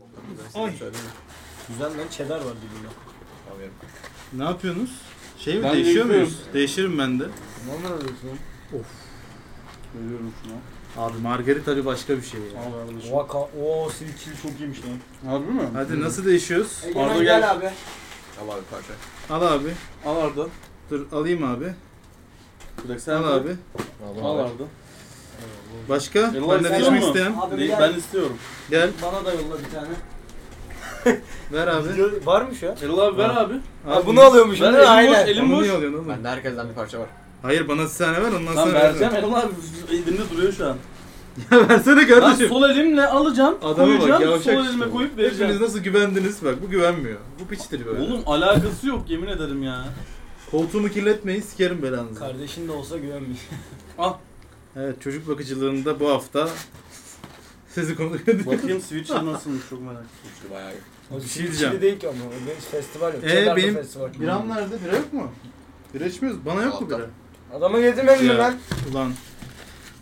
Oy. istedim söyleyeyim. Güzel lan cheddar var dibinde. Alıyorum. Ne yapıyorsunuz? Şey mi Ben değişiyor değişiyorum. muyuz? Değişirim ben de. Ne alıyorsun? Veriyorum şuna. Abi margarita bir başka bir şey ya. Al kardeşim. Vaka. Oo senin çili çok iyiymiş lan. Harbi mi? Hadi nasıl değişiyoruz? Egemen Arda gel. E, gel abi. Al abi parça. Al abi. Al Arda. Dur alayım abi. Bir dakika sen Al al abi. Al Arda. Başka? Yolla Ben de istiyor değişmek mu? isteyen. Abi Değil, gel. ben istiyorum. Gel. Bana da yolla bir tane. Ver abi. Yo- Varmış ya. Erol abi ver abi. Abi, alıyormuş. Ver elim boş, elim Onu boş. niye alıyorsun oğlum? Ben de herkesten bir parça var. Hayır bana sen ver ondan Lan sonra vereceğim. vereceğim Erol abi. Elimde duruyor şu an. Versene Lan kardeşim. sol elimle alacağım. Adama bak koyacağım. Sol yavşak elime işte bu. koyup Hepiniz vereceğim. nasıl güvendiniz bak bu güvenmiyor. Bu piçtir böyle. Oğlum alakası yok yemin ederim ya. Koltuğumu kirletmeyin sikerim belanızı. Kardeşin de olsa güvenmiş. Al. Evet çocuk bakıcılığında bu hafta sizi konuk ediyorum. Bakayım Switch'e nasılmış çok merak ettim. Üçlü bayağı iyi. Bir şey diyeceğim. Çili değil ki ama. o Benim festival yok. Ee, Çedar'da benim- festival. Biram nerede? Bira yok mu? Bira içmiyoruz. Bana yok mu bira? Adama getirmedin mi Ya. lan? Ulan.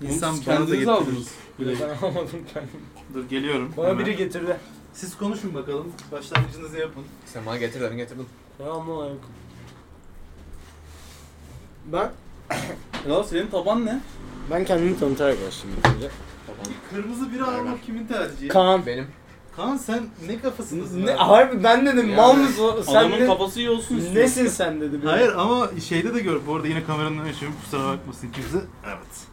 Oğlum İnsan siz bana da kendiniz getirir. aldınız. Bile. Ben almadım kendim. Dur geliyorum. Bana hemen. biri getirdi. Siz konuşun bakalım. Başlangıcınızı yapın. Sen bana getir ben getirdim. Selamun aleyküm. Ben? Erol senin taban ne? Ben kendimi tanıtarak başlayayım. Kırmızı bira almak kimin tercihi? Kaan. Benim. Kaan sen ne kafasındasın? Ne, abi? harbi ben dedim Ya. mal mısın? Sen Adamın ne- kafası iyi olsun istiyor. nesin sen dedi. bir de. Hayır ama şeyde de gör. Bu arada yine kameranın önüne açıyorum. Kusura bakmasın kimse. Evet.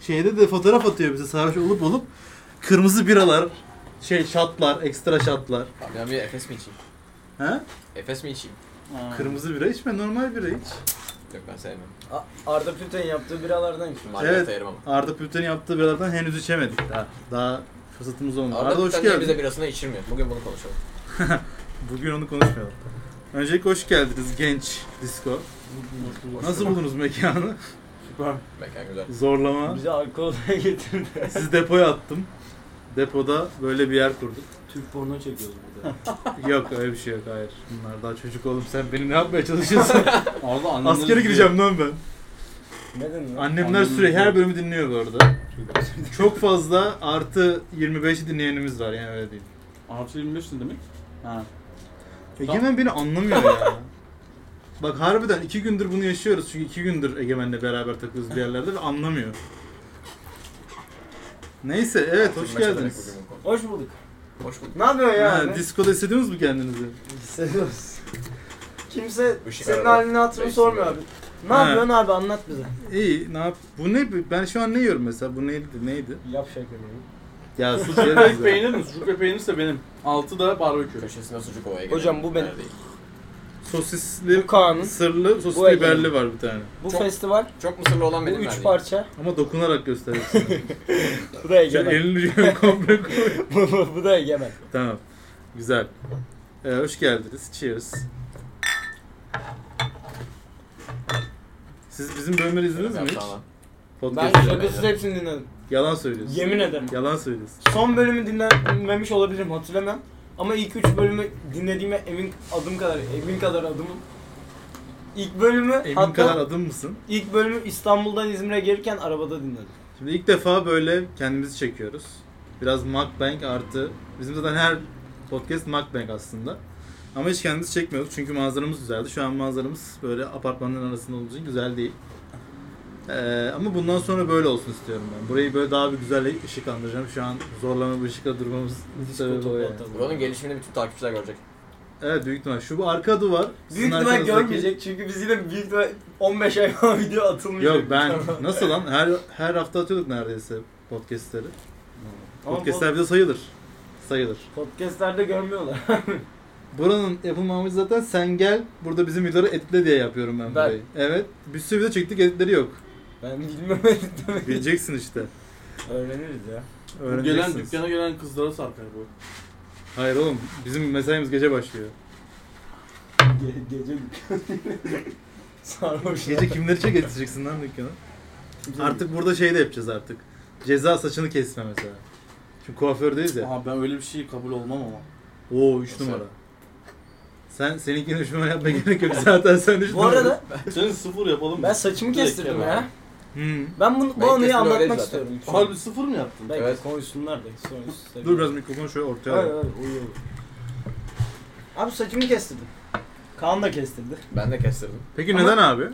Şeyde de fotoğraf atıyor bize sarhoş olup olup. Kırmızı biralar, şey şatlar, ekstra şatlar. Ben bir Efes mi içeyim? He? Efes mi içeyim? Ha. Kırmızı bira içme, normal bira iç. Yok ben sevmem. A- Arda Püten yaptığı biralardan içtim. Margarita Evet. yerim ama. Arda Pülten'in yaptığı biralardan henüz içemedik daha. Daha fırsatımız olmadı. Arda, Arda, hoş Arda niye geldin. bize birasını içirmiyor. Bugün bunu konuşalım. Bugün onu konuşmayalım. Öncelikle hoş geldiniz genç disco. Nasıl buldunuz mekanı? Süper. Mekan güzel. Zorlama. Bize alkol da getirdi. Sizi depoya attım. Depoda böyle bir yer kurduk. Türk porno çekiyoruz burada. Yok öyle bir şey yok hayır. Bunlar daha çocuk oğlum sen beni ne yapmaya çalışıyorsun? Arda annemler Askere izliyor. gideceğim lan ben. Neden lan? Annemler Annem sürekli her izliyor. bölümü dinliyor bu arada. Çok fazla artı 25'i dinleyenimiz var yani öyle değil. Artı 25 ne demek? Ha. Egemen beni anlamıyor ya. Bak harbiden iki gündür bunu yaşıyoruz çünkü iki gündür Egemen'le beraber takılıyoruz bir yerlerde ve anlamıyor. Neyse evet hoş Bugün maç olacak, geldiniz. bugün bunu Hoş konuşalım. bulduk. Hoş bulduk. Ne yapıyorsun ya? Ha, diskoda hissediniz mi kendinizi? Hissediyoruz. Kimse Işık senin arada. halini hatırını Reis sormuyor abi. gibi. Ne Ha. yapıyorsun abi anlat bize. İyi ne yap? Bu ne? Ben şu an ne yiyorum mesela? Bu neydi? Neydi? Yap şekerini. Ya sus Sucuk yeriz. peynir mi? Sucuk ve peynirse benim. Altı da barbekü. Köşesinde sucuk ovaya gidelim. Hocam bu benim. Nerede? Sosisli Bu Kaan'ın. Sırlı sosis Bu Ege'nin. biberli var bir tane. Bu Çok- festival Çok mısırlı olan bu benim üç verdiğim. parça. Ama dokunarak gösterirsin. Bu da Sen egemen. elini yürüyorum komple koy. bu, bu- bu da egemen. Tamam. Güzel. Ee, hoş geldiniz. Cheers. Siz bizim bölümleri izlediniz mi hiç? Tamam. Ben Podcast. şakasız hepsini dinledim. Yalan söylüyorsun. Yemin ederim. Yalan söylüyorsun. Son bölümü dinlememiş olabilirim hatırlamam. Ama ilk üç bölümü dinlediğime emin adım kadar, emin kadar adımım. İlk bölümü Emin hatta kadar adım mısın? ilk bölümü İstanbul'dan İzmir'e gelirken arabada dinledim. Şimdi ilk defa böyle kendimizi çekiyoruz. Biraz mukbang artı. Bizim zaten her podcast mukbang aslında. Ama hiç kendimizi çekmiyorduk çünkü manzaramız güzeldi. Şu an manzaramız böyle apartmanların arasında olduğu için güzel değil. Ee, ama bundan sonra böyle olsun istiyorum ben. Burayı böyle daha bir güzel ışıklandıracağım. Şu an zorlama bir ışıkla durmamız sebebi o yani. Buranın gelişimini bütün takipçiler görecek. Evet büyük ihtimal. Şu bu arka duvar. sizin Büyük ihtimal arkanızdaki- görmeyecek çünkü biz yine büyük ihtimal 15 ay falan video atılmayacak. Yok ben nasıl lan her her hafta atıyorduk neredeyse podcastleri. Ama Podcastler bize sayılır. Sayılır. pod- podcastlerde görmüyorlar. Buranın yapılmamız zaten sen gel burada bizim videoları editle diye yapıyorum ben, Ben. burayı. Evet. Bir sürü video çektik editleri yok. Ben bilmem demek. Bileceksin işte. Öğreniriz ya. Bu Gelen Öğreneceksiniz. dükkana gelen kızlara sarkar bu. Hayır oğlum bizim mesaimiz gece başlıyor. Ge- gece sarhoş. Gece kimleri çek edeceksin lan dükkana? Artık burada şey de yapacağız artık. Ceza saçını kesme mesela. Çünkü kuafördeyiz ya. Aha ben öyle bir şey kabul olmam ama. Oo 3 Nasıl? numara. Sen seninkini 3 numara yapmaya gerek yok zaten sen 3 Bu arada Senin sıfır yapalım mı? ben saçımı Direkt kestirdim yeme. ya. Hmm. Ben bunu, bu Belki anıyı kesin öyleydi anlatmak zaten. istiyorum. yüksek. Harbi sıfır mı yaptın? Belki Evet. konuşsunlar da. Sonra Dur biraz şey mikrofonu şöyle ortaya Hayır al. hayır uyuyor. Abi saçımı kestirdim. Kaan da kestirdi. Ben de kestirdim. Peki Ama- neden abi?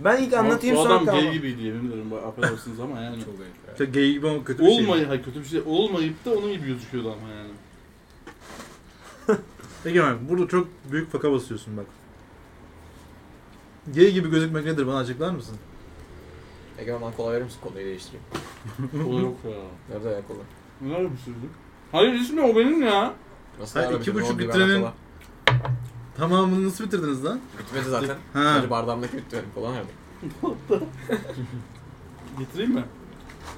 Ben ilk anlatayım Bu sonra adam gay Kaan'a. gibiydi yemin ederim. Bak, Affedersiniz ama yani. Çok garip. İşte gay gibi ama kötü bir şey. Olmayı, hayır kötü bir şey. Olmayıp da onun gibi gözüküyordu ama yani. Peki abi burada çok büyük faka basıyorsun bak. Gay gibi gözükmek nedir bana açıklar mısın? Egemen bana kola verir misin? Kolayı değiştireyim. O yok ya. Nerede ya kola? Neler bir sürdü? Hayır ismi o benim ya. Nasıl Hayır, daha iki bitirdim? buçuk Oğlum, bir litrenin- bardak Tamamını nasıl bitirdiniz lan? kola. Bitmedi zaten. Ha. Sadece bardağımdaki bitti benim. Kola nerede? Getireyim mi?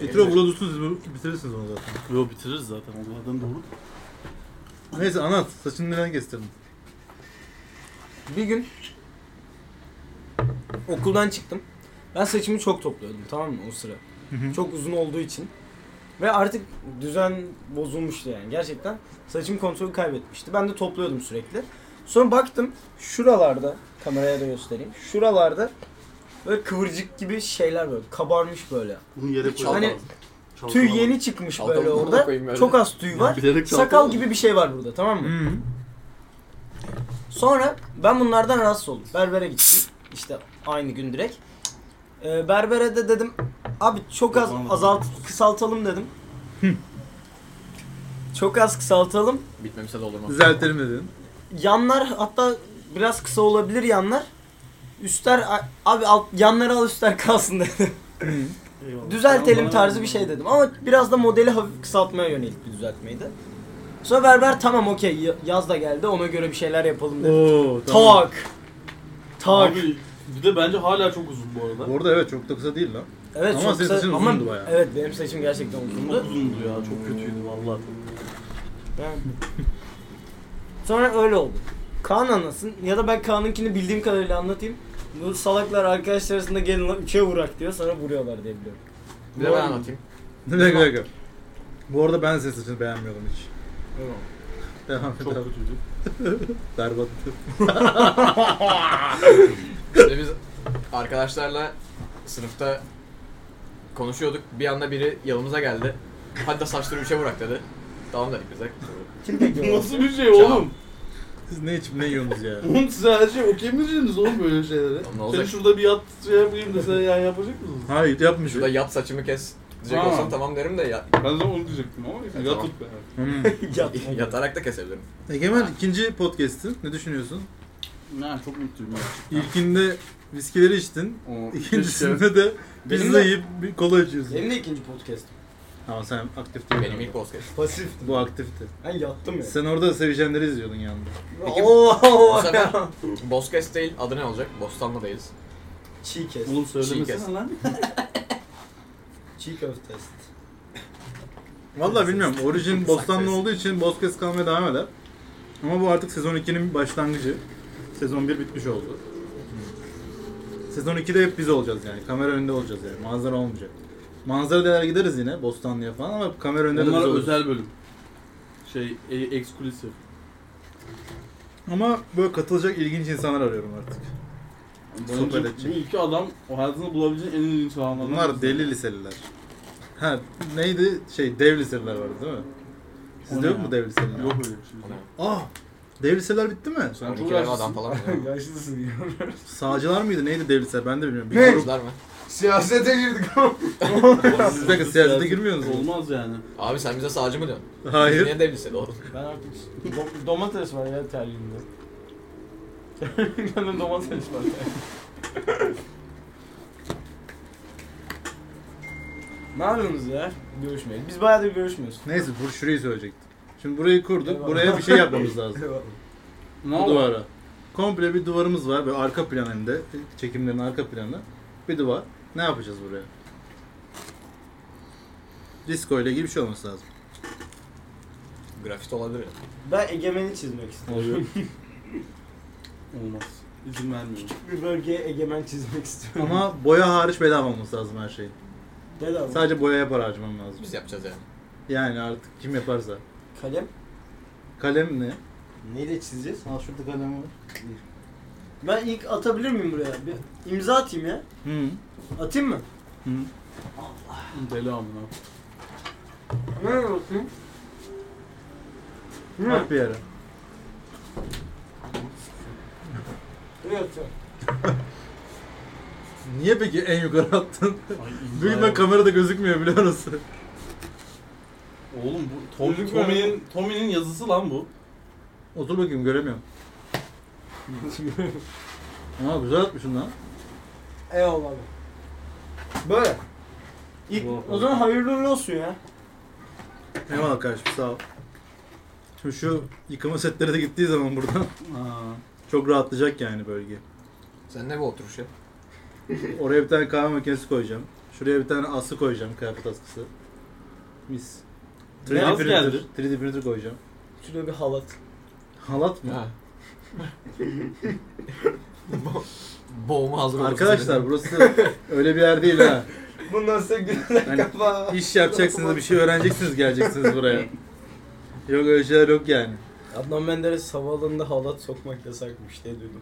Getir o burada dursun siz bu- bitirirsiniz onu zaten. Yo bitiririz zaten. O zaten doğru. Neyse anlat. Saçını neden kestirdin? Bir gün okuldan çıktım. Ben saçımı çok topluyordum tamam mı o sıra. Çok uzun olduğu için. Ve artık düzen bozulmuştu yani gerçekten. Saçım kontrolü kaybetmişti. Ben de topluyordum sürekli. Sonra baktım şuralarda kameraya da göstereyim. Şuralarda böyle kıvırcık gibi şeyler böyle kabarmış böyle. Bunu yere Çalkala. koyalım. Hani- Tüy yeni çıkmış Çalkalama böyle bana orada. koyayım böyle. Çok az tüy var. bilerek Sakal çalkalama. gibi bir şey var burada tamam mı? Hı. Sonra ben bunlardan rahatsız oldum. Berbere gittim. İşte aynı gün direkt. Ee, berbere de dedim abi çok az azalt kısaltalım dedim. çok az kısaltalım. Bitmemişse de olur mu? Düzeltelim dedin. Yanlar hatta biraz kısa olabilir yanlar. Üstler abi alt, yanları al üstler kalsın dedim. Eyvallah. Düzeltelim tarzı bir şey dedim ama biraz da modeli hafif kısaltmaya yönelik bir düzeltmeydi. Sonra berber tamam okey ya- yaz da geldi ona göre bir şeyler yapalım dedi. Oo tamam. Tak. Tak. Abi bir de bence hala çok uzun bu arada. Bu arada evet çok da kısa değil lan. Evet Ama çok senin kısa- saçın ama- uzundu bayağı. Evet benim saçım gerçekten uzundu. Çok uzundu ya. Çok kötüydü vallahi. Ben- Sonra öyle oldu. Kaan anlasın ya da ben Kaan'ınkini bildiğim kadarıyla anlatayım. Bu salaklar arkadaşlar arasında gelin lan üçe vurak diyor sonra vuruyorlar diye biliyorum. Bir de ben anlatayım. Bir dakika bir dakika. Bu arada ben senin saçını beğenmiyordum hiç. Tamam. Devam et Çok abi. kötüydü. Berbattı. Şimdi biz arkadaşlarla sınıfta konuşuyorduk. Bir anda biri yanımıza geldi. Hadi da saçları üçe bırak dedi. Tamam dedik biz de. Kim peki? o? Nasıl bir şey oğlum? Siz ne içip ne yiyorsunuz ya? Oğlum siz her şey okey mi dediniz oğlum böyle şeylere? Tamam, ne olacak? Sen şurada bir yat şey yapayım dese yani yapacak mısınız? Hayır yapmış. Şurada yat saçımı kes diyecek Tamam. olsam tamam derim de ya, Ben de onu diyecektim ama neyse Evet, yatıp be. Hmm. Yatma. yatarak da kesebilirim. Egemen E, ikinci podcast'in. Ne düşünüyorsun? Ne çok mutluyum ya. İlkinde viskileri içtin. O İkincisinde de Benim pizza de- yiyip bir kola içiyorsun. Benim de ikinci podcast'ım. Ama sen aktif değil. Benim ilk podcast. Pasiftim. Bu aktifti. Ben yattım ya. Sen orada sevişenleri izliyordun yanında. Peki- Oo. Bu sefer Boscast değil, adı ne olacak? Bostanlı değiliz. Çiğ kes. Oğlum Çiğ söylemesene lan. Çiğ köfte test. Vallahi bilmiyorum. Orijin Bostanlı olduğu için Bozkes kalmaya devam eder. Ama bu artık sezon 2'nin başlangıcı. Sezon 1 bitmiş oldu. Sezon 2'de hep biz olacağız yani. Kamera önünde olacağız yani. Manzara olmayacak. Manzara dener gideriz yine Bostanlı'ya falan ama kamera önünde de Onlara biz oluruz. özel bölüm. Şey, e, eksklusif. Ama böyle katılacak ilginç insanlar arıyorum artık. Sohbet Bence edecek. bu iki adam o hayatında bulabileceğin en ilginç adamlar. Bunlar deli liseliler. Ha neydi? Şey dev liseliler vardı değil mi? O Sizde ne yok ya? mu dev liseliler? Yok öyle bir şey. O ne? Ah! Dev liseler bitti mi? Sen çok 12 lira adam yaşlısın. falan. Yaşlısın ya. Sağcılar mıydı? Neydi dev liseler? Ben de bilmiyorum. Bir Ne? grup- Kurucular mı? Siyasete girdik ama. Siz de siyasete girmiyorsunuz mu? Olmaz yani. Abi sen bize sağcı mı diyorsun? Biz Hayır. Niye devliseli oğlum? Ben artık do- domates var ya terliğimde. Bende domates var ya. ne yapıyorsunuz ya? Görüşmeyelim. Biz bayağıdır görüşmüyoruz. Neyse bur şurayı söyleyecektim. Şimdi burayı kurduk. Eyvallah. Buraya bir şey yapmamız lazım. Ne Bu oldu? duvara. Komple bir duvarımız var. Böyle arka plan hem de. Çekimlerin arka planı. Bir duvar. Ne yapacağız buraya? Disco ile gibi bir şey olması lazım. Grafit olabilir ya. Ben egemeni çizmek istiyorum. Olmaz. İzin vermiyorum. Bir bölgeye egemen çizmek istiyorum. Ama boya hariç bedava olması lazım her şey. Bedava. Sadece boyaya para harcamam lazım. Biz yapacağız yani. Yani artık kim yaparsa. Kalem. Kalem ne? Neyle çizeceğiz? Al şurada kalem var. Ben ilk atabilir miyim buraya? Bir imza atayım ya. Hı. Atayım mı? Hı. Deli amına. Ne yapıyorsun? Ne Bak bir yere. yapıyorsun? Niye peki en yukarı attın? Ay, imza Büyüme yok. kamerada gözükmüyor biliyor musun? Oğlum bu Tom, Gözükmüyor Tommy'nin Tommy'nin yazısı lan bu. Otur bakayım göremiyorum. Ama güzel atmışsın lan. Eyvallah. Böyle. İlk, Eyvallah. o zaman hayırlı uğurlu olsun ya. Eyvallah kardeşim sağ ol. Şimdi şu yıkama setleri de gittiği zaman buradan Ha. çok rahatlayacak yani bölge. Sen ne bu oturuş ya? Oraya bir tane kahve makinesi koyacağım. Şuraya bir tane aslı koyacağım kıyafet askısı. Mis. 3D Ne az printer, geldi? 3D printer koyacağım. Şuraya bir halat. Halat mı? Ha. Bo- Boğuma hazır oldu. Arkadaşlar burası öyle bir yer değil ha. Bundan size güzel Hani kafa. İş yapacaksınız, bir şey öğreneceksiniz, geleceksiniz buraya. Yok öyle şeyler yok yani. Adnan Menderes havaalanında halat sokmak yasakmış diye duydum.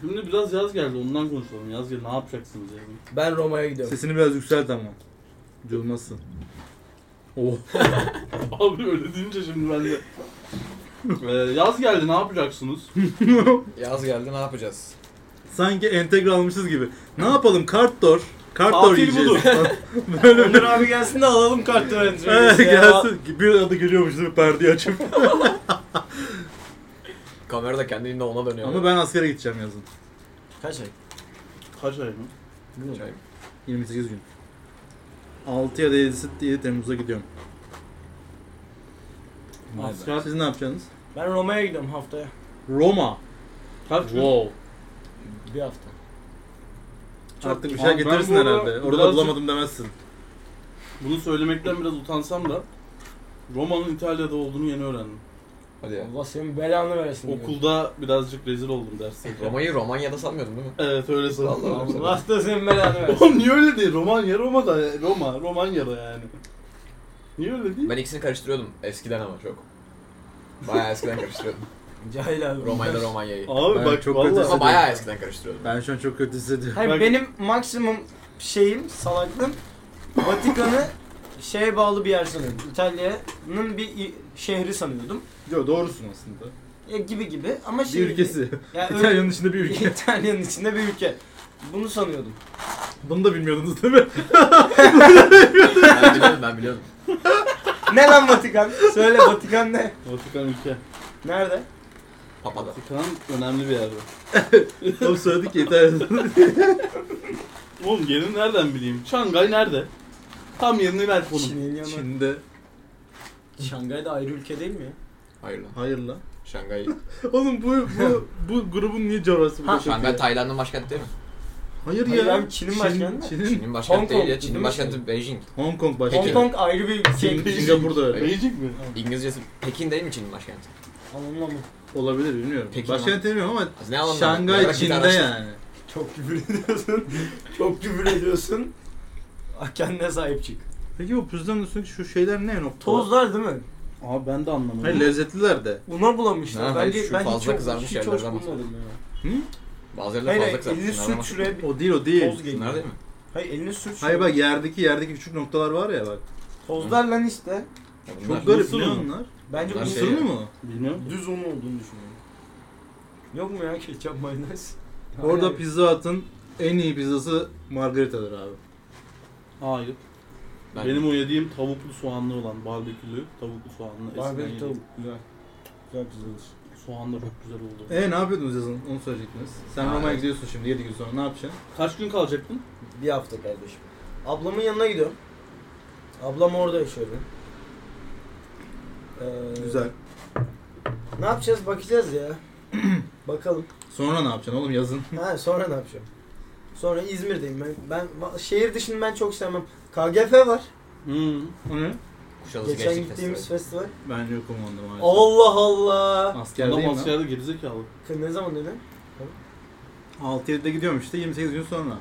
Şimdi biraz yaz geldi ondan konuşalım. Yaz geldi ne yapacaksınız yani? Ben Roma'ya gidiyorum. Sesini biraz yükselt ama. Cılmasın. Oh. Abi öyle deyince şimdi ben de. Ee, yaz geldi ne yapacaksınız? Yaz geldi ne yapacağız? Sanki entegre almışız gibi. Ne yapalım? Kartdor. Kartdor Tatil yiyeceğiz. budur. Böyle Ömer abi gelsin de alalım kartı Evet, öğrencimiz. gelsin. Bir adı gülüyormuş bir perdeyi açıp. Kamera da kendiliğinden ona dönüyor. Ama ben askere gideceğim yazın. Kaç ay? Kaç ay mı? Çay- 28 gün. 6 ya da 7'si 7 Temmuz'a gidiyorum. Vay be. Asker. Siz ne yapacaksınız? Ben Roma'ya gidiyorum haftaya. Roma. Kaç gün? Wow. Bir hafta. Artık bir Abi şey ben getirirsin bu arada herhalde. Orada birazcık- bulamadım demezsin. Bunu söylemekten biraz utansam da Roma'nın İtalya'da olduğunu yeni öğrendim. Hadi ya. Allah senin belanı versin. diyorum. Okulda birazcık rezil oldum derslerde. Roma'yı Romanya'da sanmıyordum değil mi? Evet öyle sanırım. Vallahi. Allah da senin belanı versin. Oğlum niye öyle değil? Romanya Roma'da ya- Roma, Romanya'da yani. Niye öyle değil? Ben ikisini karıştırıyordum eskiden ama çok. Bayağı eskiden karıştırıyordum. Cahil abi. Romanya'da Romanya'yı. Abi Ben bak çok çok vallahi. Ama bayağı eskiden karıştırıyordum. Ben şu an çok kötü hissediyorum. Hayır Bak- benim maksimum şeyim salaklığım Vatikan'ı şeye bağlı bir yer sanıyordum. İtalya'nın bir i- şehri sanıyordum. Yo, doğrusun aslında. Ya gibi gibi ama şey Bir ülkesi. Ya öyle- İtalya'nın içinde bir ülke. İtalya'nın içinde bir ülke. Bunu sanıyordum. Bunu da bilmiyordunuz değil mi? ben biliyordum ben biliyordum. Ne lan Vatikan? Söyle Vatikan ne? Vatikan ülke. Nerede? Papada. Vatikan önemli bir yerde. Oğlum söyledik ya İtalya'da. Oğlum yerini nereden bileyim? Şangay nerede? Tam yerini ver konum. Çin'in yanı. Çin'de. Şangay da ayrı ülke değil mi ya? Hayır lan. Hayır lan. Şangay. Oğlum bu, bu, bu grubun niye coğrafyası bu Ha, şekilde? Şangay Tayland'ın başkenti değil mi? Hayır Hayır ya. abi, Çin'in başkenti mi? Çin'in. Çin'in başkenti değil ya. Kong, değil Çin'in mi başkenti Beijing. Hong Kong Hong başkenti. Kong ayrı bir Sing- ülke. Singapur'da öyle. Beyecik mi? İngilizcesi Pekin değil mi Çin'in başkenti? Anlamam. Olabilir bilmiyorum. Pekin Başkenti bilmiyorum ama Az Ne anlamda? Şangay Olarak bir Çin'de araştır. yani. Çok küfür ediyorsun. Çok küfür ediyorsun. Ah, Kendine sahip çık. Peki bu püzdanın üstündeki şu şeyler ne nokta? Tozlar değil mi? Abi ben de anlamadım. Hayır lezzetliler de. Una bulamışlar. Ha, hayır, Bence, şu ben fazla hiç, kızarmış hiç hoş yerlerden bahsediyorum. bulmadım ya. Bazıları da Hayır fazla hayır kızartmış. elini Bunlar sür ama- şuraya bir O değil o değil. toz şey. geliyor. Bunlar değil mi? Hayır elini sür şuraya. Hayır bak yerdeki yerdeki küçük noktalar var ya bak. Tozlar lan işte. Ya Çok bunlar- garip mısır ne mı? onlar? Bence Bunlar bu şey Mısır ya. mı? Bilmiyorum. düz un olduğunu düşünüyorum. Yok mu ya ketçap mayonez? Orada Pizza Hut'ın en iyi pizzası Margarita'dır abi. Hayır. Ben- Benim o yediğim tavuklu soğanlı olan barbekülü tavuklu soğanlı. eskiden Barbekü yediğim. tavuk güzel. Güzel pizzadır. Soğan da çok güzel oldu. E ne yapıyordunuz yazın? Onu söyleyecektiniz. Sen Ha, Roma'ya evet. gidiyorsun şimdi 7 gün sonra ne yapacaksın? Kaç gün kalacaktın? Bir hafta kardeşim. Ablamın yanına gidiyorum. Ablam orada yaşıyor benim. Ee, Güzel. Ne yapacağız bakacağız ya. Bakalım. Sonra ne yapacaksın oğlum yazın? Ha sonra ne yapacağım? Sonra İzmir'deyim ben. Ben va- şehir dışını ben çok sevmem. KGF var. Hı. O ne? Kuşadası Geçen Gençlik gittiğimiz festival. Festivali. Ben yokum onda maalesef. Allah Allah. Asker Adam değil mi? askerde gerizekalı. Ne zaman dedi? 6-7'de gidiyorum işte 28 gün sonra.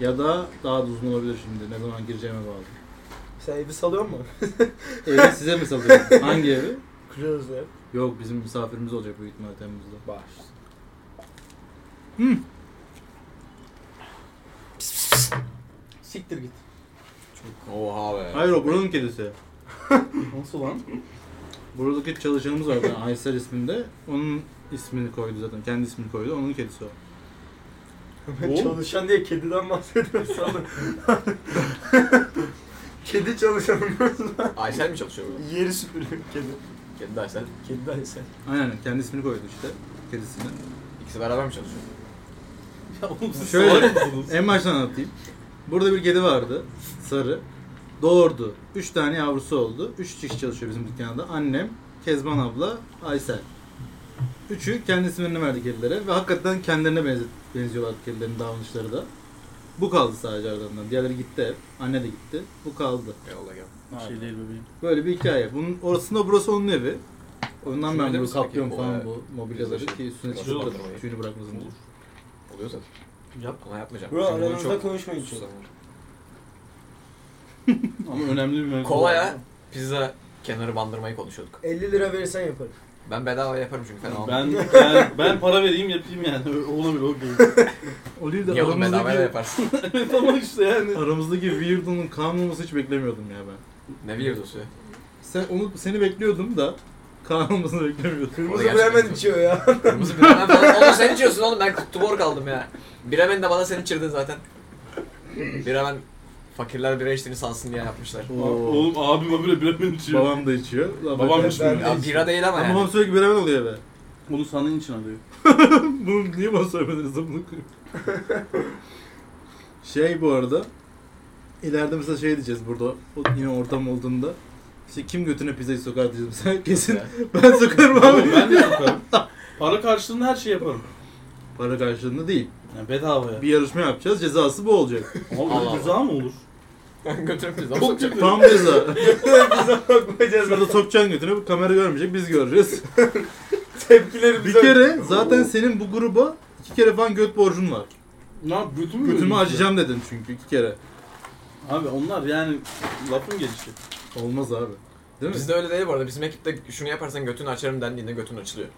Ya da daha da uzun olabilir şimdi. Ne zaman gireceğime bağlı. Sen evi salıyor mu? Evi size mi salıyorum? Hangi evi? Kuruyoruz ya. Yok bizim misafirimiz olacak büyük ihtimalle Temmuz'da. Baş. Siktir git. Oha be. Hayır o buranın kedisi. Nasıl lan? Buradaki çalışanımız var ben Aysel isminde. Onun ismini koydu zaten. Kendi ismini koydu. Onun kedisi o. Oğlum. Çalışan diye kediden bahsediyorum sandım. Kedi çalışanımız var. Aysel mi çalışıyor burada? Yeri süpürüyor kedi. Kedi de Aysel. Kedi de sen. Aynen kendi ismini koydu işte. Kedisini. İkisi beraber mi çalışıyor? Ya oğlum siz Şöyle. salak mısınız? En baştan anlatayım. Burada bir kedi vardı. Sarı. Doğurdu. Üç tane yavrusu oldu. Üç kişi çalışıyor bizim dükkanda. Annem, Kezban abla, Aysel. Üçü kendi isimlerini verdi kedilere ve hakikaten kendilerine benzi- benziyorlar kedilerin davranışları da. Bu kaldı sadece aralarından. Diğerleri gitti hep. Anne de gitti. Bu kaldı. Eyvallah gel. Bir şey değil bebeğim. Böyle bir hikaye. Bunun orasında burası onun evi. Ondan Şöyle ben bunu misin peki? kaplıyorum Bu, falan e, bu mobilyaları bizim ki üstüne şey, çıkıyor. batırmayı. Tüyünü bırakmasın diye. Olur. Oluyor zaten. Yap. Ama yapmayacağım. Bro Çünkü bu aranızda çok- konuşmayın çok. Ama önemli bir mevzu. Kola ya. Pizza kenarı bandırmayı konuşuyorduk. 50 lira verirsen yaparım. Ben bedava yaparım çünkü fena olmaz. Ben, ben, ben para vereyim yapayım yani. Ö- Olabilir okey. O değil Niye de oğlum bedava aramızdaki, yaparsın? Evet ama işte yani. aramızdaki Weirdo'nun kanun olması hiç beklemiyordum ya ben. ne biliyordu suyu? Sen, onu, seni bekliyordum da kanun olmasını beklemiyordum. O da Kırmızı gerçekten Bremen çok- içiyor ya. Kırmızı biremen falan. Oğlum sen içiyorsun oğlum ben tubor kaldım ya. Biremen de bana sen içirdin zaten. Biremen fakirler bira içtiğini sansın diye yapmışlar. Oo. Oğlum abim böyle bilemen içiyor. Babam da içiyor. Lan Babam bak- içmiyor. Ya bira değil ama Ama yani. babam sürekli beraber oluyor be. Bunu senin için alıyor. Bunu niye bana söylemediniz lan bunu koyayım. şey bu arada ileride mesela şey diyeceğiz burada o yine ortam olduğunda işte kim götüne pizzayı sokar diyeceğim sen kesin ben sokarım Oğlum abi. ben de yaparım. Para karşılığında her şeyi yaparım. Para karşılığında değil. Yani bedava ya. Bir yarışma yapacağız cezası bu olacak. Ama Allah böyle cüzdan mı olur? Götürüp pizza mı Çok sokacak? kötü. Tam ceza. Bakmayacağız. Şurada sokacaksın götüne bu kamera görmeyecek biz göreceğiz. Tepkilerimiz Bir kere zaten senin bu gruba iki kere falan göt borcun var. Lan götümü mü Götümü görüyorsun? acıyacağım dedin çünkü iki kere. Abi onlar yani lafın gelişi. Olmaz abi. Değil mi? Bizde öyle değil bu arada. Bizim ekipte şunu yaparsan götünü açarım dendiğinde götün açılıyor.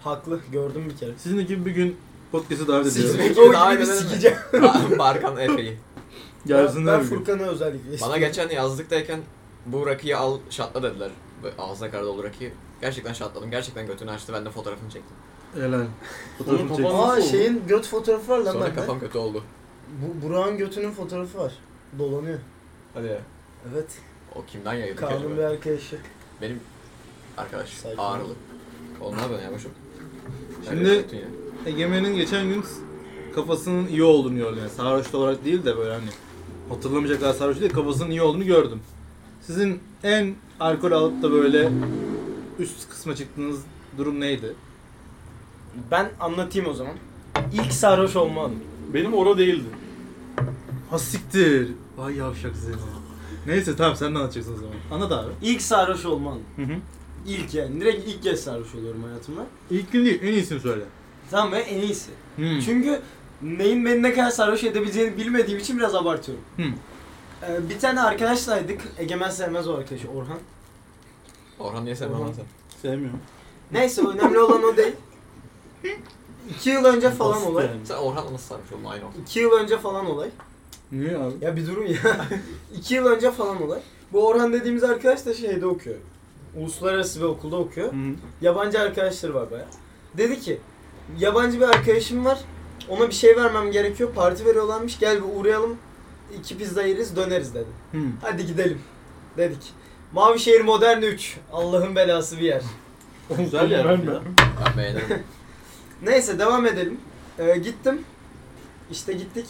Haklı gördüm bir kere. Sizin gibi bir gün podcast'e davet Sizin ediyorum. ekibi O daha gibi evvel mi? sikeceğim. Ba- Barkan Efe'yi. Gelsinler ben bir gün. Furkan'a özellikle Bana geçen yazlıktayken bu rakıyı al şatla dediler. Böyle Ağzına kar dolu rakıyı. Gerçekten şatladım. Gerçekten götünü açtı. Ben de fotoğrafını çektim. Helal. Fotoğrafını Onun çek. kapağı- Aa Nasıl oldu? şeyin göt fotoğrafı var lan Sonra bende. kafam kötü oldu. Bu Burak'ın götünün fotoğrafı var. Dolanıyor. Hadi ya. Evet. O kimden yayıldı ki Kanun bir acaba? arkadaşı. Benim arkadaş Saygı. ağrılı. Onlar ben yapmışım. Şimdi Egemen'in geçen gün kafasının iyi olduğunu gördüm. Yani sarhoş olarak değil de böyle hani hatırlamayacak kadar sarhoş değil kafasının iyi olduğunu gördüm. Sizin en alkol alıp da böyle üst kısma çıktığınız durum neydi? Ben anlatayım o zaman. İlk sarhoş olma anım. Benim ora değildi. Ha siktir. Vay yavşak Zeyno. Neyse tamam sen de anlatacaksın o zaman. Anlat abi. İlk sarhoş olma anım. Hı hı. İlk yani. Direkt ilk kez sarhoş oluyorum hayatımda. İlk gün değil en iyisini söyle. Tamam ve en iyisi. Hı. Çünkü neyin beni ne kadar sarhoş edebileceğini bilmediğim için biraz abartıyorum. Hı. Ee, bir tane arkadaşlaydık. Egemen sevmez o arkadaşı Orhan. Orhan niye sevmem Orhan. lan sen? Sevmiyorum. Neyse önemli olan o değil. İki yıl önce falan Basit olay. yani. Sen Orhan'la nasıl sarmış oldun aynı oldu. İki yıl önce falan olay. Niye abi? Ya bir durun ya. İki yıl önce falan olay. Bu Orhan dediğimiz arkadaş da şeyde okuyor. Uluslararası bir okulda okuyor. Hı hı. Yabancı arkadaşları var baya. Dedi ki yabancı bir arkadaşım var. Ona bir şey vermem gerekiyor. Parti veriyorlarmış. Gel bir uğrayalım. İki pizza yeriz döneriz dedi. Hı. Hadi gidelim dedik. Mavişehir Modern 3. Allah'ın belası bir yer. Güzel yer. Ben- ya. Ben beğenirim. Neyse devam edelim. Ee, gittim. İşte gittik.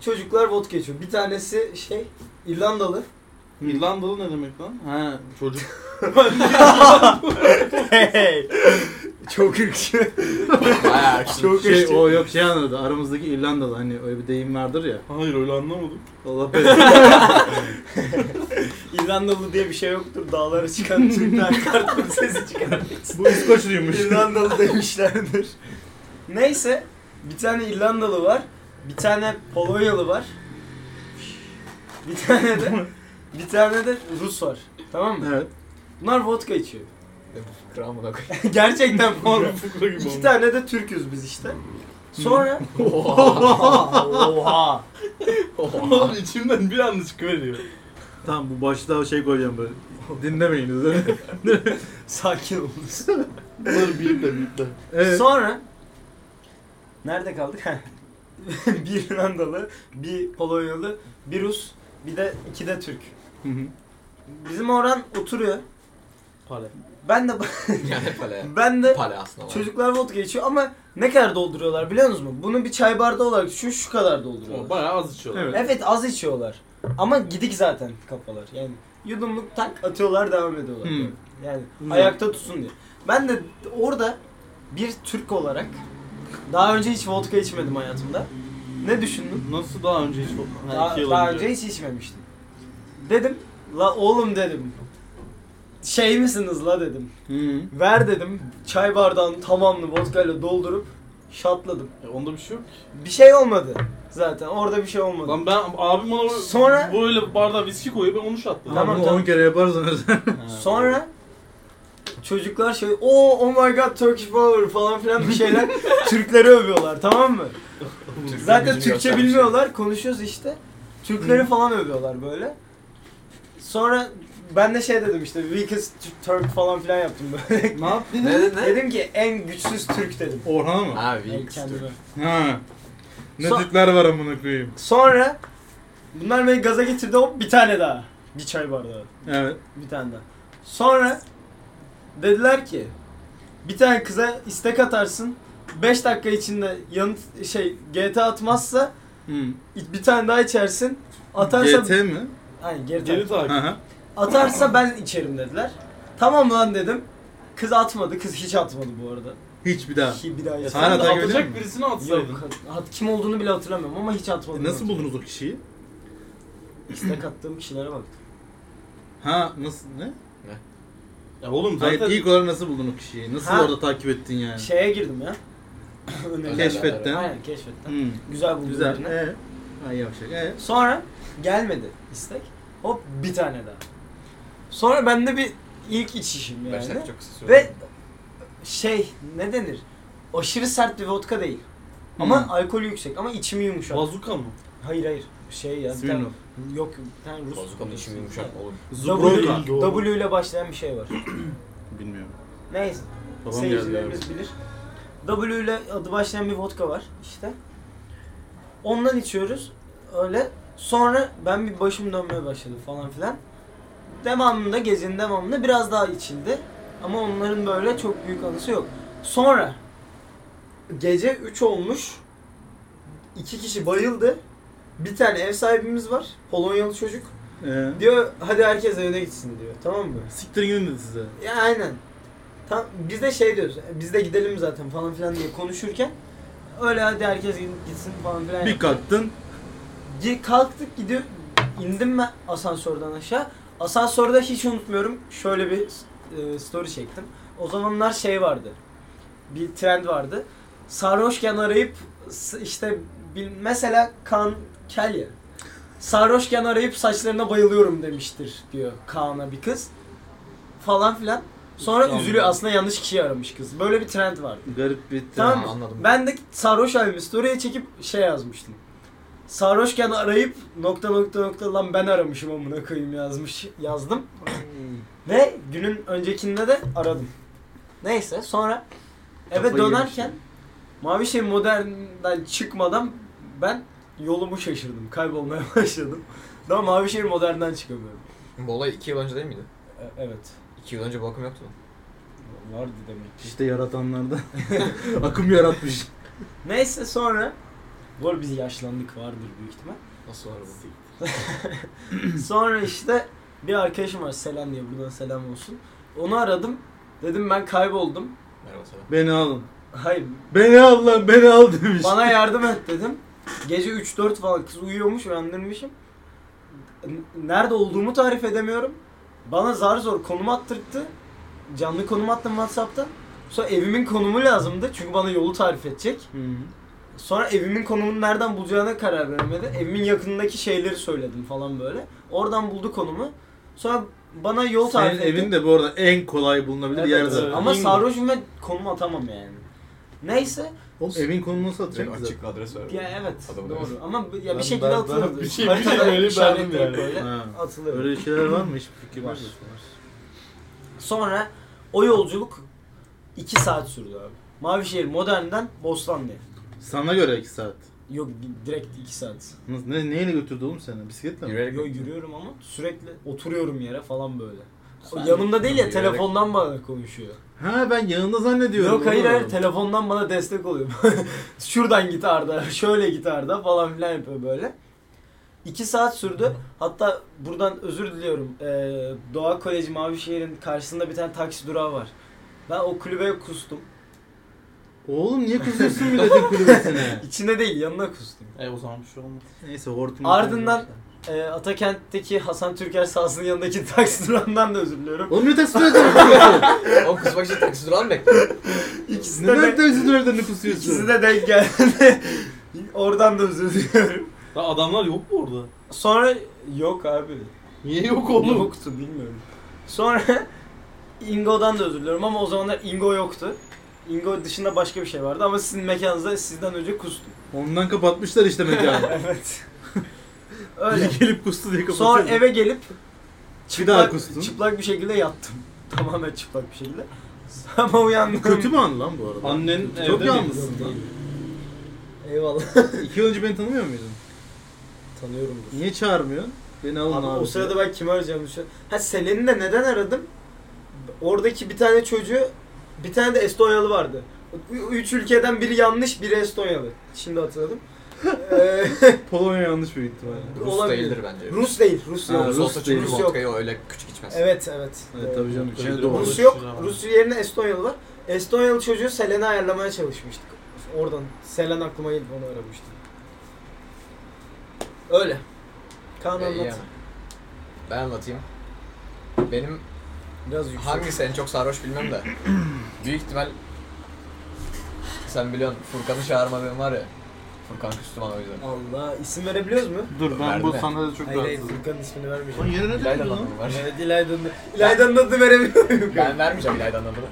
Çocuklar vodka içiyor. Bir tanesi şey İrlandalı. İrlandalı ne demek lan? Ha çocuk. Çok ırkçı. Bayağı arkadaşım. Çok Şey ırkçı. o yok şey anladı. Aramızdaki İrlandalı hani öyle bir deyim vardır ya. Hayır öyle anlamadım. Allah belanı. İrlandalı diye bir şey yoktur. Dağlara çıkan Türkler kartın sesi çıkar. Bu İskoçluymuş. İrlandalı demişlerdir. Neyse bir tane İrlandalı var. Bir tane Polonyalı var. Bir tane de bir tane de Rus var. Tamam mı? evet. Bunlar vodka içiyor. Kral mı da koy. Gerçekten Polonyalı. Fıkra gibi İki olmuş. tane de Türk'üz biz işte. Sonra oha. Oğlum içimden bir anda çıkıveriyor. Tamam bu başlığa şey koyacağım böyle. Dinlemeyiniz öyle. Sakin olun. Bunları biple biple. evet. Sonra nerede kaldık? Ha. bir Yunandalı, bir Polonyalı, bir Rus, bir de iki de Türk. Hı hı. Bizim Orhan oturuyor. Para. Ben de Yani pale. ben de Pale aslında. var. çocuklar vodka içiyor ama ne kadar dolduruyorlar biliyor musunuz? Bunu bir çay bardağı olarak düşün şu kadar dolduruyorlar. Bayağı az içiyorlar. Evet. Evet az içiyorlar. Ama gidik zaten kafalar. Yani yudumluk tak atıyorlar devam ediyorlar. Hmm. Yani Güzel. ayakta tutsun diye. Ben de orada bir Türk olarak daha önce hiç vodka içmedim hayatımda. Ne düşündüm? Nasıl daha önce hiç Ha, Daha, iki yıl daha önce hiç içmemiştim. Dedim la oğlum dedim. Şey misiniz la dedim. Hı. Ver dedim. Çay bardağının tamamını vodkayla doldurup şatladım. E, onda bir şey yok ki. Bir şey olmadı zaten. Orada bir şey olmadı. Lan ben abim bana Sonra- böyle bardağa viski koyuyor ben onu şatladım. Tamam, Tamam, bunu tamam. 10 kere yaparsanız. Ha. Sonra çocuklar şey o oh my god Turkish power falan filan bir şeyler Türkleri övüyorlar tamam mı? Türkler Zaten gücünü Türkçe şey. göstermiş. bilmiyorlar konuşuyoruz işte. Türkleri falan övüyorlar böyle. Sonra ben de şey dedim işte weakest Turk falan filan yaptım böyle. ne yaptın? Ne ne ne? dedim ki en güçsüz Türk dedim. Orhan'a mı? Ha Yani Wilkes Türk. kendime. Ha. Ne Son- Türkler var amına koyayım. Sonra bunlar beni gaza getirdi hop bir tane daha. Bir çay bardağı. Evet. Bir tane daha. Sonra dediler ki bir tane kıza istek atarsın. 5 dakika içinde yanıt şey GT atmazsa Hı. bir tane daha içersin. Atarsa GT mi? Aynen, GT. Geri takip. Hı hı. Atarsa ben içerim dediler. Tamam lan dedim. Kız atmadı. Kız hiç atmadı bu arada. Hiç bir daha. Ki bir daha Sen Hala Sen yasam. de takip ediyor atacak musun? birisini atsaydın. Yok, at- kim olduğunu bile hatırlamıyorum ama hiç atmadı. E, Nasıl buldunuz o kişiyi? İstek attığım kişilere baktım. Ha nasıl ne? Ya oğlum zaten Hayır ilk olarak nasıl buldun o kişiyi? Nasıl Ha. orada takip ettin yani? Şeye girdim ya. Öneriler. Keşfetten. Aynen keşfetten. Hı. Güzel buldum. Güzel. birini. Ee. Ay yavşak. Ee. Sonra gelmedi istek. Hop bir tane daha. Sonra bende bir ilk içişim yani. Beş dakika çok kısa sürdü. Ve şey ne denir? Aşırı sert bir vodka değil. Ama Hı. alkolü yüksek ama içimi yumuşak. bazuka mı? hayır hayır. Şey ya. bir tane- Smirnoff. Yok bir tane Rus. Bazukanın içi yumuşak olur. Zubroka. Doğru. W ile başlayan bir şey var. Bilmiyorum. Neyse. Babam geldi. Seyircilerimiz bilir. W ile adı başlayan bir vodka var işte. Ondan içiyoruz. Öyle. Sonra ben bir başım dönmeye başladı falan filan. Devamında gezinin devamında biraz daha içildi. Ama onların böyle çok büyük anısı yok. Sonra gece 3 olmuş. iki kişi bayıldı. Bir tane ev sahibimiz var. Polonyalı çocuk. Ee. Diyor hadi herkes evine gitsin diyor. Tamam mı? Siktirin gidin dedi size. Ya aynen. Tam, biz de şey diyoruz. e, Biz de gidelim zaten falan filan diye konuşurken öyle hadi herkes gidin- gitsin falan filan. Bir yaptık. kalktın. Gi- Kalktık gidiyor. indim ben asansörden aşağı. Asansörde hiç unutmuyorum. Şöyle bir e, story çektim. O zamanlar şey vardı. Bir trend vardı. Sarhoşken arayıp s- işte bil- mesela Kaan Kelya. Sarhoşken arayıp saçlarına bayılıyorum demiştir diyor Kaan'a bir kız. Falan filan. Sonra Tamam. üzülüyor aslında yanlış kişiyi aramış kız. Böyle bir trend vardı. Garip bir Tamam. Ha, anladım. Ben de sarhoş halimi story'e çekip şey yazmıştım. Sarhoşken arayıp nokta nokta nokta lan ben aramışım amına koyayım yazmış yazdım. Ve günün öncekinde de aradım. Neyse sonra eve Kafayı dönerken Mavi Şey Modern'den çıkmadan ben yolumu şaşırdım. Kaybolmaya başladım. Daha Mavi Şey Modern'den çıkamıyorum. Bu olay 2 yıl önce değil miydi? E- evet. 2 yıl önce bu akım yoktu mu? Vardı demek İşte yaratanlarda akım yaratmış. Neyse sonra bu arada biz yaşlandık vardır büyük ihtimal. Nasıl var bu? Sonra işte bir arkadaşım var Selen diye buradan selam olsun. Onu aradım. Dedim ben kayboldum. Merhaba selam. Beni alın. Hayır Beni al lan beni al demiş. bana yardım et dedim. Gece 3-4 falan kız uyuyormuş uyandırmışım. N- Nerede olduğumu tarif edemiyorum. Bana zar zor konum attırttı. Canlı konum attım Whatsapp'ta. Sonra evimin konumu lazımdı çünkü bana yolu tarif edecek. Hı. Sonra evimin konumunu nereden bulacağına karar veremedi. Evimin yakınındaki şeyleri söyledim falan böyle. Oradan buldu konumu. Sonra bana yol Senin tarif etti. evin de bu arada en kolay bulunabilir Evet, yer evet. zaten. Ama İyi mi? sarhoşum ve konum atamam yani. Neyse. Oğlum evin konumunu satacak bize. açık adres ver. Ya evet Adamın doğru arası. ama bu- ya Ben- bir şekilde ben- ben atılırdı. bir şey- Haritada bir şey böyle işaretleyip verdim yani. böyle Ha. atılırdı. Öyle şeyler var mı? Hiçbir fikrim Var. var. Sonra o yolculuk 2 saat sürdü abi. Mavişehir Modern'den Bostanlı'ya. Sana göre 2 saat. Yok direkt 2 saat. Nasıl, ne, neyle götürdü oğlum seni? Bisikletle mi? Yürüyerek Yo yürüyorum ama sürekli oturuyorum yere falan böyle. Sen- Yanımda değil ya Yürüyerek- telefondan bana konuşuyor. Ha ben yanında zannediyorum. Yok hayır oğlum. hayır telefondan bana destek oluyor. Şuradan git Arda, şöyle git Arda falan filan yapıyor böyle. İki saat sürdü. Hatta buradan özür diliyorum. Ee, Doğa Koleji Mavişehir'in karşısında bir tane taksi durağı var. Ben o kulübeye kustum. Oğlum niye kızıyorsun milletin kulübesine? İçine değil yanına kustum. E o zaman bir şey olmaz. Neyse hortum. Ardından- Ee, Atakent'teki Hasan Türker sahasının yanındaki taksi durağından da özür diliyorum. Oğlum ne teslim ediyorsun? Oğlum kusmak için taksi durağı mı bekliyor? İkisi de, Neden de, teslim ediyorsun ikisi kusuyorsun? de denk geldi. Oradan da özür diliyorum. Ya adamlar yok mu orada? Sonra yok abi. Niye yok oğlum? Yoktu bilmiyorum. Sonra Ingo'dan da özür diliyorum ama o zamanlar Ingo yoktu. Ingo dışında başka bir şey vardı ama sizin mekanınızda sizden önce kustum. Ondan kapatmışlar işte mekanı. Evet. Öyle. Biri gelip kustu diye kapatıyor. Sonra eve gelip Bir daha çıplak, kustun. çıplak bir şekilde yattım. Tamamen çıplak bir şekilde. Ama uyandım. Kötü mü an lan bu arada? Annen Çok evde değil. yalnızsın lan. Eyvallah. İki yıl önce beni tanımıyor muydun? Tanıyorum Niye çağırmıyorsun? Beni alın Abi, abi. o sırada ben kimi arayacağımı düşünüyorum. Ha Selen'i de neden aradım? Oradaki bir tane çocuğu, bir tane de Estonyalı vardı. Ü- Üç ülkeden biri yanlış, biri Estonyalı. Şimdi hatırladım. Ee, Polonya yanlış bir ihtimalle. Rus Olabilir. değildir bence. Rus değil, Rus Ha, yok. Rus Rus olsa çünkü değil. Rus yok. vodkayı öyle küçük içmez. Evet, evet. Evet tabii canım. Şeyde Şey doğru. doğru. Rus yok, Doğru. Rus yerine Estonyalı var. Estonyalı çocuğu Selen'i ayarlamaya çalışmıştık. Oradan Selen aklıma gelip onu aramıştım. Öyle. Kaan Ee, iyi anlat. ama. Ben anlatayım. Benim Biraz yüksek. hangisi en çok sarhoş bilmem de. Büyük ihtimal sen biliyorsun Furkan'ı çağırma benim var ya. Furkan Küstüman o yüzden. Allah isim verebiliyoruz mu? Dur ben bu Verdi. sahnede çok Hayır hayır Furkan'ın ismini vermeyeceğim. Lan yere ne İlayda'nın dedin lan? adını var. Evet İlayda'nın İlayda'nın adını veremiyor muyum? Ben vermeyeceğim İlayda'nın adını.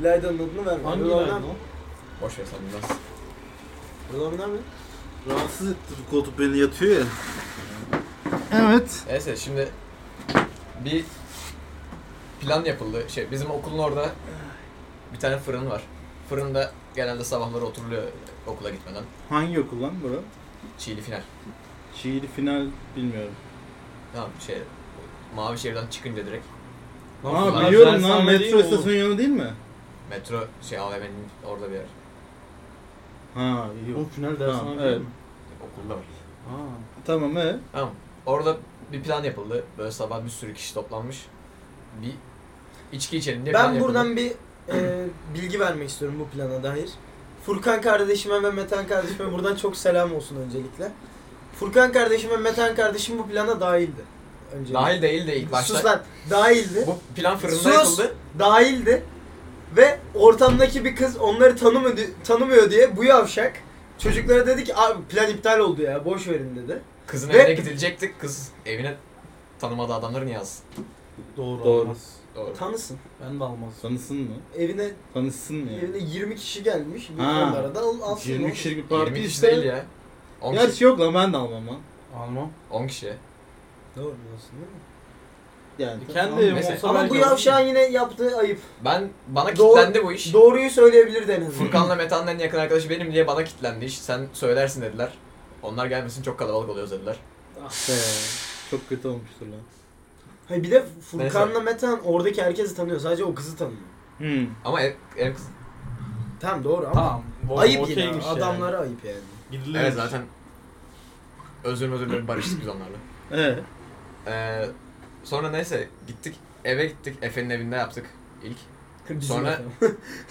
İlayda'nın adını vermiyorum. Hangi Buradan lan mı? o? Boş ver sen bilmez. Buradan mı? Rahatsız etti bu koltuk beni yatıyor ya. Evet. Neyse şimdi bir plan yapıldı. Şey bizim okulun orada bir tane fırın var. Fırında genelde sabahları oturuluyor okula gitmeden. Hangi okul lan bura? Çiğli final. Şiiri final bilmiyorum. Tamam şey mavi şehirden çıkınca direkt Lan Aa bunlar biliyorum lan dershane değil metro mi istasyonu yanı değil mi? metro şey AVM'nin orada bir yer. Ha oğlum? yok. Oğlum final Tamam, dersi evet. Okulda var. Ha. Tamam he. Tamam. Orada bir plan yapıldı. Böyle sabah bir sürü kişi toplanmış. Bir içki içelim diye plan Ben yapıldı. buradan bir e, bilgi vermek istiyorum bu plana dair. Furkan kardeşime ve Metan kardeşime buradan çok selam olsun öncelikle. Furkan kardeşim ve Metan kardeşim bu plana dahildi. Öncelikle. Dahil değil de ilk başta. Sus lan. Dahildi. Bu plan fırında Sus! yapıldı. Dahildi. Ve ortamdaki bir kız onları tanımıyor, tanımıyor diye bu yavşak çocuklara dedi ki abi plan iptal oldu ya boş verin dedi. Kızın Ve- evine gidilecektik. Kız evine tanımadığı adamları niye yazsın? Doğru. Doğru. Almaz. Doğru. Tanısın. Ben de almaz. Tanısın mı? Evine Tanışsın mı yani? evine 20 kişi gelmiş. Bu Ha. onlara da al, alsın. 20 kişilik bir 20 parti kişi işte. değil ya. 10 kişi. Gerçi yok lan ben de almam lan. Almam. 10 kişi. Doğru diyorsun değil mi? Yani E, kendi tamam. evim Mesela- olsa Ama belki bu alırım. yavşağın yine yaptığı ayıp. Ben bana Doğru- kitlendi bu iş. Doğruyu söyleyebilirdi en azından. Furkan'la Metan'ın en yakın arkadaşı benim diye bana kitlendi iş. Sen söylersin dediler. Onlar gelmesin çok kalabalık oluyoruz dediler. Ah be. Çok kötü olmuştur lan. Hayır, bir de Furkan'la Metan oradaki herkesi tanıyor. Sadece o kızı tanıyor. Hmm. Ama ev, ev kız... Tamam doğru ama Tamam. bu- ayıp yine. okeymiş yani. Adamlara ayıp yani. Gidilir. Evet zaten özür özür dilerim, barıştık biz onlarla. Ee, Ee, sonra neyse gittik eve gittik Efe'nin evinde yaptık ilk. Bizim Sonra- efendim.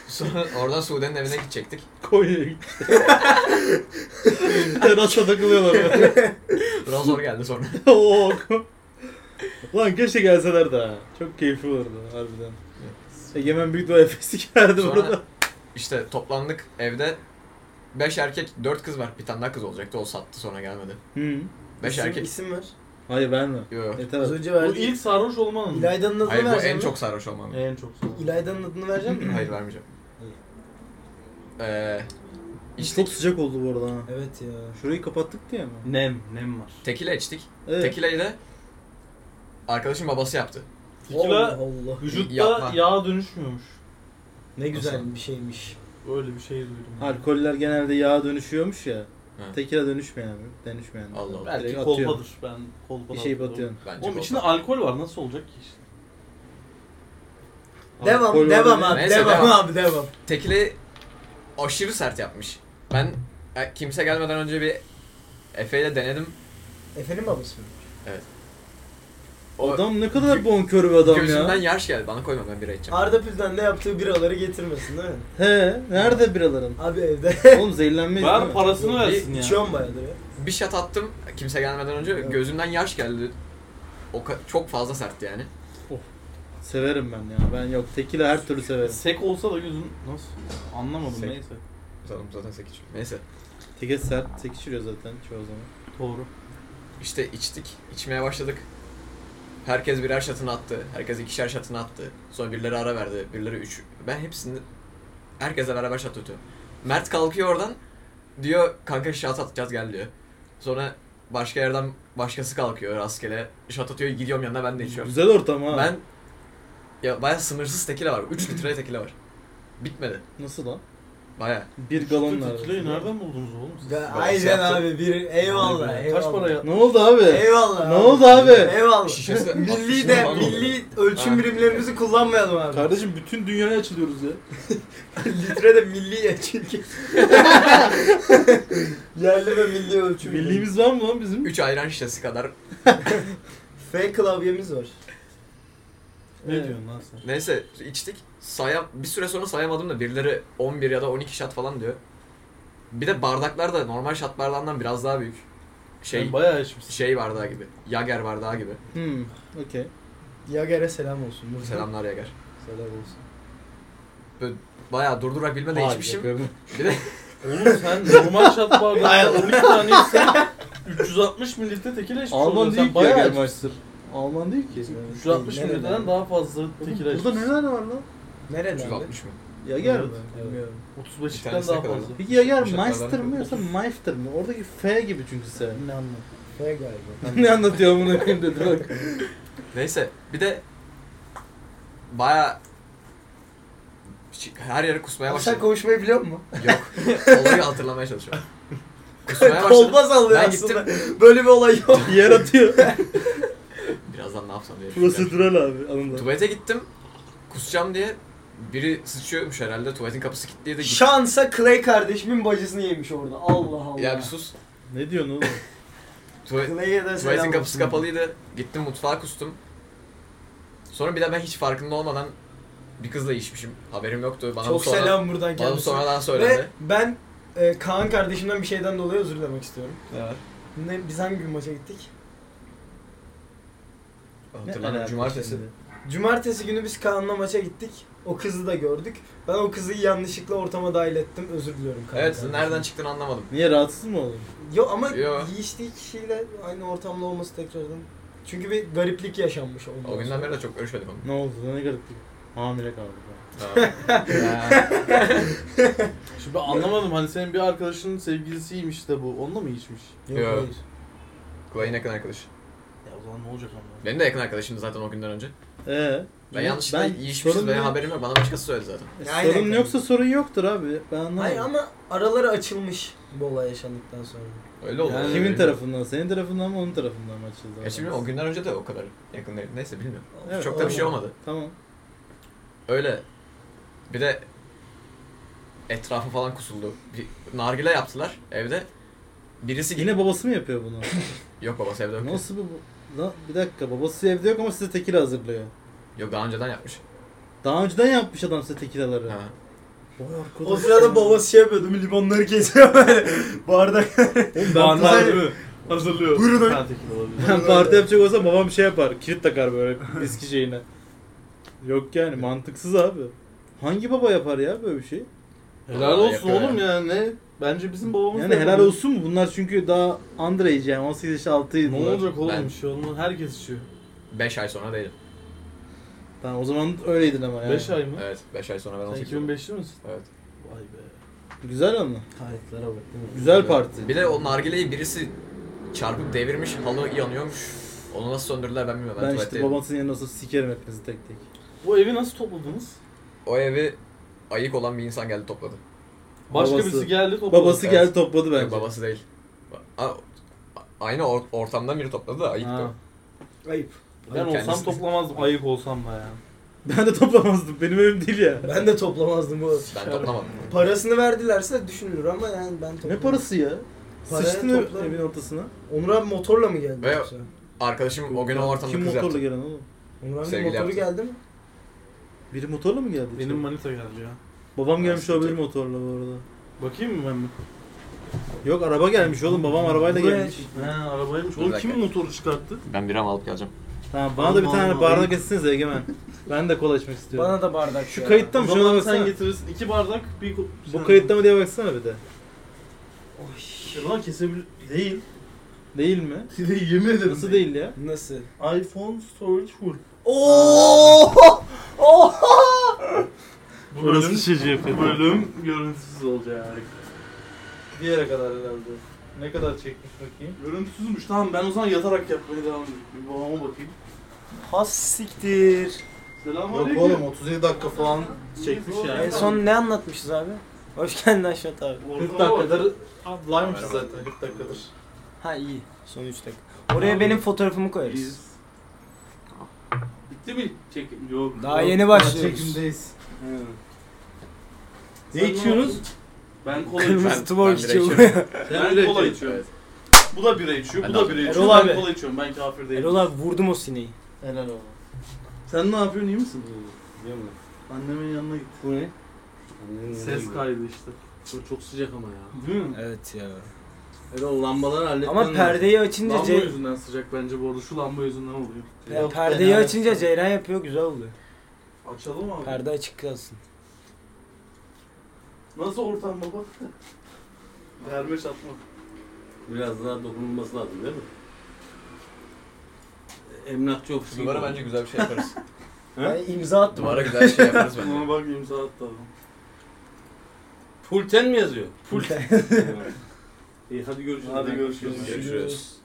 Sonra oradan Sude'nin evine gidecektik. Konya'ya gitti. Terasta takılıyorlar. böyle. Biraz zor geldi sonra. Oo. Lan keşke gelseler daha. Çok keyifli olurdu harbiden. Egemen büyük doğa efesi geldi Sonra- burada. İşte toplandık evde. 5 erkek 4 kız var. Bir tane daha kız olacaktı o sattı sonra gelmedi. Hı. 5 İsim- erkek. İsim ver. Hmm. Hayır verme. Yo. Yeter. Az artık. önce Bu verdim. ilk sarhoş olma anı. İlayda'nın adını Hayır bu vereceğim en mi? çok sarhoş olmam. En çok sarhoş. İlayda'nın adını vereceğim mi? Hayır vermeyeceğim. Ee, İşte içtik. çok sıcak oldu bu arada ha. Evet ya. Şurayı kapattık diye mi? Nem, nem var. Tekila içtik. Evet. Tekilayı da arkadaşın babası yaptı. Allah Tekila Allah. vücutta Yapma. yağa dönüşmüyormuş. Ne güzel Nasıl? bir şeymiş. Öyle bir şey duydum. Alkoller genelde yağa dönüşüyormuş ya. Hı. Tekila dönüşmeyen mi? Dönüşmeyen. mi? Allah Allah. Belki Direkt kolpadır. Ben kolpa Bir şey batıyorsun. Bence Oğlum bu- içinde alkol var. Nasıl olacak ki işte? Devam, Alkol devam var abi, değil mi? devam, Neyse, devam. abi, devam. Tekile aşırı sert yapmış. Ben e, kimse gelmeden önce bir Efe ile denedim. Efe'nin babası mı? O Adam ne kadar bonkör bir adam gözümden ya. yaş geldi. Bana koyma ben bira içeceğim. Arda Pül'den de yaptığı biraları getirmesin değil mi? He, nerede biraların? Abi evde Oğlum zehirlenmeyiz değil Ver mi? parasını Bir versin ya. içiyorum bayağıdır ya. Bir şat attım kimse gelmeden önce Evet. gözümden yaş geldi. O ka- çok fazla sertti yani. Severim ben ya. Ben yok tekila her türlü severim. Sek olsa da gözün nasıl? Anlamadım Sek. neyse. Zaten, zaten sek içiyor. Neyse. Teke sert, tek içiriyor zaten çoğu zaman. Doğru. İşte içtik, içmeye başladık. Herkes birer şatını attı, herkes ikişer şatını attı. Sonra birileri ara verdi, birileri üç. Ben hepsini, herkese beraber şat atıyorum. Mert kalkıyor oradan, diyor kanka şat atacağız gel diyor. Sonra başka yerden başkası kalkıyor rastgele. Şat atıyor, gidiyorum yanına ben de içiyorum. Güzel ortam ha. Ben, ya baya sınırsız tekile var, 3 litre tekile var. Bitmedi, Nasıl lan? baya. Bir galon nerede? Tekilayı nereden buldunuz oğlum siz? Ya, Babası Aynen yaptı. abi bir eyvallah Vay be. eyvallah. Kaç para ya? Ne oldu abi? Eyvallah. Ne oldu abi? Eyvallah. Şişesi- milli şişesi de falan mı oluyor? milli ölçüm Ha. birimlerimizi kullanmayalım abi. Kardeşim bütün dünyaya açılıyoruz ya. Litre de milli ya çünkü. Yerli ve milli ölçüm. birimi. Milliğimiz var mı lan bizim? 3 ayran şişesi kadar. F klavyemiz var. Ne Evet. diyorsun lan sen? Neyse içtik. Sayam, bir süre sonra sayamadım da birileri 11 ya da 12 şat falan diyor. Bir de bardaklar da normal şat bardağından biraz daha büyük. Şey Sen bayağı içmişsin. şey bardağı gibi. Yager bardağı gibi. Hmm, okey. Yager'e selam olsun. Buradan. Selamlar Yager. Selam olsun. Bayağı durdurak bilmeden Vay, içmişim. yapıyorum. Bir de Oğlum sen normal şat Hayır. bardağı 12 tane içsen 360 mililitre tekila içmiş Alman oluyorsun. değil Sen ki ya bayağı Germeister. Alman değil ki. 360 mililitreden daha fazla Oğlum, tekila burada içmişsin. neler var lan? Nerede? 360 mı? Yager mi? Bilmiyorum. 35'likten tanesine daha kadar. fazla. Peki Yager Şakalar Meister mı? mı yoksa Meister mi? Oradaki F gibi çünkü sen. Ne anladım. F galiba. ne anlatıyor bunu dedi bak. Neyse bir de bayağı her yere kusmaya Sen başladım. kavuşmayı biliyor musun? Yok. Olayı hatırlamaya çalışıyorum. Kusmaya başladım. Kolba sallıyor Ben aslında. Böyle bir olay yok. Yer atıyor. Birazdan ne yapsam diye. düşünüyorum. Prosedürel abi anında. Tuvalete gittim. Kusacağım diye biri sıçıyormuş herhalde. Tuvaletin kapısı kilitliydi. Git- Şansa Clay kardeşimin bacısını yemiş orada. Allah Allah. Ya bir sus. Ne diyorsun oğlum? Tuva- Clay'e de selam tuvaletin kapısı olsun. kapalıydı. Gittim mutfağa kustum. Sonra bir de ben hiç farkında olmadan bir kızla içmişim. Haberim yoktu. Bana bu Çok sonra, selam buradan Bana bu kendisine. sonradan Ve söylendi. ben e, Kaan kardeşimden bir şeyden dolayı özür dilemek istiyorum. Evet. Ne, biz hangi gün maça gittik? Hatırlamıyorum. Cumartesi. Cumartesi günü biz Kaan'la maça gittik. O kızı da gördük. Ben o kızı yanlışlıkla ortama dahil ettim. Özür diliyorum Kaan Evet kardeşim. nereden çıktığını anlamadım. Niye rahatsız mı oğlum? Yo ama Yo. yiyiştiği kişiyle aynı ortamda olması tekrardan. Çünkü bir gariplik yaşanmış ondan O günden sonra. beri de çok görüşmedik onu. Ne oldu? Ne gariplik. Hamile kaldı. Şimdi anlamadım hani senin bir arkadaşının sevgilisiymiş de bu. Onunla mı içmiş? Yok, Yo. hayır. Kulay'ın yakın arkadaşı. Ya o zaman ne olacak ama? Benim de yakın arkadaşımdı zaten o günden önce. Ee, Ben yanlışlıkla şey sorun yiyişmişiz ve yok. haberim yok. Bana başkası söyledi zaten. E, Ne alaka? Sorun yoksa sorun yoktur abi. Ben anlamadım. Hayır ama araları açılmış bu olay yaşandıktan sonra. Öyle oldu. Yani Öyle Kimin bilmiyorum. tarafından? Senin tarafından mı onun tarafından mı açıldı? Ya E şimdi o günden önce de o kadar yakın değil. Neyse bilmiyorum. Evet, Çok da bir şey olmadı. Tamam. Öyle. Bir de etrafı falan kusuldu. Bir nargile yaptılar evde. Birisi yine Yine babası mı yapıyor bunu? yok babası evde yok. Nasıl bu? bu- Lan bir dakika babası evde yok ama size tekila hazırlıyor. Yok daha önceden yapmış. Daha önceden yapmış adam size tekilaları. Ha. O sırada babası şey yapıyordu, değil mi? limonları kesiyor böyle bardak. Bandar değil mi? Hazırlıyor. Buyurun öyle. Ben tekil olabilir. Ben parti yapacak olsam babam şey yapar. Kilit takar böyle eski şeyine. Yok yani mantıksız abi. Hangi baba yapar ya böyle bir şey? Helal Vallahi olsun yapıyor oğlum ya. Ne? Bence bizim babamız Yani da helal yapıyor. olsun mu? Bunlar çünkü daha underage yani 18 yaş altıydı. Ne olacak oğlum Ben- bir şey olmaz. Herkes içiyor. 5 ay sonra değilim. Tamam o zaman öyleydin ama yani. 5 ay mı? Evet 5 ay sonra ben Sen 18 oldum. 2005'li misin? Evet. Vay be. Güzel ama. Tarihlere bak değil mi? Güzel parti. Bir de o nargileyi birisi çarpıp devirmiş, halı yanıyormuş. Onu nasıl söndürdüler ben bilmiyorum. Ben, Ben işte tuvaletteydim. babasının yanına olsa sikerim hepinizi tek tek. Bu evi nasıl topladınız? O evi ayık olan bir insan geldi topladı. Başka Babası. birisi geldi topladı. Babası Evet. geldi topladı bence. Yok, babası değil. A- a- aynı or- ortamdan biri topladı da ayıktı. Ha. o. Ayıp. Ben Kendisi- olsam toplamazdım. Ayık olsam da ya. Ben de toplamazdım. Benim evim değil ya. Ben de toplamazdım bu. Ben toplamadım. Parasını verdilerse düşünülür ama yani ben Ne toplamam. parası ya? Parayı Sıçtın ev- topla. evin ortasına. Onur abi motorla mı geldi? Ve- yoksa? Arkadaşım o gün o ortamda Kim kız motorla yaptı. gelen oğlum? Onur abi Sevgili motoru yaptı. geldi mi? Biri motorla mı geldi? Benim içeri? manita geldi ya. Babam gelmiş Aslında- olabilir motorla bu arada. Bakayım mı ben mi? Yok araba gelmiş oğlum. Babam arabayla Buraya- gelmiş. He arabaymış. Bir Oğlum dakika. kim motoru çıkarttı? Ben biram alıp geleceğim. Tamam bana da bir Allah tane Allah. bardak etsiniz Egemen. Ben de kola içmek istiyorum. Bana da bardak Şu ya. kayıtta Tamam, mı? o zaman Şuna sen baksana. getirirsin. iki bardak bir... ko- Bu kayıtta mı diye baksana bir de. Ya Lan kesebilir... Şey, Değil. Değil mi? Değil yemin ederim. Nasıl değil ya? Nasıl? iPhone storage full. Oo! Bu bölüm, şey bu bölüm görüntüsüz olacak. Bir yere kadar herhalde. Ne kadar çekmiş bakayım? Görüntüsüzmüş. Tamam ben o zaman yatarak yapmaya devam edeyim. Bir babama bakayım. Has siktir. Selamünaleyküm. Yok oğlum 37 dakika falan çekmiş yani. En son ne anlatmışız abi? Hoş geldin Aşmet abi. 40 dakikadır live'mışız zaten 40 dakikadır. Ha iyi. Son 3 dakika. Oraya benim fotoğrafımı koyarız. Bitti mi? Çekim yok. Daha Yok. yeni başlıyoruz. Çekimdeyiz. He. Ne Sen içiyorsunuz? yaptın? Ben kola Kırmızı içiyorum. tuborg ben içiyor. bira buraya. Ben bira kola içiyorum. içiyorum. Bu da bira içiyor, bu Ben da de- bira Erol içiyor. abi. Ben kola içiyorum, ben kafir değilim. Erol abi vurdum o sineği. Helal olsun. Sen ne yapıyorsun iyi misin? Annemin yanına git. Bu ne? Ses kaydı işte. Bu çok sıcak ama ya. Değil mi? Evet ya. Erol lambaları halletmen Ama perdeyi açınca Lamba Ce- yüzünden sıcak bence bu arada. Şu lamba yüzünden oluyor. Ya Yok, perdeyi fena. açınca Ceyran yapıyor güzel oluyor. Açalım abi. Perde açık kalsın. Nasıl ortam baba? Dermeş atma. biraz daha dokunulması lazım değil mi? Emlakçı ofisi Duvara bence güzel bir şey yaparız. Yani imza attım. Duvara güzel bir şey yaparız bence. Ona bak imza attı adam. Pulten mi yazıyor? Pulten. İyi hadi görüşürüz. Hadi görüşürüz. Görüşürüz.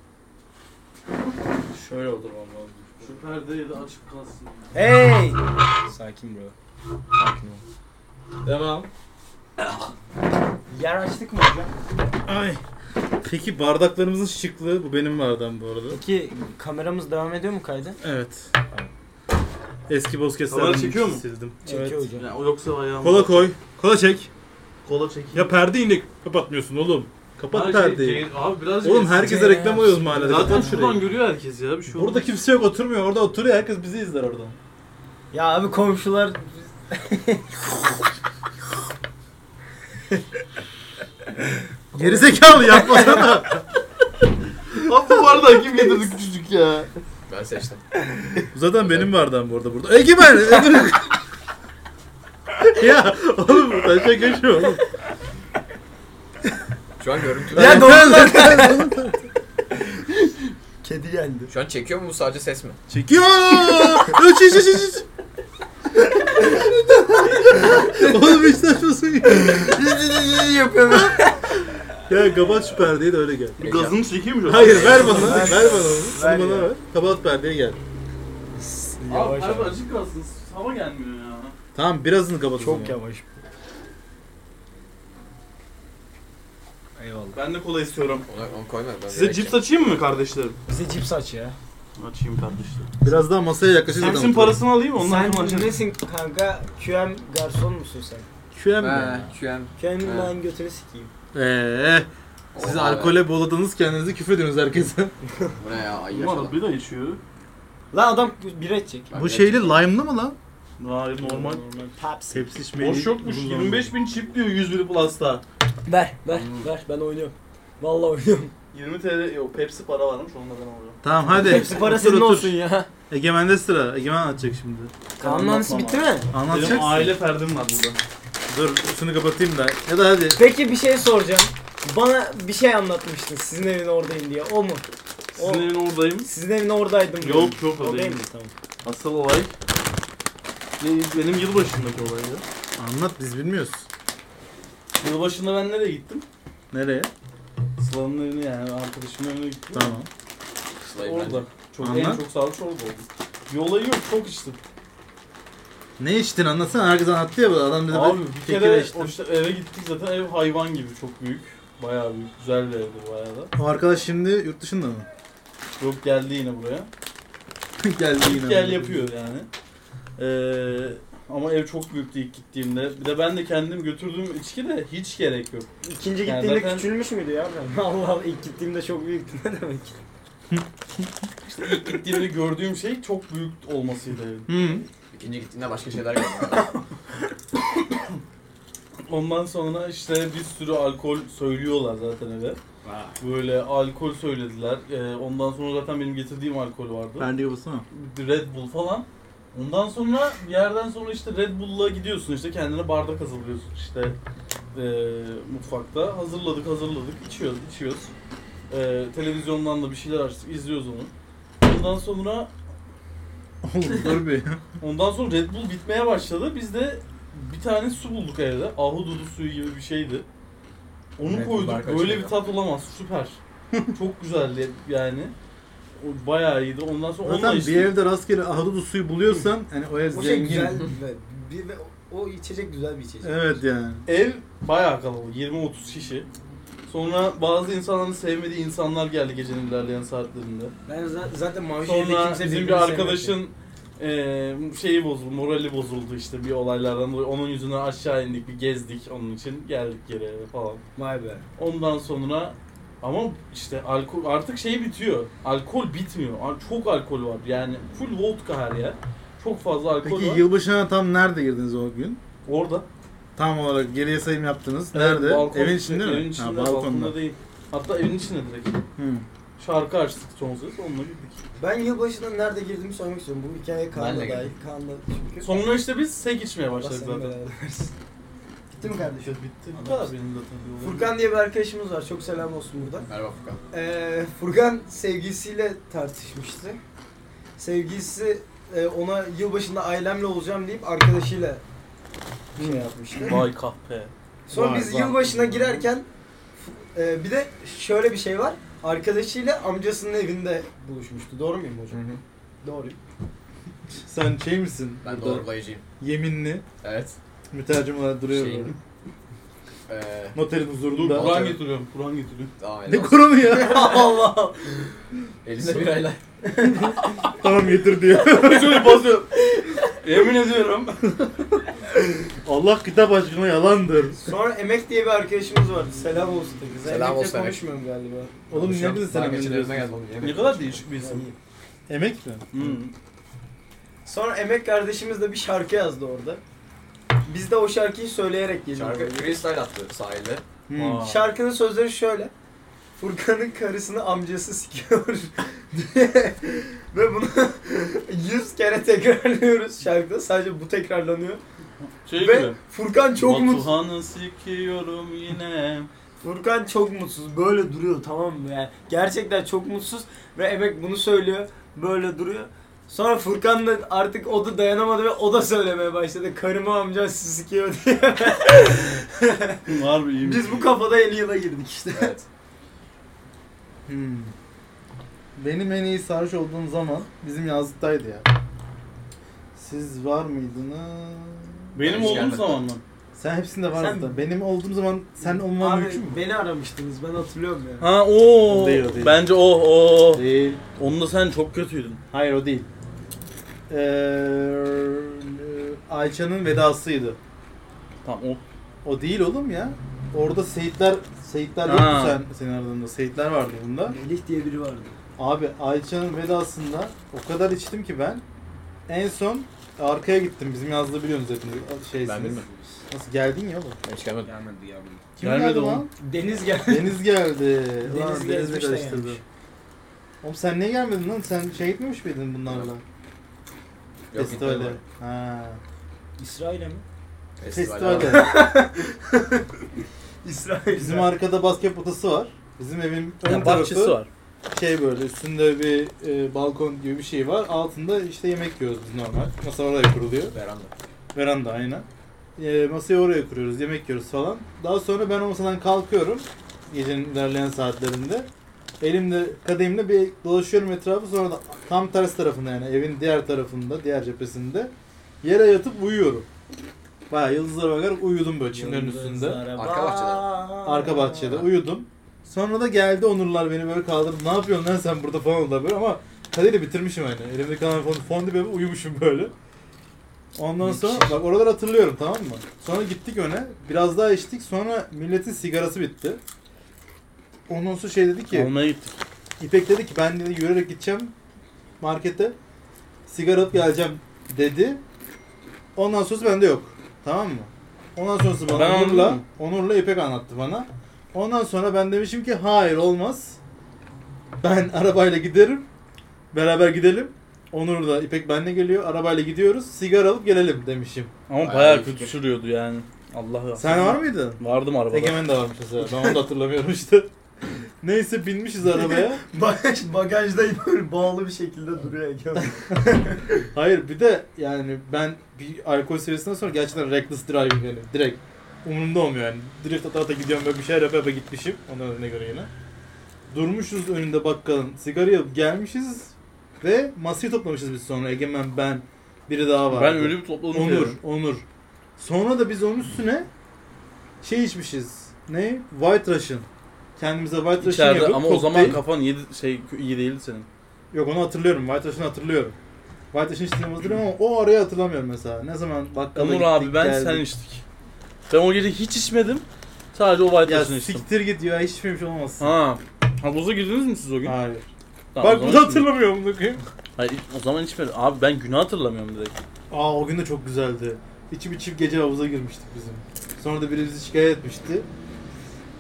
Şöyle oturmam lazım. Şu perdeyi de açık kalsın. Hey! Sakin bro. Sakin ol. Devam. Yer açtık mı hocam? Ay. Peki bardaklarımızın şıklığı bu benim bardağım bu arada. Peki kameramız devam ediyor mu kayda? Evet. Eski bozkeslerden Kamera çekiyor mu? sildim. Çekiyor hocam. Yani o yoksa ayağım. Kola koy. Kola çek. Kola çekeyim. Ya perdeyi ne kapatmıyorsun oğlum? Kapat Her şey- perdeyi. şey- Abi birazcık. Oğlum herkese Ya. reklam alıyoruz mahallede. Zaten Kapat şuradan şurayı. görüyor herkes ya bir şey Burada olmaz. kimse yok oturmuyor. Orada oturuyor. Herkes bizi izler oradan. Ya abi komşular Gerizekalı yapmasana. Abi bu bardağı kim getirdi küçücük ya? Ben seçtim. Zaten benim bardağım bu arada burada. Egemen! Egemen! ya oğlum buradan şey geçiyor oğlum. Şu an görüntü... Ya doğru Kedi geldi. Şu an çekiyor mu bu sadece ses mi? Çekiyor! Üç üç üç üç, üç. Oğlum hiç saçmasın ya. yapıyorum. Ya kapat şu perdeyi de öyle gel. Gazını çekeyim mi? Hayır ver bana. ver bana onu. Ver Ver bana ya. ver. Kapat perdeyi gel. Abi yavaş abi abi. açık kalsın. Hava gelmiyor ya. Tamam birazını kapat. o Çok zaman. yavaş. Eyvallah. Ben de kola istiyorum. Onu, onu koyma. Ben Size cips açayım mı kardeşlerim? Bize cips aç ya. Açayım kardeşlerim. Biraz daha masaya yaklaşır. Cipsin parasını alayım ondan sonra sen açarım. nesin kanka? QM garson musun sen? QM mi? He, şu an... QM'in He. ben götünü sikeyim. Eee. Ee, Siz Oha be. alkole boladınız kendinizi küfrediyorsunuz herkese. Bu ne ya? Ay Umarım yaşadım. bir de içiyor. Lan adam bir edecek. Ben Bu de şeyli açayım. lime'lı mı lan? Vay normal. Pepsi. Hepsi içmeyi. Boş yokmuş. 25 bin çip diyor 101 Plus'ta. Ver ver ver ben oynuyorum. Vallahi oynuyorum. 20 TL yok Pepsi para varmış onu da ben alıyorum. Tamam hadi. Hepsi para Otur, senin otur. olsun ya. Egemen'de sıra. Egemen anlatacak şimdi. Kanlansı bitti mi? Anlatacaksın. Benim aile ferdim var burada. Dur şunu kapatayım da. Ya da hadi. Peki bir şey soracağım. Bana bir şey anlatmıştın sizin evin oradayım diye. O mu? O. Sizin evin oradayım. Sizin evin oradaydım. Yok yok O değil oradayım. mi? Tamam. Asıl olay ne, benim yılbaşındaki olay ya. Anlat biz bilmiyoruz. Yılbaşında ben nereye gittim? Nereye? Sıla'nın evine yani arkadaşımın evine gittim. Tamam. Slime Orada. Çok, en Anlat. çok sarhoş orada oldum. Bir olayı yok çok içtim. Ne içtin anlatsana herkes anlattı ya bu adam bize Abi böyle bir kekere kere içtim. o işte eve gittik zaten ev hayvan gibi çok büyük. Bayağı büyük. Güzel bir evdi bayağı da. O arkadaş şimdi yurt dışında mı? Yok geldi yine buraya. Geldi yine. İlk gel yapıyor yani. Ee, ama ev çok büyüktü ilk gittiğimde. Bir de ben de kendim götürdüğüm içki de hiç gerek yok. İkinci Yani gittiğinde zaten- küçülmüş müydü ya? Ben? Allah Allah ilk gittiğimde çok büyüktü ne demek ki? Gittiğimde gördüğüm şey çok büyük olmasıydı evin. Hı. İkinci gittiğinde başka şeyler gördüm. Ondan sonra işte bir sürü alkol söylüyorlar zaten eve. Böyle alkol söylediler. Ee, ondan sonra zaten benim getirdiğim alkol vardı. Ben de yapasana. Red Bull falan. Ondan sonra bir yerden sonra işte Red Bull'la gidiyorsun işte kendine bardak hazırlıyorsun işte eee, mutfakta. Hazırladık hazırladık içiyoruz içiyoruz. Eee, televizyondan da bir şeyler açtık izliyoruz onu. Ondan sonra Oğlum dur bir. ondan sonra Red Bull bitmeye başladı. Biz de bir tane su bulduk evde. Ahududu suyu gibi bir şeydi. Onu Red Bull koyduk. bardak Böyle açılıyor. bir tat olamaz. Süper. Çok güzeldi yani. O bayağı iyiydi. Ondan sonra onunla Zaten bir içtik. evde rastgele ahududu suyu buluyorsan hani o ev O şey zengin. güzel. ve- bir, ve o içecek güzel bir içecek. Evet yani. Ev bayağı kalabalık. 20-30 kişi. Sonra bazı insanların sevmediği insanlar geldi gecenin ilerleyen saatlerinde. Ben za- zaten mavi şehirde Sonra kimse bizim birbirini bir sevmez ya. arkadaşın eee, şeyi bozuldu, morali bozuldu işte bir olaylardan dolayı. Onun yüzünden aşağı indik, bir gezdik onun için. Geldik geri eve falan. Vay be. Ondan sonra ama işte alkol artık şey bitiyor. Alkol bitmiyor. Al- Çok alkol var. Yani full vodka her yer. Çok fazla alkol Peki var. yılbaşına tam nerede girdiniz o gün? Orada. Tam olarak geriye sayım yaptınız. Nerede? Balkon- şey, evin içinde mi? Evin içinde, ha, balkonda. balkonda. değil. Hatta evin içinde direkt. Hı. Şarkı açtık son ses onunla gittik. Ben yılbaşında nerede girdiğimi sormak istiyorum. Bu hikaye Ben Kaan'la de dahil. Kaan'la çünkü. Sonra işte biz sek içmeye Allah başladık seninle zaten. beraber versin. Gitti mi kardeşim? Bitti. Bu kadar benim zaten. bir olayım. Furkan diye bir arkadaşımız var. Çok selam olsun buradan. Merhaba Furkan. Ee, Furkan sevgilisiyle tartışmıştı. Sevgilisi e, ona yılbaşında ailemle olacağım deyip arkadaşıyla şey yapmıştı. Vay kahpe. Sonra Vay, biz vay. yılbaşına girerken e, bir de şöyle bir şey var. Arkadaşıyla amcasının evinde buluşmuştu. Doğru muyum hocam? Doğru. Sen şey misin? Ben Burada doğrulayıcıyım. Yeminli. Evet. Mütercim olarak duruyor Şeyin- böyle. Eee Noterin Dur huzurunda. Kur'an getiriyorum. Kur'an getiriyorum. tamam. ne Ee, helal olsun. kurumu ya? Allah. Elinde birayla. tamam getir diyor. Şöyle basıyorum. Yemin ediyorum. Allah kitap aşkına yalandır. Sonra Emek diye bir arkadaşımız vardı. Selam olsun tekrar. Selam Emek'le olsun Emek. konuşmuyorum galiba. Oğlum niye bizi Daha selam geçen evime geldim ediyorsun? oğlum, yemin Ne ederim. kadar değişik bir isim. Yani. Emek mi? Hmm. Sonra Emek kardeşimiz de bir şarkı yazdı orada. Biz de o şarkıyı söyleyerek geliyoruz. Şarkı freestyle attı sahilde. Hmm. Aa. Şarkının sözleri şöyle. Furkan'ın karısını amcası sikiyor Ve bunu 100 kere tekrarlıyoruz şarkıda. Sadece bu tekrarlanıyor. Şey Ve gibi. Furkan çok mutsuz. Batuhan'ı sikiyorum yine. Furkan çok mutsuz. Böyle duruyor tamam mı? Yani gerçekten çok mutsuz ve Emek bunu söylüyor. Böyle duruyor. Sonra Furkan da artık o da dayanamadı ve o da söylemeye başladı. Karımı amca sikiyor diye. Harbi iyiymiş. Biz bu kafada yeni yıla girdik işte. Evet. Hmm. Benim en iyi sarhoş olduğum zaman bizim yazlıktaydı ya. Siz var mıydınız? Benim Hiç olduğum gelmedi. zaman mı? Sen hepsinde vardın Sen- da. Benim olduğum zaman sen olman Abi mümkün mü? beni aramıştınız ben hatırlıyorum ya. Ha o. O değil, o değil. Bence o o. Değil. Onda sen çok kötüydün. Hayır o değil. Ee, Ayça'nın vedasıydı. Tamam o. O değil oğlum ya. Orada Seyitler Seyitler Ha. yoktu sen, senin aradığında. Seyitler vardı bunda. Melih diye biri vardı. Abi Ayça'nın vedasında o kadar içtim ki ben. En son arkaya gittim. Bizim yazdığı biliyorsunuz hepiniz. Şeysiniz. Ben bilmiyorum. Nasıl geldin ya oğlum? Ben hiç gelmedim. Gelmedi gelmedi. Kim Gelmedi geldi oğlum. lan? Deniz gel. Deniz geldi. Ulan Deniz Deniz'le gezmiş de karıştırdım. gelmiş. Oğlum sen niye gelmedin lan? Sen şey gitmemiş miydin bunlarla? Yok, Festivale. gitmedim. Ha. İsrail'e mi? Festivale. Festivale. İsrail. Bizim arkada basket potası var. Bizim evin ön Ya, tarafı bahçesi var. şey böyle üstünde bir e, balkon gibi bir şey var. Altında işte yemek yiyoruz biz normal. Masa oraya kuruluyor. Veranda. Veranda aynen. E, masayı oraya kuruyoruz, yemek yiyoruz falan. Daha sonra ben o masadan kalkıyorum. Gecenin ilerleyen saatlerinde. Elimde, kadehimle bir dolaşıyorum etrafı. Sonra da tam tersi tarafında yani evin diğer tarafında, diğer cephesinde. Yere yatıp uyuyorum. Bayağı yıldızlara bakarak uyudum böyle çimlerin üstünde. Arka bahçede. Arka bahçede uyudum. Sonra da geldi Onurlar beni böyle kaldırdı. Ne yapıyorsun lan sen burada falan oldular böyle ama kadeyle bitirmişim hani. Elimde kalan fon, fondi böyle uyumuşum böyle. Ondan sonra bak oraları hatırlıyorum tamam mı? Sonra gittik öne. Biraz daha içtik. Sonra milletin sigarası bitti. Ondan sonra şey dedi ki. Almaya gittik. İpek dedi ki ben dedi, yürüyerek gideceğim markete sigara alıp geleceğim dedi. Ondan sonrası bende yok. Tamam mı? Ondan sonrası bana Ben anladım Onur'la, mı? Onur'la İpek anlattı bana. Ondan sonra ben demişim ki hayır olmaz. Ben arabayla giderim. Beraber gidelim. Onur da İpek benle geliyor. Arabayla gidiyoruz. Sigara alıp gelelim demişim. Ama bayağı, Bayağı iyi kötü fikir. sürüyordu yani. Allah'a. Sen var mıydın? Vardım arabada. Egemen de varmış mesela. Ben onu da hatırlamıyorum işte. Neyse binmişiz arabaya. Bagaj, bagajda böyle bağlı bir şekilde duruyor Ege. Hayır bir de yani ben bir alkol seviyesinden sonra gerçekten reckless driving yani direkt umurumda olmuyor yani. Drift ata ata gidiyorum böyle bir şeyler yapa yapa gitmişim ona örneğine göre yine. Durmuşuz önünde bakkalın sigarayı alıp gelmişiz ve masayı toplamışız biz sonra Egemen ben biri daha var. Ben öyle bir topladım. Onur, diyorum. Onur. Sonra da biz onun üstüne şey içmişiz. Ne? White Russian. Kendimize White Russian İçeride şey yapıp ama o zaman kokteyl- kafan iyi, şey, iyi değildi senin. Yok onu hatırlıyorum. White Russian'ı hatırlıyorum. White Russian içtiğimi hatırlıyorum ama o arayı hatırlamıyorum mesela. Ne zaman bakkala Onur gittik, abi ben geldik. sen içtik. Ben o gece hiç içmedim. Sadece o Ya baytaşını içtim. siktir git ya hiç içmemiş olmazsın. Ha. Havuza girdiniz mi siz o gün? Hayır. Tamam, o Bak zaman bu da içmedim. hatırlamıyorum bunu koyayım. Hayır o zaman içmedim. Abi ben günü hatırlamıyorum direkt. Aa o gün de çok güzeldi. İçim içip gece havuza girmiştik bizim. Sonra da biri bizi şikayet etmişti.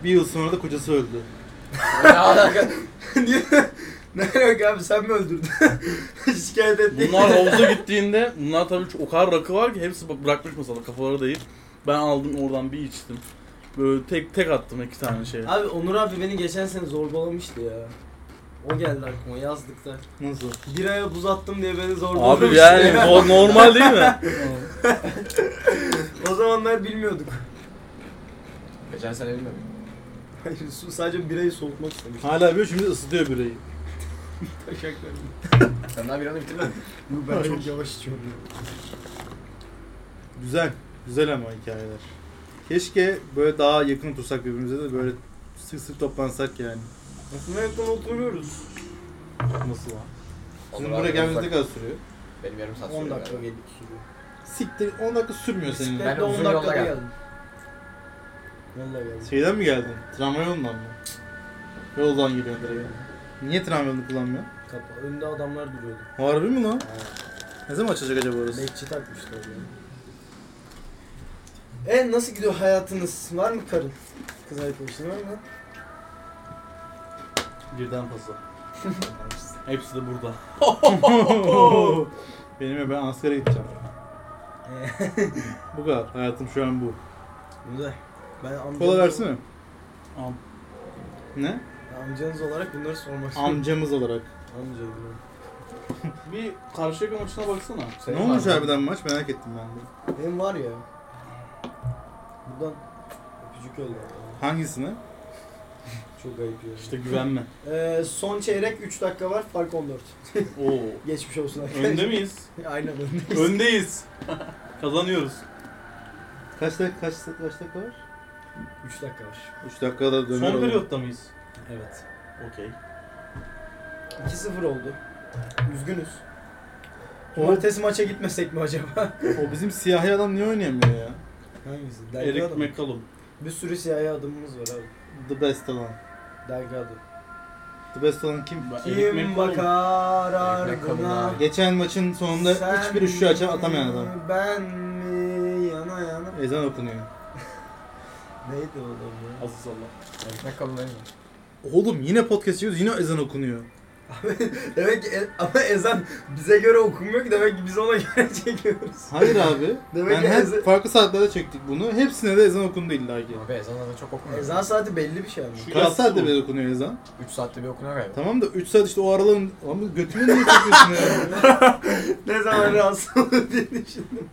Bir yıl sonra da kocası öldü. Ne alaka? Niye? Ne yok abi sen mi öldürdün? Şikayet ettin. Bunlar havuza gittiğinde bunlar tabii çok, o kadar rakı var ki hepsi bak- bırakmış masada kafaları değil. Ben aldım oradan bir içtim. Böyle tek tek attım iki tane şey. Abi Onur abi beni geçen sene zorbalamıştı ya. O geldi aklıma yazlıkta. Nasıl? Bir aya buz attım diye beni zorbalamıştı. Abi şey- yani no- normal değil mi? O zamanlar bilmiyorduk. Geçen sene bilmiyorum. Hayır su sadece birayı soğutmak istemiş. Hala bir şimdi ısıtıyor bireyi. Taşaklar. Sen daha bir anı bitirdin mi? Bu ben çok yavaş içiyorum. ya. Güzel. Güzel ama hikayeler. Keşke böyle daha yakın otursak birbirimize de böyle sık sık toplansak yani. Aslında yakın oturuyoruz. Nasıl lan? Şimdi Onur buraya abi gelmemiz ne uzak. kadar sürüyor? Benim yarım saat 10 sürüyor dakika galiba. geldik sürüyor. Siktir 10 dakika sürmüyor senin. Bisikletle 10 uzun yolda dakikada geldim. geldim. Vallahi geldim. Şeyden mi geldin? Tramvay yolundan mı? Yoldan geliyorsun direkt. Niye tramvay yolunu kullanmıyor? Kapa- Önde adamlar duruyordu. Harbi mi lan? Ne zaman açılacak acaba orası? Bekçi takmışlar yani. E nasıl gidiyor hayatınız? Var mı karın? Kız arkadaşın var mı? Birden fazla. Hepsi de burada. Benim ya ben askere gideceğim. bu kadar. Hayatım şu an bu. Güzel. Ben amcanız, Kola versene. Al. Ne? amcanız olarak bunları sormak istiyorum. Amcamız olarak. Amca. diyorum. Bir karşıyaka maçına baksana. Senin ne var olmuş mı? harbiden maç merak ettim ben de. Benim var ya. Buradan öpücük yolla. Hangisini? Çok ayıp ya. İşte güvenme. Ee, son çeyrek 3 dakika var. Fark 14. Oo. Geçmiş olsun arkadaşlar. Önde miyiz? Aynen öndeyiz. Öndeyiz. Kazanıyoruz. Kaç dakika, kaç, kaç dakika var? 3 dakika var. 3 dakikada döner Son oğlum. periyotta mıyız? Evet. Okey. 2-0 oldu. Üzgünüz. Cumartesi maça gitmesek mi acaba? O bizim siyahi adam niye oynayamıyor ya? Hangisi? Delgado Eric mu? McCallum. Bir sürü siyahi adımımız var abi. The best olan. Delgado. The best olan kim? Ben Eric Kim McCallum. bakar Eric McCallum ardına? abi. Geçen maçın sonunda Sen hiçbir şu açan atamayan adam. mi, Ben mi? Yana yana. Ezan okunuyor. Neydi o adam ya? Aziz Allah. Ekmek kalın değil mi? Oğlum yine podcast yiyoruz yine ezan okunuyor. Demek ki e- ama ezan bize göre okunmuyor ki demek ki biz ona göre çekiyoruz. Hayır abi. Demek ben ki her ezan- farklı saatlerde çektik bunu. Hepsine de ezan okundu illa ki. Abi ezanla da çok okumuyor. Ezan saati belli bir şey ama. Şu Kaç yatsı saatte bu. bir okunuyor ezan? 3 saatte bir okunuyor galiba. Tamam da 3 saat işte o aralığın... Ama götüme niye takıyorsun ya? ne zaman rahatsız olur diye düşündüm.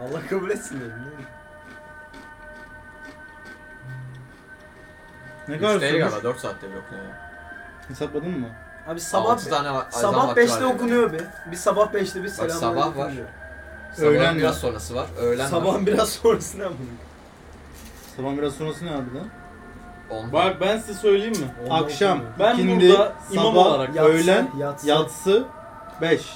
Allah kabul etsin dedim. değil mi? Ne Üç kadar değil sürmüş? galiba 4 saatte blok ne? Hesapladın mı? Abi sabah Altı tane var. sabah 5'te okunuyor be. Bir sabah 5'te bir selam. sabah var. Öğlen Öğlen biraz var. sonrası var. Öğlen var. Sabahın biraz sonrasına mı? Sabah biraz sonrası ne harbiden? On. Bak ben size söyleyeyim mi? Onda Akşam. okunuyor. Ben ikindi, burada imam sabah, olarak- Yatsı, Öğlen. yatsı. Yatsı 5.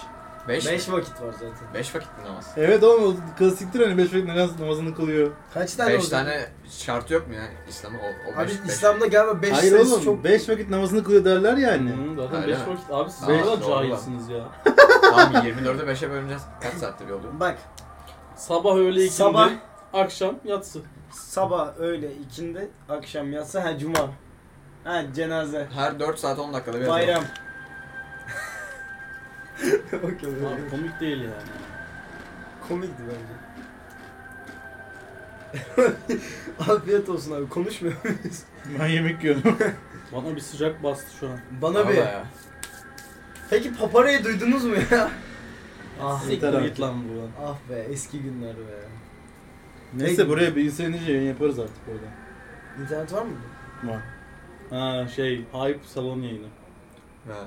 5 5 vakit var zaten. 5 vakit mi namaz. Evet oğlum o klasiktir hani 5 vakit namaz, namazını kılıyor. Kaç tane 5 o zaman? tane şartı yok mu ya İslam'a? O, o Abi beş, beş. İslam'da galiba 5 Hayır sayısı oğlum çok 5 vakit namazını kılıyor derler hani. yani. Hı, zaten Öyle 5 mi? vakit. Abi siz Beş, ne kadar doğru lan. cahilsiniz ya. Tamam 24'e 5'e bölüneceğiz. Kaç saatte bir oldu? Bak Sabah öğle ikindi, Sabah. akşam yatsı. Sabah, öğle, ikindi, akşam, yatsı, ha cuma. Ha cenaze, Her 4 saat 10 dakikada bir ezan. bayram. Okey, Abi komik değil yani. komikti bence. Afiyet olsun abi konuşmuyor muyuz? Ben yemek yiyorum. Bana bir sıcak bastı şu an. Bana bir. Vallahi ya. Peki paparayı duydunuz mu ya? ah, Yeter Siktir abi. git lan buradan. ah be eski günler be. Neyse buraya bir insanınca yayın yaparız artık orada. İnternet var mı? Var. Ha şey, hype salon yayını. Ha,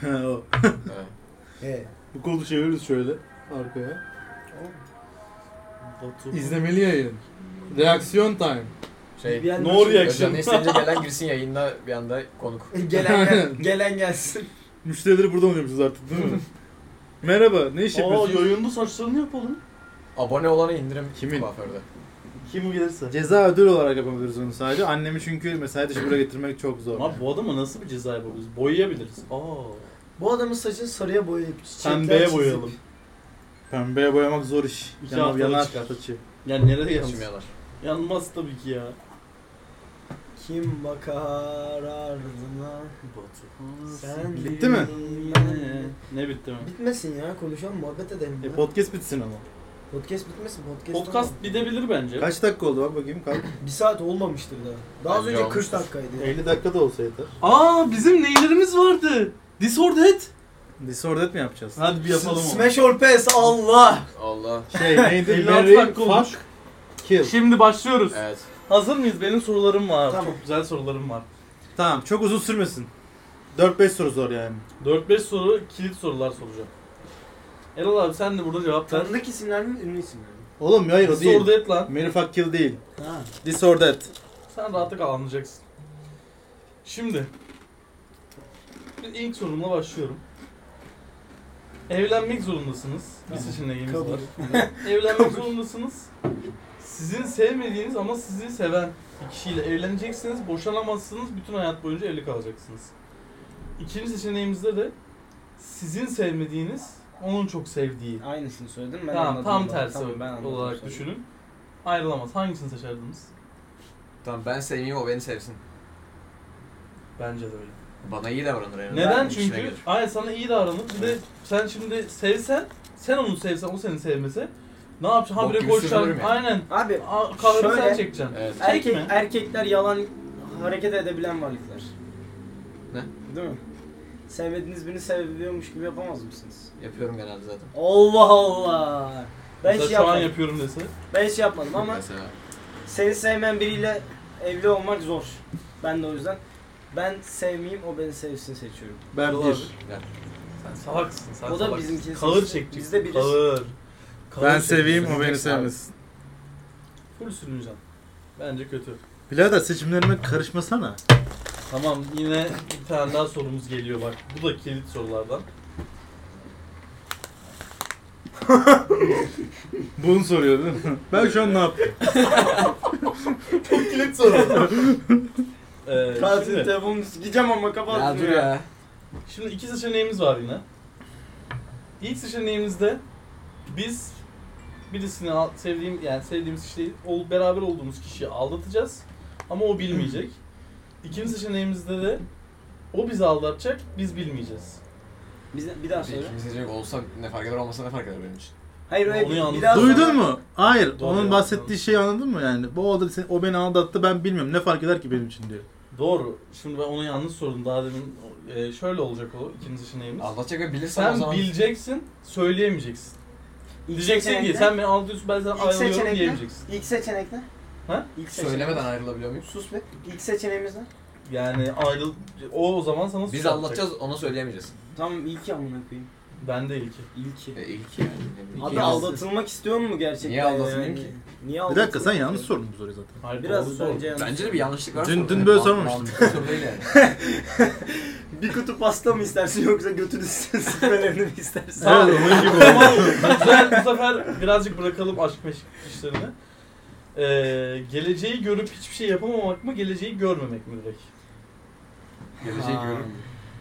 Ha, o. ha. He. Bu kolu çeviririz şöyle arkaya. Batu. İzlemeli yayın. Reaksiyon time. Şey, Bir No Özcan reaction. isteyince gelen girsin yayında bir anda konuk. gelen gel, gelen gelsin. Müşterileri burada oluyormuşuz artık değil mi? Merhaba ne iş Aa yapıyorsun? yayında saçlarını yapalım. Abone olana indirim Kimin? kuaförde. Kim gelirse. Ceza ödül olarak yapabiliriz onu sadece. Annemi çünkü mesai dışı buraya getirmek çok zor. Abi bu adama nasıl bir ceza yapabiliriz? Boyayabiliriz. Aa. Bu adamın saçını sarıya boyayıp çiçekler Pembeye çizip- boyayalım. Pembeye boyamak zor iş. İki Yanar, haftada yanar çıkar. saçı. Yani nereye İçim yanmaz? yanar. Yanmaz tabii ki ya. Kim bakar ardına? Batu. Sen Bitti mi? bilmem. Ne bitti mi? Bitmesin ya konuşalım muhabbet edelim. E ya. podcast bitsin ama. podcast bitmesin podcast. Podcast bidebilir bence. Kaç dakika oldu bak bakayım kaç. Bir saat olmamıştır daha. Daha az Bence önce olmuştur. 40 dakikaydı. 50 dakika da olsa yeter. Aa bizim neylerimiz vardı. Disordered. Disordet mi yapacağız? Hadi bir yapalım onu. Smash or pass Allah. Allah. Şey neydi? 56 Mary dakika olmuş. fuck kill. Şimdi başlıyoruz. Evet. Hazır mıyız? Benim sorularım var. Tamam. Çok güzel sorularım var. Tamam çok uzun sürmesin. 4-5 soru zor yani. 4-5 soru kilit sorular soracağım. Erol abi sen de burada cevap ver. Tanıdık isimler mi ünlü isimler mi? Oğlum hayır o değil. Disordered lan. Mary fuck kill değil. Ha. Disordet. Sen rahatlıkla anlayacaksın. Şimdi. bir ilk sorumla başlıyorum. Evlenmek zorundasınız. Bir seçeneğimiz Kabul. var. Evlenmek zorundasınız. Sizin sevmediğiniz ama sizi seven bir kişiyle evleneceksiniz. Boşanamazsınız. Bütün hayat boyunca evli kalacaksınız. İkinci seçeneğimizde de sizin sevmediğiniz onun çok sevdiği. Aynısını söyledim ben tamam, anladım tam da. tersi Tamam, ben anladım olarak sonra. düşünün. Ayrılamaz. Hangisini seçerdiniz? Tamam ben sevmeyeyim o beni sevsin. Bence de öyle. Bana iyi davranır en azından. Neden? İşime Çünkü gelir. aynen sana iyi davranır. Bir de sen şimdi sevsen, sen onu sevsen, o seni sevmese ne yapacaksın? Bok Habire gibi koşacaksın. sürdürürüm yani. Aynen. Abi A- Kahveni sen Şöyle- çekeceksin. Evet. erkek, mi? erkekler yalan hareket edebilen varlıklar. Değil mi? Sevmediğiniz birini seviyormuş gibi yapamaz mısınız? Yapıyorum genelde zaten. Allah Allah. Ben şey Mesela hiç şu an yapmadım. yapıyorum dese. Ben hiç yapmadım ama Mesela. seni sevmeyen biriyle evli olmak zor. Ben de o yüzden ben sevmeyeyim o beni sevsin seçiyorum. Ben Doğru. 1. Sen salaksın. Sen O da salaksın. bizimkini Kahır seçti. çekeceksin. Biz de biriz. Kahır. Kahır Ben çekeceksin. seveyim o beni Seveceksin abi. sevmesin. Full sürüneceksin. Bence kötü. Birader seçimlerime karışmasana. Tamam yine bir tane daha sorumuz geliyor bak. Bu da kilit sorulardan. Bunu soruyor değil mi? Ben şu an ne yaptım? kilit soru. ee, Tatil şimdi- telefonunu sikeceğim ama Ya kapattım dur ya. Şimdi iki seçeneğimiz var yine. İlk seçeneğimizde biz birisini al- sevdiğim yani sevdiğimiz kişi değil, ol, beraber olduğumuz kişiyi aldatacağız ama o bilmeyecek. İkinci seçeneğimizde de o bizi aldatacak, biz bilmeyeceğiz. Biz bir daha söyle. İkimiz diyecek olsa ne fark eder olmasa ne fark eder benim için. Hayır hayır. Onu bir- yalnız- bir daha sonra- Duydun mu? Hayır. Doğru onun ya, bahsettiği şeyi anladın mı yani? Bu oldu o beni aldattı ben bilmiyorum. Ne fark eder ki benim için diyor. Doğru. Şimdi ben onu yanlış sordum. Daha demin e, şöyle olacak o ikinci seçeneğimiz. Anlatacak ve bilirsem o Sen zaman bileceksin, söyleyemeyeceksin. Diyeceksin ki seçenekte- sen beni aldıyorsun ben sana İlk ayrılıyorum seçenekte- diyemeyeceksin. İlk seçenek ne? Ha? İlk seçenek. Söylemeden ayrılabiliyor muyuz? Sus be. İlk seçeneğimiz ne? Yani ayrıl... O o zaman sana Biz suç atacak. anlatacağız ona söyleyemeyeceğiz. Tamam ilki amına koyayım. Ben de ilki. İlki. E, ilk yani. ne bileyim. Abi İlk yazdı. aldatılmak istiyor mu gerçekten? Niye aldatılayım yani? ki? Niye Bir aldatılmak dakika sen yanlış istiyor? sordun bu soruyu zaten. Hayır, Biraz doğru, doğru. bence yanlış. Bence de bir yanlışlık var. Dün- sonra. dün böyle Man- sormamıştım. mantıklı soru değil yani. Bir kutu pasta mı istersin yoksa götünü sprelerini mi istersin? Evet onun gibi oldu. Ama güzel bu sefer birazcık bırakalım aşk meşk işlerini. Ee, geleceği görüp hiçbir şey yapamamak mı, geleceği görmemek mi direkt? Geleceği Ha. görürüm.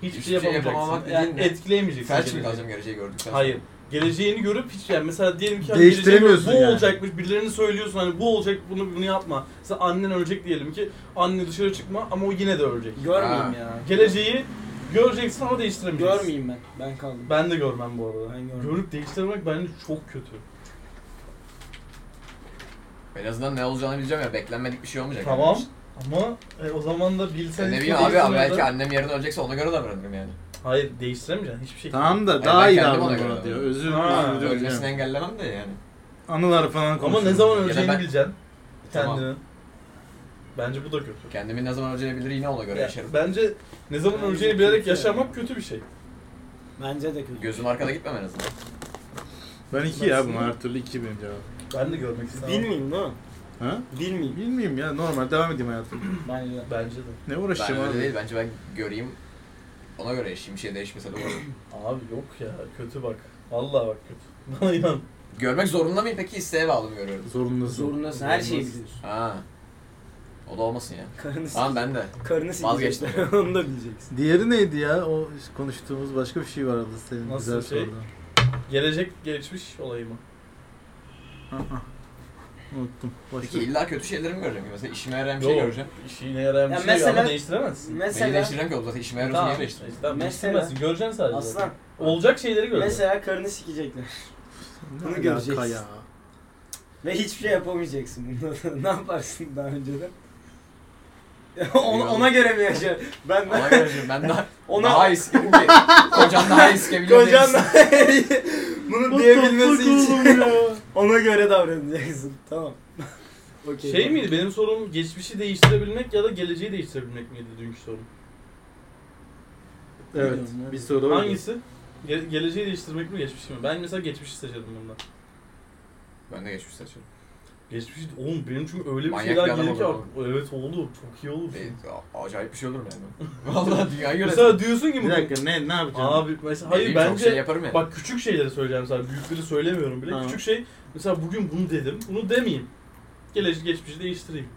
Hiçbir Hiçbir şey şey yapamamak yapamamak yani dediğin ne? etkileyemeyeceksin. Felç mi geleceği. kalacağım geleceği gördükten sonra? Hayır. Geleceğini görüp hiç yani mesela diyelim ki hani Değiştiremiyorsun geleceği görüp bu yani. olacakmış birilerine söylüyorsun hani bu olacak bunu bunu yapma. Mesela annen ölecek diyelim ki anne dışarı çıkma ama o yine de ölecek. Görmeyeyim ya. Geleceği göreceksin ama değiştiremeyeceksin. Görmeyeyim ben. Ben kaldım. Ben de görmem bu arada. Ben görmem. Görüp değiştirmek bence çok kötü. En azından ne olacağını bileceğim ya beklenmedik bir şey olmayacak. Tamam ama e, o zaman da bilsen Yani. Ne hiç bileyim bu abi, abi değiştirmeden- belki annem yerine ölecekse ona göre davranırım yani. Hayır değiştiremeyeceksin hiçbir şey. Tamam da Hayır, daha ben iyi kendim ona davran göre bana diyor. davranıyorum. Özür Ha, özür dilerim. Ölmesini engellemem de yani. Anılar falan Ama konuşuyoruz. ne zaman Ya da öleceğini ben- bileceksin Tamam. kendini. Bence bu da kötü. Kendimi ne zaman öleceğini bilir yine ona göre Ya, yaşarım. Bence ne zaman Bence öleceğini bilerek kötü. yaşamak kötü bir şey. Bence de kötü. Gözüm arkada gitmem en azından. Ben iki ya bunlar her türlü iki benim cevabım. Ben de görmek istemem. Bilmeyeyim değil mi? Ha? Bilmeyeyim. Bilmiyorum ya normal devam edeyim hayatım. Bence de. Bence de. Ne Ben uğraşacağım öyle abi? değil bence ben göreyim. Ona göre yaşayayım bir şey değişmese de olur. Abi yok ya kötü bak. Vallahi bak kötü. Bana inan. Görmek zorunda mıyım peki isteğe bağlı mı görüyorum? Zorundasın. Zorundasın. Her şeyi biliyorsun. Ha. O da olmasın ya. Karını Tamam ben de. Karını Vazgeçtim. silecekler. Onu da bileceksin. Diğeri neydi ya? O konuştuğumuz başka bir şey vardı senin Nasıl güzel şey? sorduğun. Gelecek geçmiş olayı mı? Ha, ha. Unuttum. Boş Peki ver. illa kötü şeyleri mi göreceğim? ki? Mesela işime yarayan bir şey Yok. göreceğim. İşine yarayan bir Ya şey mesela- ama değiştiremezsin. Neyi Mesela değiştireceğim ki oğlum zaten işime yarıyorsa Tamam. niye değiştireceğim? Tamam, Mesela- değiştiremezsin. Göreceksin sadece. aslan. Olacak şeyleri göreceksin. Mesela karını sikecekler. Ne Bunu alaka göreceksin. şey. ya? Ve hiçbir şey yapamayacaksın bundan. ne yaparsın daha önceden? ona, ona göre mi yaşa? Ben Ona göre yaşıyorum. ben daha, Ona- daha iyi sikeyim ki. Kocan daha iyi sikebiliyor kocan değilsin. bunu What the fuck diyebilmesi için oğlum ya? ona göre davranacaksın. Tamam. Okey. Şey miydi benim sorum geçmişi değiştirebilmek ya da geleceği değiştirebilmek miydi dünkü sorum? evet. Bir soru oydu. Hangisi? Ge- geleceği değiştirmek mi geçmişi mi? Ben mesela geçmişi seçerdim bundan. Ben de geçmiş saçıyorum. Geçmişi oğlum benim çünkü öyle bir Manyak şeyler bir adam gelir ki olurum. ak- evet oldu çok iyi olur. E, a- acayip bir şey olurum yani. Vallahi dünya göre. Mesela diyorsun ki Bir bugün dakika ne ne yapacağım? Abi mesela hayır Dediğim çok bence şey yaparım yani. bak küçük şeyleri söyleyeceğim mesela büyükleri söylemiyorum bile. Ha. Küçük şey mesela bugün bunu dedim. Bunu demeyeyim. Geleceği geçmişi değiştireyim.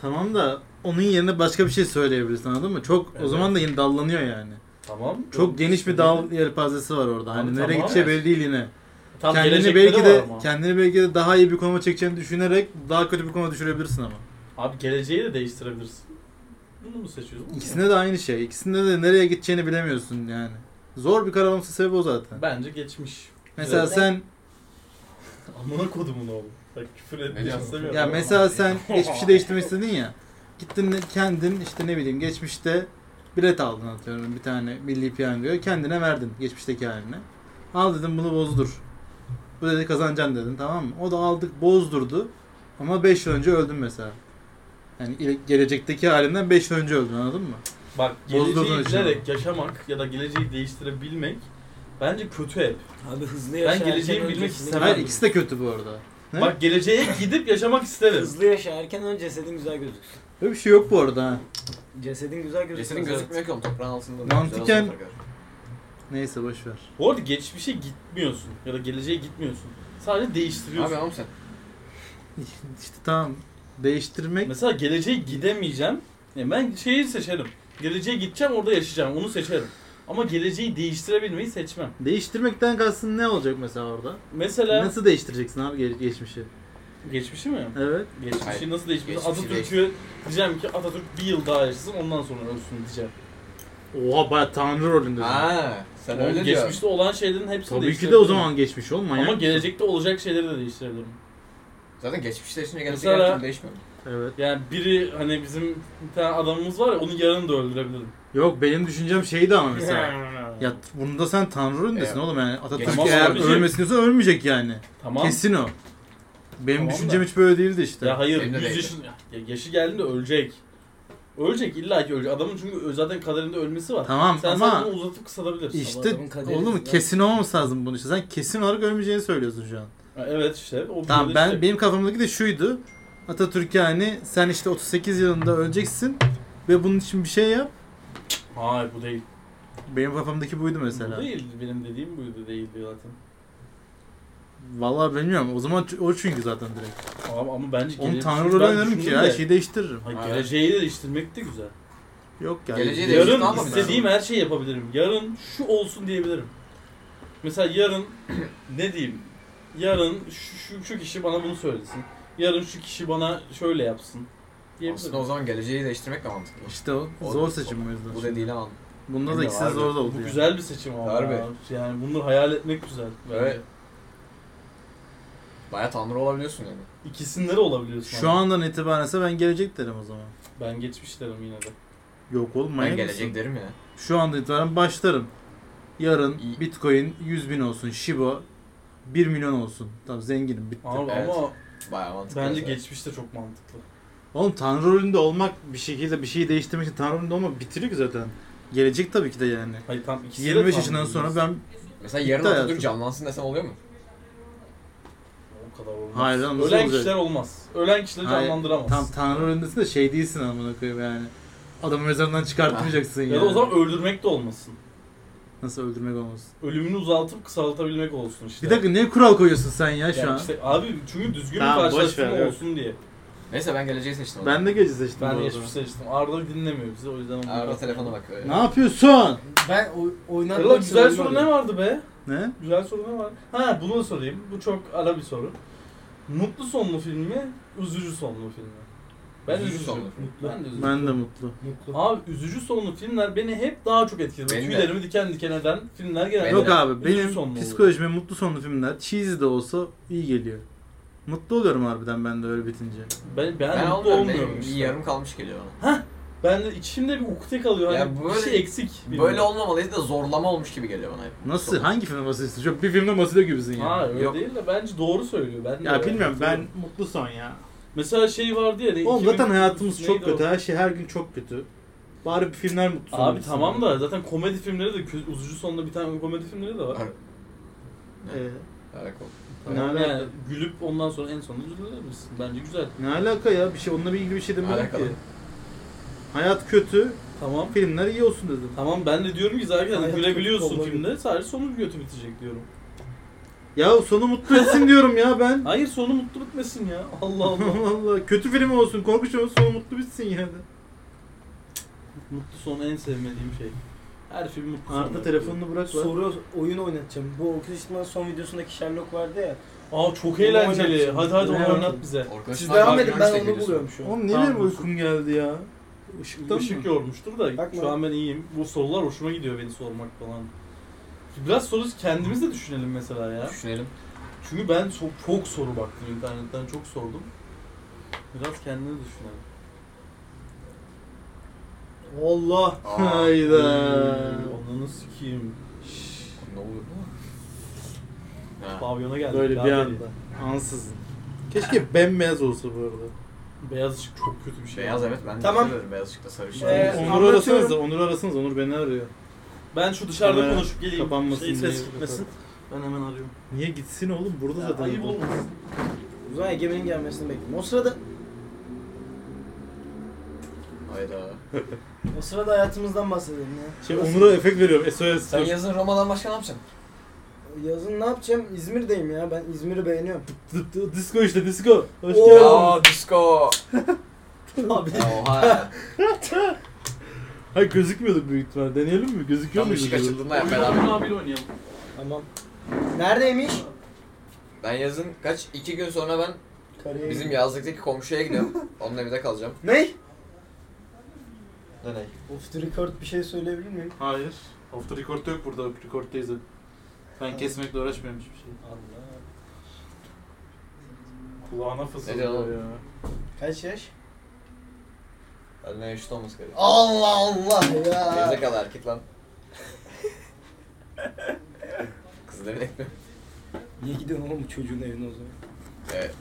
Tamam da onun yerine başka bir şey söyleyebilirsin anladın mı? Çok o Evet. zaman da yine dallanıyor yani. Tamam. Çok geniş bir dal yelpazesi var orada. Hani Abi nereye tamam, gideceği evet. belli değil yine. Tam kendini gelecekleri belki var de ama. kendini belki de daha iyi bir konuma çekeceğini düşünerek daha kötü bir konuma düşürebilirsin ama. Abi geleceği de değiştirebilirsin. Bunu mu seçiyorsun? İkisinde de aynı şey. İkisinde de nereye gideceğini bilemiyorsun yani. Zor bir karar olması sebebi o zaten. Bence geçmiş. Mesela sen Amına kodumun oğlum. Bak küfür etmek diyorsun? istemiyorum. ya ama- mesela sen geçmişi değiştirmek istedin ya. Gittin de kendin işte ne bileyim geçmişte bilet aldın atıyorum bir tane milli piyangoya kendine verdin geçmişteki haline. Al dedim bunu bozdur. Bu dedi kazanacaksın dedin tamam mı? O da aldık bozdurdu. Ama 5 yıl önce öldün mesela. Yani ile- gelecekteki halinden 5 yıl önce öldün anladın mı? Bak Bozdurdun geleceği işte. bilerek yaşamak ya da geleceği değiştirebilmek bence kötü hep. Abi hızlı yaşa. Ben geleceği erken bilmek öncesini- istemem. Hayır ikisi de kötü bu arada. Ne? Bak geleceğe gidip yaşamak isterim. Hızlı yaşa erken ön cesedin güzel gözüksün. Böyle bir şey yok bu arada ha. Cesedin güzel gözüksün. Cesedin gözükmüyor ki oğlum toprağın altında. Mantıken- Güzel olsun. Neyse boş ver. Bu arada geçmişe gitmiyorsun ya da geleceğe gitmiyorsun. Sadece değiştiriyorsun. Abi oğlum sen. İşte tamam. Değiştirmek Mesela geleceğe gidemeyeceğim. Ya ben şeyi seçerim. Geleceğe gideceğim orada yaşayacağım onu seçerim. Ama geleceği değiştirebilmeyi seçmem. değiştirmekten kalsın ne olacak mesela orada? Mesela Nasıl değiştireceksin abi ge- geçmişi? geçmişi mi? Evet. Geçmişi Hayır, nasıl değiştireceğiz? geçmişi Atatürk'ü diyeceğim ki Atatürk bir yıl daha yaşasın ondan sonra ölsün diyeceğim. Oha baya tanrı rolünde. Ha, sen Oğlum, öyle diyorsun. geçmişte olan şeylerin hepsini Tabii ki de o değiştirebilirim. zaman geçmiş oğlum manyak. Ama gelecekte olacak şeyleri de değiştirebilirim. Zaten geçmişte içinde gelecek Mesela- her türlü değişmiyor. Evet. Yani biri hani bizim bir tane adamımız var ya onu yarın da öldürebilirim. Yok benim düşüncem şeydi ama mesela. ya bunu da sen tanrı öndesin Evet. oğlum yani. Atatürk Tamam eğer abicim. ölmesin diyorsa ölmeyecek yani. Tamam. Kesin o. Benim Tamam düşüncem da. hiç böyle değildi işte. Ya hayır, Benim de 100 değildi. yaşın ya yaşı geldiğinde ölecek. Ölecek illa ki ölecek. Adamın çünkü zaten kaderinde ölmesi var. tamam Sen ama sadece bunu uzatıp kısalabilirsin. işte adamın kaderi oğlum zaten. kesin olmaması lazım bunu işte. Sen kesin olarak ölmeyeceğini söylüyorsun şu an. Ha, Evet işte. O Tamam böyle ben işte. benim kafamdaki de şuydu. Atatürk yani sen işte 38 yılında öleceksin ve bunun için bir şey yap. Hayır bu değil. Benim kafamdaki buydu mesela. Bu değil. Benim dediğim buydu değildi zaten. Vallahi bilmiyorum. O zaman ç- o çünkü zaten direkt. Abi ama bence Onu gele- tanrı Çünkü ben oynarım ki şey- düşündüm her de- şeyi değiştiririm. Hayır, Evet. geleceği değiştirmek de güzel. Yok yani. Geleceği de- Değişik Yarın anlamı istediğim her şeyi yapabilirim. Yarın şu olsun diyebilirim. Mesela yarın ne diyeyim? Yarın şu, şu, şu kişi bana bunu söylesin. Yarın şu kişi bana şöyle yapsın. Aslında Diyebilirim. o zaman geleceği değiştirmek de mantıklı. İşte o O- zor seçim o Bu yüzden. dediğiyle mantıklı. Bunda da Bilmiyorum ikisi de abi. zor da oldu. Bu yani. güzel bir seçim ama. Harbi. Yani bunları hayal etmek güzel. bence. Evet. Baya tanrı olabiliyorsun yani. İkisinde de olabiliyorsun. Şu ama. andan itibarense ben gelecek derim o zaman. Ben geçmiş derim yine de. Yok oğlum Ben manyak gelecek mısın? derim ya. Şu andan itibaren başlarım. Yarın İyi. bitcoin 100 bin olsun. Shiba 1 milyon olsun. Tamam zenginim bitti. Ama, Evet. ama Baya mantıklı. bence mesela. geçmiş de çok mantıklı. Oğlum tanrı rolünde olmak bir şekilde bir şeyi değiştirmek için tanrı rolünde olmak bitiriyor ki zaten. Gelecek tabii ki de yani. Hayır tam ikisi de 25 tam yaşından sonra biliyorsun. ben Mesela yarın Bitti Atatürk hayatım. canlansın desem oluyor mu? O kadar olmaz. Hayır lan, nasıl Ölen olacak? kişiler olmaz. Ölen kişileri Hayır, canlandıramaz. tam tanrı rolündesin de şey değilsin amına koyayım yani. Adamı mezarından çıkartmayacaksın yani. Ah. Ya da o zaman öldürmek de olmasın. Nasıl öldürmek olmasın? Ölümünü uzatıp kısaltabilmek olsun işte. Bir dakika niye kural koyuyorsun sen ya Yani şu an? işte abi çünkü düzgün Tamam, bir boş ver, karşılaştırma evet. olsun diye. Neyse ben geleceği seçtim. o Ben de gece seçtim bu Ben arada. geçmiş seçtim. Arda dinlemiyor bizi o yüzden onu. zaman. Arda telefona bakıyor. şey- ya. Ne yapıyorsun? Ben o, oynatmak Arda güzel zorunda soru ne vardı be? Ne? Güzel soru ne var? Ha bunu da sorayım. Bu çok ara bir soru. Mutlu sonlu film mi? Üzücü sonlu film mi? Ben Üzücü üzücü, sonlu film. Mutlu. Ben de üzücü. Ben de mutlu. Abi üzücü sonlu filmler beni hep daha çok etkiledi. Beni de. Tüylerimi diken diken eden filmler genelde. Beni Yok de. abi Üzücü benim sonlu psikolojime mutlu sonlu filmler cheesy de olsa iyi geliyor. Mutlu oluyorum harbiden ben de öyle bitince. Ben, ben, Ben mutlu olmuyorum. Benim olmuyorum bir işte. yarım kalmış geliyor bana. Ben de içimde bir ukde kalıyor. Ya Hani böyle- bir şey eksik. Böyle olmamalıydı da zorlama olmuş gibi geliyor bana. hep. Nasıl? Sonra. Hangi filme basıyorsun? Çok bir filmde basılıyor gibisin ya. Ha öyle Yok. değil de bence doğru söylüyor. Ben de ya öyle bilmiyorum ben hatırlıyorum. mutlu son ya. Mesela şey vardı ya. ne- Oğlum 2000 zaten hayatımız neydi çok o? kötü. Her şey her gün çok kötü. Bari bir filmler mutlu son Abi olsun. tamam da zaten komedi filmleri de kö- üzücü sonunda bir tane komedi filmleri de var. Ar- Ee, Harika oldu. ne Tamam alaka? yani gülüp ondan sonra en sonunda üzülür müsün? Bence güzel. Ne alaka ya? Bir şey onunla bir ilgili bir şey demedim Alakalı. ki. Hayat kötü, Tamam. filmler iyi olsun dedim. Tamam ben de diyorum ki zaten Hayat gülebiliyorsun kötü olabilir. filmde sadece sonu kötü bitecek diyorum. Ya sonu mutlu etsin diyorum ya ben. Hayır sonu mutlu bitmesin ya. Allah Allah. Allah kötü film olsun, korku filmi olsun, sonu mutlu bitsin yani. mutlu son en sevmediğim şey. Her film mutlu son. Arda yapıyor. telefonunu bırak lan. Soru oyun oynatacağım. Bu Oculus Rift'in son videosundaki Sherlock vardı ya. Aa çok Onu eğlenceli. oynatacağım. Hadi hadi onu Merak oynat ettim. bize. Arkadaşlar Siz devam daha edin üniversiteye ben onu gidiyorsun. buluyorum şu an. Oğlum niye Tamam, benim uykum geldi ya? Işıktan Işık mı? yormuştur da Bakma. şu an ben iyiyim. Bu sorular hoşuma gidiyor beni sormak falan. Biraz soru kendimiz de düşünelim mesela ya. Düşünelim. Çünkü ben çok, çok soru baktım internetten çok sordum. Biraz kendini düşünelim. Allah. Aa. Hayda. Onunu sikeyim. Şşş, Ne oluyor? Ha. Pavyona geldik. Böyle daha bir deli. anda. Ansızın. Keşke bembeyaz olsa bu arada. Beyaz ışık çok kötü bir şey. Beyaz evet ben de Tamam. severim beyaz ışıkta sarı ışık. Ee, Olmaz. Onur arasanız da, Onur arasanız Onur beni arıyor. Ben şu dışarıda Kamera konuşup geleyim. kapanmasın şey, ses diye. gitmesin. Ben hemen arıyorum. Niye gitsin oğlum? Burada Ya, zaten. ayıp adam. olmasın. O zaman Egemen'in gelmesini bekliyorum. O sırada Hayda. o sırada hayatımızdan bahsedelim ya. Şey Onur'a efekt veriyorum. SOS. Sen dur. yazın Roma'dan başka ne yapacaksın? Yazın ne yapacağım? İzmir'deyim ya. Ben İzmir'i beğeniyorum. D- d- Disco işte disco. Hoş Oo. geldin. Aa disco. Abi. Ya, Oha. Hayır gözükmüyordu büyük ihtimal. Deneyelim mi? Gözüküyor Tam mu? ışık açıldığında yap beraber. Oyun abiyle oynayalım. Tamam. Neredeymiş? Ben yazın kaç iki gün sonra ben Kariyer. bizim yazlıktaki komşuya gidiyorum. Onun evinde kalacağım. Ne? Ne ne? Off the record bir şey söyleyebilir miyim? Hayır. Hafta rekortta yok burada. Rekordtayız hep. Ben kesmekle uğraşmıyorum hiçbir şey. Allah. Kulağına Neden fısıldıyor oğlum? ya. Kaç yaş? Benimle eşit olması gerekiyor. Allah Allah ya. Gerizekalı erkek lan. Kızı da bilek mi? Niye gidiyorsun oğlum bu çocuğun evine o zaman? Evet.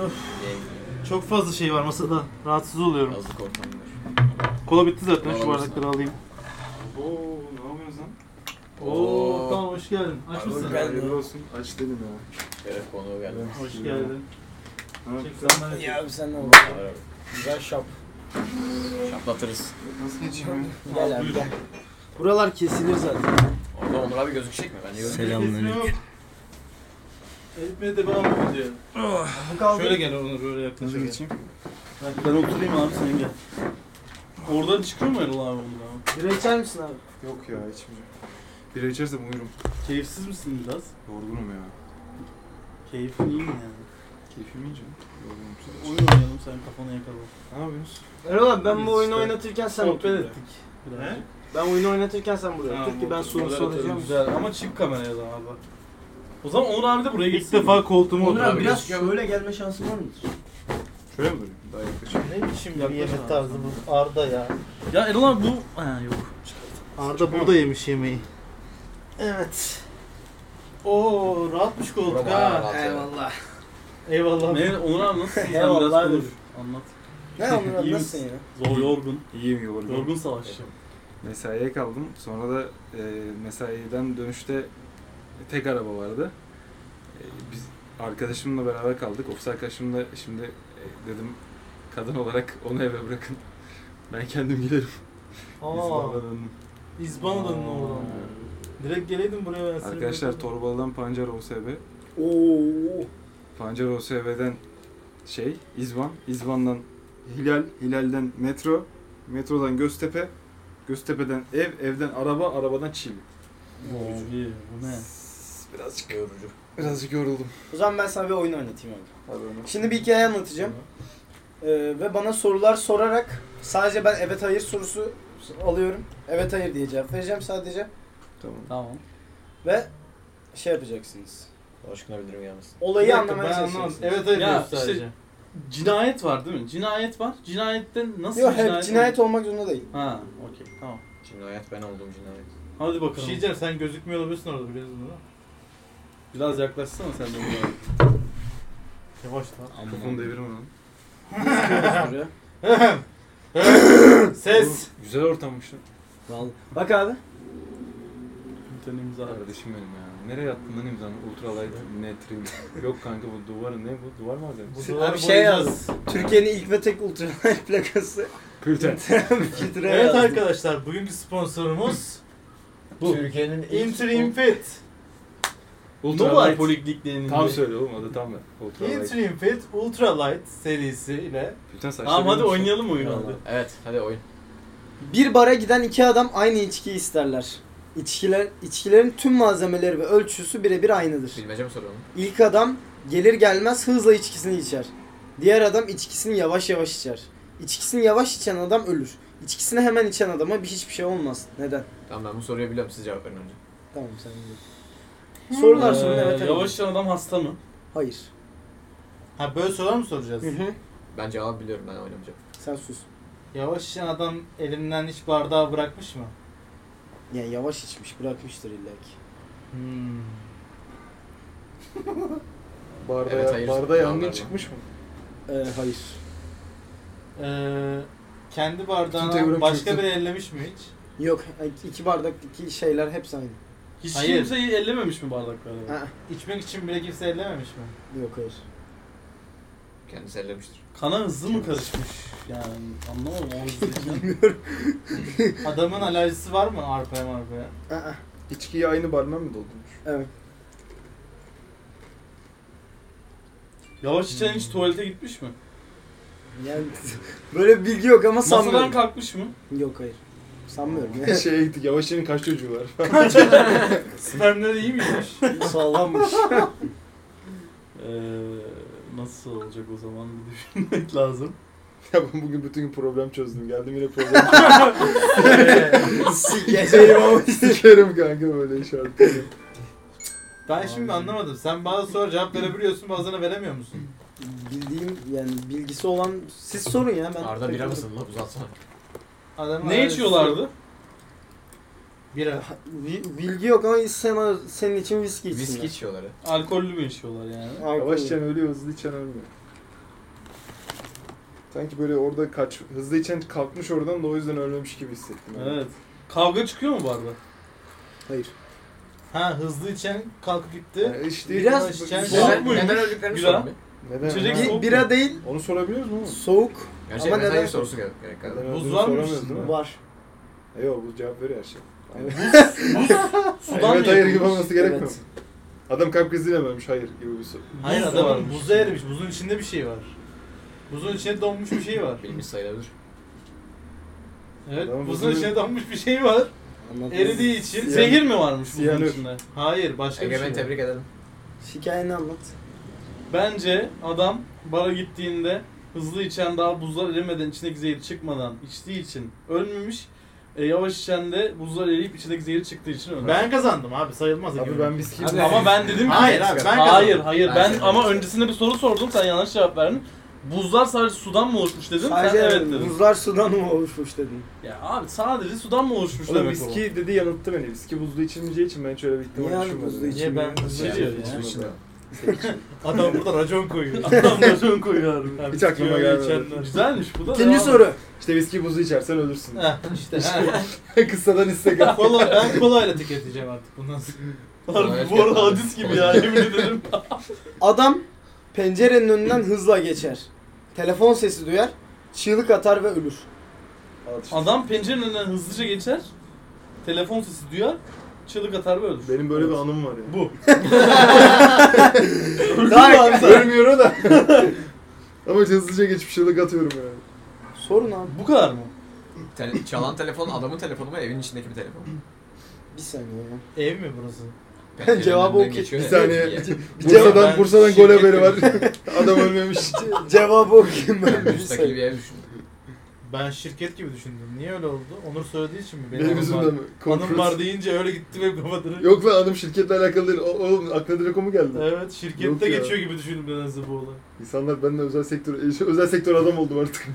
Öf. Yay. Çok fazla şey var masada. Rahatsız oluyorum. Yazlık ortamıdır. Kola bitti zaten şu Alamazsın. bardakları alayım. Oo ne yapıyorsun lan? Oo, tamam hoş geldin. Aç Abi, mısın? ben- Hayırlı olsun. Aç dedim ya. Şeref konuğu geldi. Hoş geldin. Ha, Çek sen bana. Ya abi sen ne Merhaba. Güzel şap. Şaplatırız. Nasıl geçeyim ya? Gel abi gel. Buralar kesilir zaten. Orada Onur abi gözükecek mi? Bence gözükecek. Selamünaleyküm. Eritmeye devam ediyor. Bu kaldı. Şöyle gel Onur Nasıl böyle yaklaşık. geçeyim? Ben oturayım abi sen gel. Oradan çıkıyor mu Erol abi bundan? Bira içer misin abi? Yok ya içmeyeceğim. Bira içersem uyurum. Keyifsiz misin biraz? Yorgunum ya. Keyfin iyi mi yani? Keyfim iyice. Yorgunum. Oyun oynayalım sen kafanı yakala. Ne yapıyorsunuz? Erol abi ben bu oyunu İşte. oynatırken sen otur. Sohbet buraya. ettik. birazcık. Ben oyunu oynatırken sen buraya Tamam, otur ki ben otur. soru Moderatörüm soracağım. Güzel ama çık kameraya da abi. O zaman Onur abi de buraya İlk gitsin. defa koltuğuma Onur abi biraz Şöyle gelme şansın var mıdır? Şöyle mi durayım? Daha yaklaşayım. Ne biçim Yaklaş abi. bu Arda ya. Ya Erol abi bu... Ha yok. Arda burada yemiş yemeği. Evet. Oo rahatmış koltuk Bravo, ha. rahat ya. Eyvallah. Ne Onur abi nasılsın? Sen biraz Eyvallah konuş. dedim. Anlat. Ne Onur abi İyi nasılsın ya? misin? Zor yorgun. İyiyim yorgunum. Yorgun savaşçı. Mesaiye kaldım. Sonra da e, mesaiden dönüşte tek araba vardı. E, biz arkadaşımla beraber kaldık. Ofis arkadaşımla şimdi e, dedim kadın olarak onu eve bırakın. Ben kendim gelirim. Aa. İzmir'e döndüm. İzbana'dan oradan. Direkt geleydin buraya ben seni Arkadaşlar beklerdim. Torbalı'dan Pancar OSB. Oo. Pancar OSB'den şey İzban. İzban'dan Hilal. Hilal'den metro. Metrodan Göztepe. Göztepe'den ev. Evden araba. Arabadan Çil. Yorucu. Bu ne? Birazcık, Yorucu. birazcık yoruldum. O zaman ben sana bir oyun oynatayım abi. Hadi onu. Şimdi bir hikaye anlatacağım. Ee, ve bana sorular sorarak sadece ben evet hayır sorusu alıyorum. Evet hayır diye cevap vereceğim sadece. Tamam. Tamam. Ve şey yapacaksınız. Aşkına bildirim gelmesin. Olayı Bir dakika, anlamaya ben çalışacaksınız. anlamadım. Evet hayır diyoruz sadece. Cinayet var değil mi? Cinayet var. Cinayetten nasıl Yok bir hep cinayet olmak zorunda değil. Ha, okey. Tamam. Cinayet ben olduğum cinayet. Hadi bakalım. Bir şey sen gözükmüyor olabilirsin orada biraz bunu. Biraz yaklaşsana sen de buraya. Yavaş Kafamı devirme lan. lan. Ses. Güzel ortammış lan. Bak abi. Sen imza at. Kardeşim benim ya. Nereye attın lan imzanı? Ultralight net rim. Yok kanka bu duvarı ne bu? Duvar mı alacağım? Bu duvarı Abi şey yaz. boyayacağız. Türkiye'nin ilk ve tek ultralight plakası. Pülten. Filtre Evet yazdım. arkadaşlar bugünkü sponsorumuz Bu. Türkiye'nin ilk- Interim Fit. Ultralight. Polikliniklerinin Tam söyle oğlum adı tam ver. Ultralight. Interim Fit Ultralight serisiyle. Pülten saçları Tamam hadi neymiş lan? oynayalım oyunu hadi. Vallahi. Evet hadi oyun. Bir bara giden iki adam aynı içkiyi isterler. İçkiler, içkilerin tüm malzemeleri ve ölçüsü birebir aynıdır. Bilmece mi soruyorum? İlk adam gelir gelmez hızla içkisini içer. Diğer adam içkisini yavaş yavaş içer. İçkisini yavaş içen adam ölür. İçkisini hemen içen adama bir hiçbir şey olmaz. Neden? Tamam ben bu soruyu biliyorum siz cevap verin önce. Tamam sen bilir. Sorular Ee, sorun evet. hayır. Yavaş yan adam hasta mı? Hayır. Ha böyle sorar mı soracağız? Hı hı. Ben cevabı biliyorum ben oynamayacağım. Sen sus. Yavaş yan adam elinden hiç bardağı bırakmış mı? Yani yavaş içmiş bırakmıştır illa ki. Hmm. Barda, Evet, hayır. barda yangın Yanlar çıkmış mı? Ee, hayır. Ee, kendi Bütün teorim bardağını başka çöktü. biri ellemiş mi hiç? Yok iki bardak iki şeyler hepsi aynı. Hiç kimseyi ellememiş mi bardakları? Ha, İçmek için bile kimse ellememiş mi? yok hayır. Kendisi ellemiştir. Kana hızlı mı karışmış? Yani anlamadım o hızlı Bilmiyorum. Adamın alerjisi var mı arpaya marpaya? Aa, İçkiyi aynı barmen mi doldurmuş? evet. Yavaş içen hiç tuvalete gitmiş mi? Yani böyle bir bilgi yok ama Masadan sanmıyorum. kalkmış mı? Yok hayır. Sanmıyorum ya. Şeye gittik. Yavaşçı'nın kaç çocuğu var? Spermleri iyi miymiş? Sağlammış. Ee, nasıl olacak o zaman bir düşünmek lazım. ya ben bugün bütün gün problem çözdüm. Geldim yine problem Sikeceğim ama. Sikerim kanka böyle şarkıyı. Ben şimdi anlamadım. Sen bazı soru cevap verebiliyorsun bazılarına veremiyor musun? bildiğim yani bilgisi olan siz sorun ya ben. Arda bira mısın lan uzatsana. Adam Ne içiyorlardı? Bira. Bi- Bilgi yok ama sen, senin için viski içsinler. Viski içiyorlar. ya. Alkollü mü içiyorlar yani? Alkol. Yavaş içen ölüyor, hızlı içen ölmüyor. Sanki böyle orada kaç, hızlı içen kalkmış oradan da o yüzden ölmemiş gibi hissettim. yani. Evet. Kavga çıkıyor mu barda? Hayır. Ha hızlı içen kalkıp gitti. Yani işte Biraz Yavaş içen- E, Soğuk Neden, muymuş? neden öldüklerini Bira. sorun bir. neden? İçecek Ha? soğuk Bi- bira değil Onu sorabiliyoruz mu? soğuk Gerçi Ama MSI'ye neden- sorusu gerek- gerek Neden galiba. öldüğünü Buz var mı soramıyoruz sizin? değil mi? var. E, Yok buz cevap veriyor her şey. Sudan evet mı hayır gibi yapılmış? olması gerekmiyor Evet. mu? Adam kalp kriziyle mi ölmüş hayır gibi bir soru. Hayır Hayır Buz adamın varmış. buzu erimiş. Buzun içinde bir şey var. Buzun içine donmuş bir şey var. Bilmiş sayılabilir. Evet. Adamın buzun buzunu- içine donmuş bir şey var. Anladım. Eridiği için. Siyanür. Zehir mi varmış buzun Siyanür. içinde? Hayır başka bir şey. Egemen var. tebrik edelim. Hikayeni anlat. Bence adam bara gittiğinde hızlı içen daha buzlar erimeden içindeki zehir çıkmadan içtiği için ölmemiş. E, yavaş içen de buzlar eriyip içindeki zehir çıktığı için ölmüş. Ben kazandım abi sayılmaz. Abi Egemen. ben viski Abi- şey ama ben dedim ki Hayır abi, ben hayır kazandım. hayır Ben ben, kazandım. ama öncesinde bir soru sordum sen yanlış cevap verdin. Buzlar sadece sudan mı oluşmuş dedim. Sadece sen evet dedin. buzlar sudan mı oluşmuş dedin. Ya abi sadece sudan mı oluşmuş Oğlum demek o. viski dedi yanılttı beni. Viski buzlu içilmeyeceği için ben hiç öyle bir ihtimal Niye abi düşünmedim. buzlu içi- Niye ben hızlı Yani diyor ya? su şey içinde. Adam burada racon koyuyor. Adam racon koyuyor abi. Hiç aklıma Öyle gelmedi. içenler. Güzelmiş bu da. İkinci devam. soru. İşte viski buzlu içersen ölürsün. Heh, işte. heh. Kıssadan istek al. Kola, ben kolayla tüketeceğim artık bundan sonra. Harbi bu arada hadis gibi ya yemin ederim. Adam pencerenin önünden hızla geçer. Telefon sesi duyar. Çığlık atar ve ölür. Al işte. Adam pencerenin önünden hızlıca geçer. Telefon sesi duyar. Çığlık atar ve ölür. Benim böyle bir anım var ya. Bu. Daha Ölmüyor o da. Ama hızlıca geçmiş yıllık atıyorum yani. Sorun abi. Bu kadar mı? Tele- çalan telefon adamın telefonu mu evin içindeki bir telefon? mu? Bir saniye ya. Ev mi burası? Pencerenin Cevabı önünden o ki- geçiyor bir ya. saniye. Ya, Bursa'dan, ben Bursa'dan gol şirket haberi var. Adam ölmemiş. Ce- Cevabı okuyayım ben. bir Müstakil saniye. bir ev düşün. Ben şirket gibi düşündüm. Niye öyle oldu? Onur söylediği için mi? Benim anım yüzümden var. mi? Anım Konferans. var deyince öyle gitti ve kapatırım. Yok lan anım şirketle alakalı değil. O- Oğlum aklına direkt o mu geldi? Evet şirkette Yok ya. geçiyor gibi düşündüm nedense bu olay. İnsanlar benden özel sektör, e, şey, özel sektör adam oldum artık.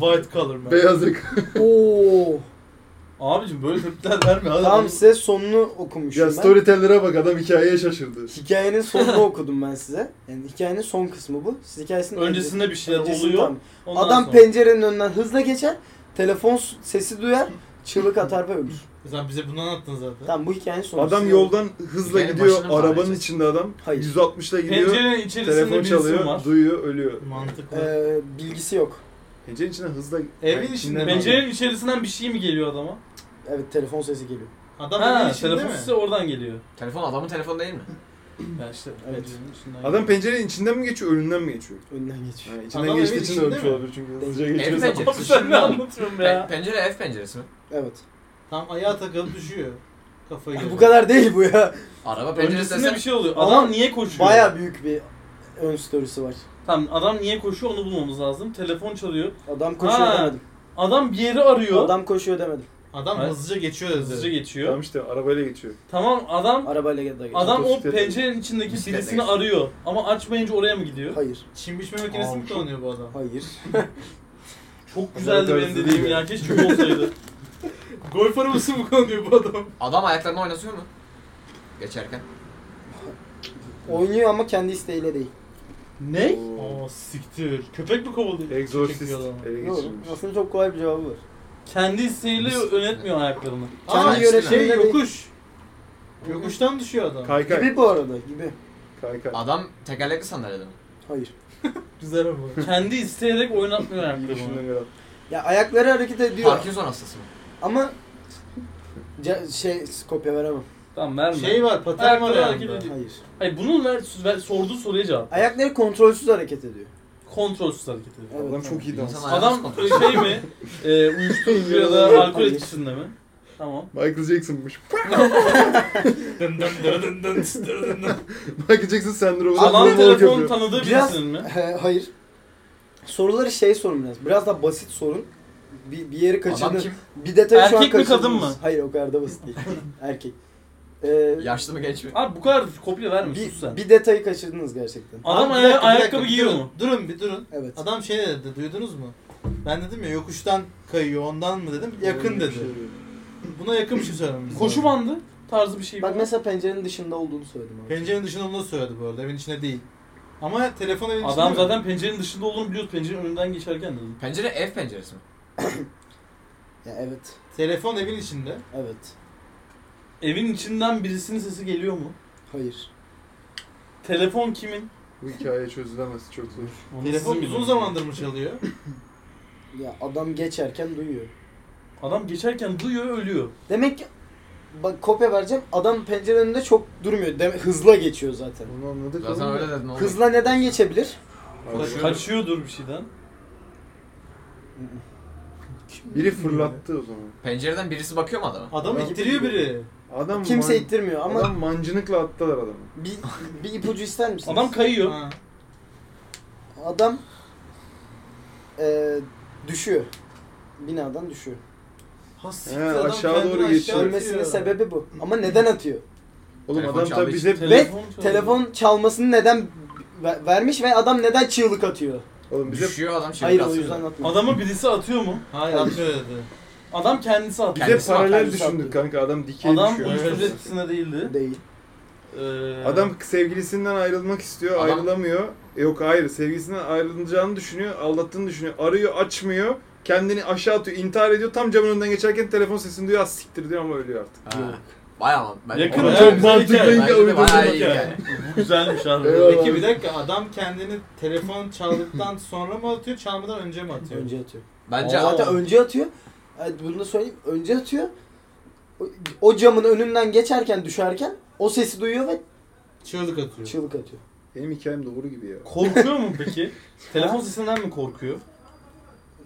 White color man. Beyaz yaka. Oo. Abicim böyle tepkiler verme. Adam Tamam size sonunu okumuşum Ya ben. storyteller'e bak adam hikayeye şaşırdı. Hikayenin sonunu okudum ben size. Yani hikayenin son kısmı bu. Siz hikayesinin öncesinde bir şeyler öncesini oluyor. tam- Ondan Adam sonra- pencerenin önünden hızla geçer. Telefon s- sesi duyar. Çığlık atar ve ölür. Sen bize bunu anlattın zaten. Tamam bu hikayenin sonu. Adam Siz- yoldan hızla Hikayenin gidiyor, başını mı arabanın anlatacağız? içinde adam. Hayır. 160'la gidiyor, Pencerenin içerisinde telefon birisi var. çalıyor, duyuyor, ölüyor. Mantıklı. Ee, bilgisi yok. Pencerenin içinde hızla... Evin içinde mi? Pencerenin içerisinden bir şey mi geliyor adama? Evet telefon sesi geliyor. Adam ha, evin içinde telefon mi? sesi oradan geliyor. Telefon adamın telefonu değil mi? Ya işte Evet. pencerenin içinden Adam pencerenin içinden mi geçiyor, önünden mi geçiyor? Önünden geçiyor. Yani içinden Adam geçtiği evin için içinde ölmüş mi? olabilir çünkü hızlıca Ev geçiyor. Abi penceresi. sen ne anlatıyorsun be Pe- ya? pencere ev penceresi mi? Evet. Tam ayağa takılıp düşüyor. Kafayı Bu görüyor. kadar değil bu ya. Araba penceresi Öncesinde desen bir şey oluyor. Adam Adam niye koşuyor? Baya büyük bir ön storiesi var. Tamam adam niye koşuyor onu bulmamız lazım. Telefon çalıyor. Adam koşuyor Ha, demedim. Adam bir yeri arıyor. Adam koşuyor demedim. Adam Evet. hızlıca geçiyor dedi. hızlıca geçiyor. Tamam işte arabayla geçiyor. Tamam adam Arabayla geldi. adam o Bisiklet. pencerenin içindeki Bisiklet birisini neyse. arıyor. Ama açmayınca oraya mı gidiyor? Hayır. Çim biçme makinesi mi kullanıyor bu adam? Hayır. Çok güzeldi benim tarzı dediğim değil ya. Keşke bu olsaydı. Golf arabası mı kullanıyor bu adam? adam ayaklarını oynatıyor mu? Geçerken. Oynuyor ama kendi isteğiyle değil. ne? Oo. Aa siktir. Köpek mi kovalıyor? Exorcist Çekiyor adamı. ele Doğru. geçirilmiş. Aslında çok kolay bir cevabı var. Kendi isteğiyle yönetmiyor ayaklarını. Aa, Kendi işte Şey yönetiminde değil. yokuş. Yokuştan düşüyor adam. Kaykay. Gibi bu arada gibi. Kaykay. Adam tekerlekli sandalyede mi? Hayır. Güzel ama. Kendi isteyerek oynatmıyor ayaklarını. Düşündüğüm yer. Ya ayakları hareket ediyor Parkinson hastası mı? ama ce- şey kopya veremem. Tamam verme. Şey var paten var Ayakları hareket ayağında. ediyor. Hayır. Hayır bunun ver, ver, sorduğu soruya cevap. Ayakları kontrolsüz hareket ediyor. Kontrolsüz hareket ediyor. Evet. Adam çok iyi dans. İnsan ayağını nasıl Adam kontrol ediyor? şey mi? e, uyuşturucu ya da alkol etkisinde mi? Tamam. Michael Jackson'mış. Dın dın dın dın dın dın dın. Michael Jackson sendromu. Adam Sendromu telefon yapıyor. tanıdığı Biraz- birisinin mi? He, Hayır. Soruları şey sorun biraz. Biraz daha basit sorun. Bir, bir yeri Adam kaçırdın. kim? Bir detayı şu an Erkek mi, kadın kaçırdınız. mı? Hayır o kadar da basit değil. Erkek. Ee, Yaşlı mı genç mi? Abi bu kadar kopya verme sus sen. bir, bir detayı kaçırdınız gerçekten. Adam Abi, bir aya- dakika, bir dakika, ayakkabı bir giyiyor durun, mu? Durun bir durun. Evet. Adam şey dedi duydunuz mu? Ben dedim ya yokuştan kayıyor ondan mı dedim. Yakın dedi. şey Buna yakın bir şey söylemiş. Koşu bandı tarzı bir şey. Bak bu. mesela pencerenin dışında olduğunu söyledim abi. Pencerenin dışında onu da söyledi bu arada evin içinde değil. Ama telefon evin içinde Adam mi? zaten pencerenin dışında olduğunu biliyoruz. Pencerenin önünden geçerken dedim. Pencere ev penceresi mi? Ya evet. Telefon evin içinde. Evet. Evin içinden birisinin sesi geliyor mu? Hayır. Telefon kimin? Bu hikaye çözülemez çok zor. Telefon Sizin uzun mi? zamandır mı çalıyor? Ya adam geçerken duyuyor. Adam geçerken duyuyor ölüyor. Demek ki bak kopya vereceğim. Adam pencerenin önünde çok durmuyor. Dem hızla geçiyor zaten. Onu anladık Zaten oğlum da. öyle dedin oğlum. Hızla neden geçebilir? Kaçıyor. Kaçıyordur bir şeyden. Biri fırlattı o zaman. Pencereden birisi bakıyor mu adama? Adamı ittiriyor biri. Adam Kimse man- ittirmiyor ama Adam mancınıkla attılar adamı. bir, bir ipucu ister misiniz? Adam kayıyor. Ha. Adam eee, düşüyor. Binadan düşüyor. Ha, siktir, He, adam aşağı kendini doğru geçiyor. atıyor. Ölmesinin sebebi bu. Ama neden atıyor? Oğlum Telefon adam çaldı tabi bize... çalıyor. Telefon çalmasını neden ver- vermiş ve adam neden çığlık atıyor? Oğlum bize... Düşüyor adam çığlık Hayır o atıyor. yüzden atmıyor. Adamı birisi atıyor mu? Hayır atıyor dedi. Adam kendisi atıyor. Bize Kendisi paralel kendisi düşündük attı. kanka adam dikey Adam şey düşüyor. uyuşturucu etkisinde değildi. Değil. Ee, Adam sevgilisinden ayrılmak istiyor, Adam- ayrılamıyor. Yok hayır, sevgilisinden ayrılacağını düşünüyor, aldattığını düşünüyor. Arıyor, açmıyor. Kendini aşağı atıyor, intihar ediyor. Tam camın önünden geçerken telefon sesini duyuyor, "Ah, siktir diyor ama ölüyor artık. Ha. Bayağı man- ben- Yakın Bayağı- çok Bence de mantıklı bayağı hikaye, iyi uydurma yani. bu güzelmiş abi. Eyvallah. Peki bir dakika adam kendini telefon çaldıktan sonra mı atıyor çalmadan önce mi atıyor? Önce atıyor. Bence Aa. adam Zaten önce atıyor. Evet, Bunu da söyleyeyim. Önce atıyor. O- O camın önünden geçerken düşerken o sesi duyuyor ve Çığlık atıyor. çığlık atıyor. Benim hikayem doğru gibi ya. Korkuyor mu peki? Telefon sesinden mi korkuyor?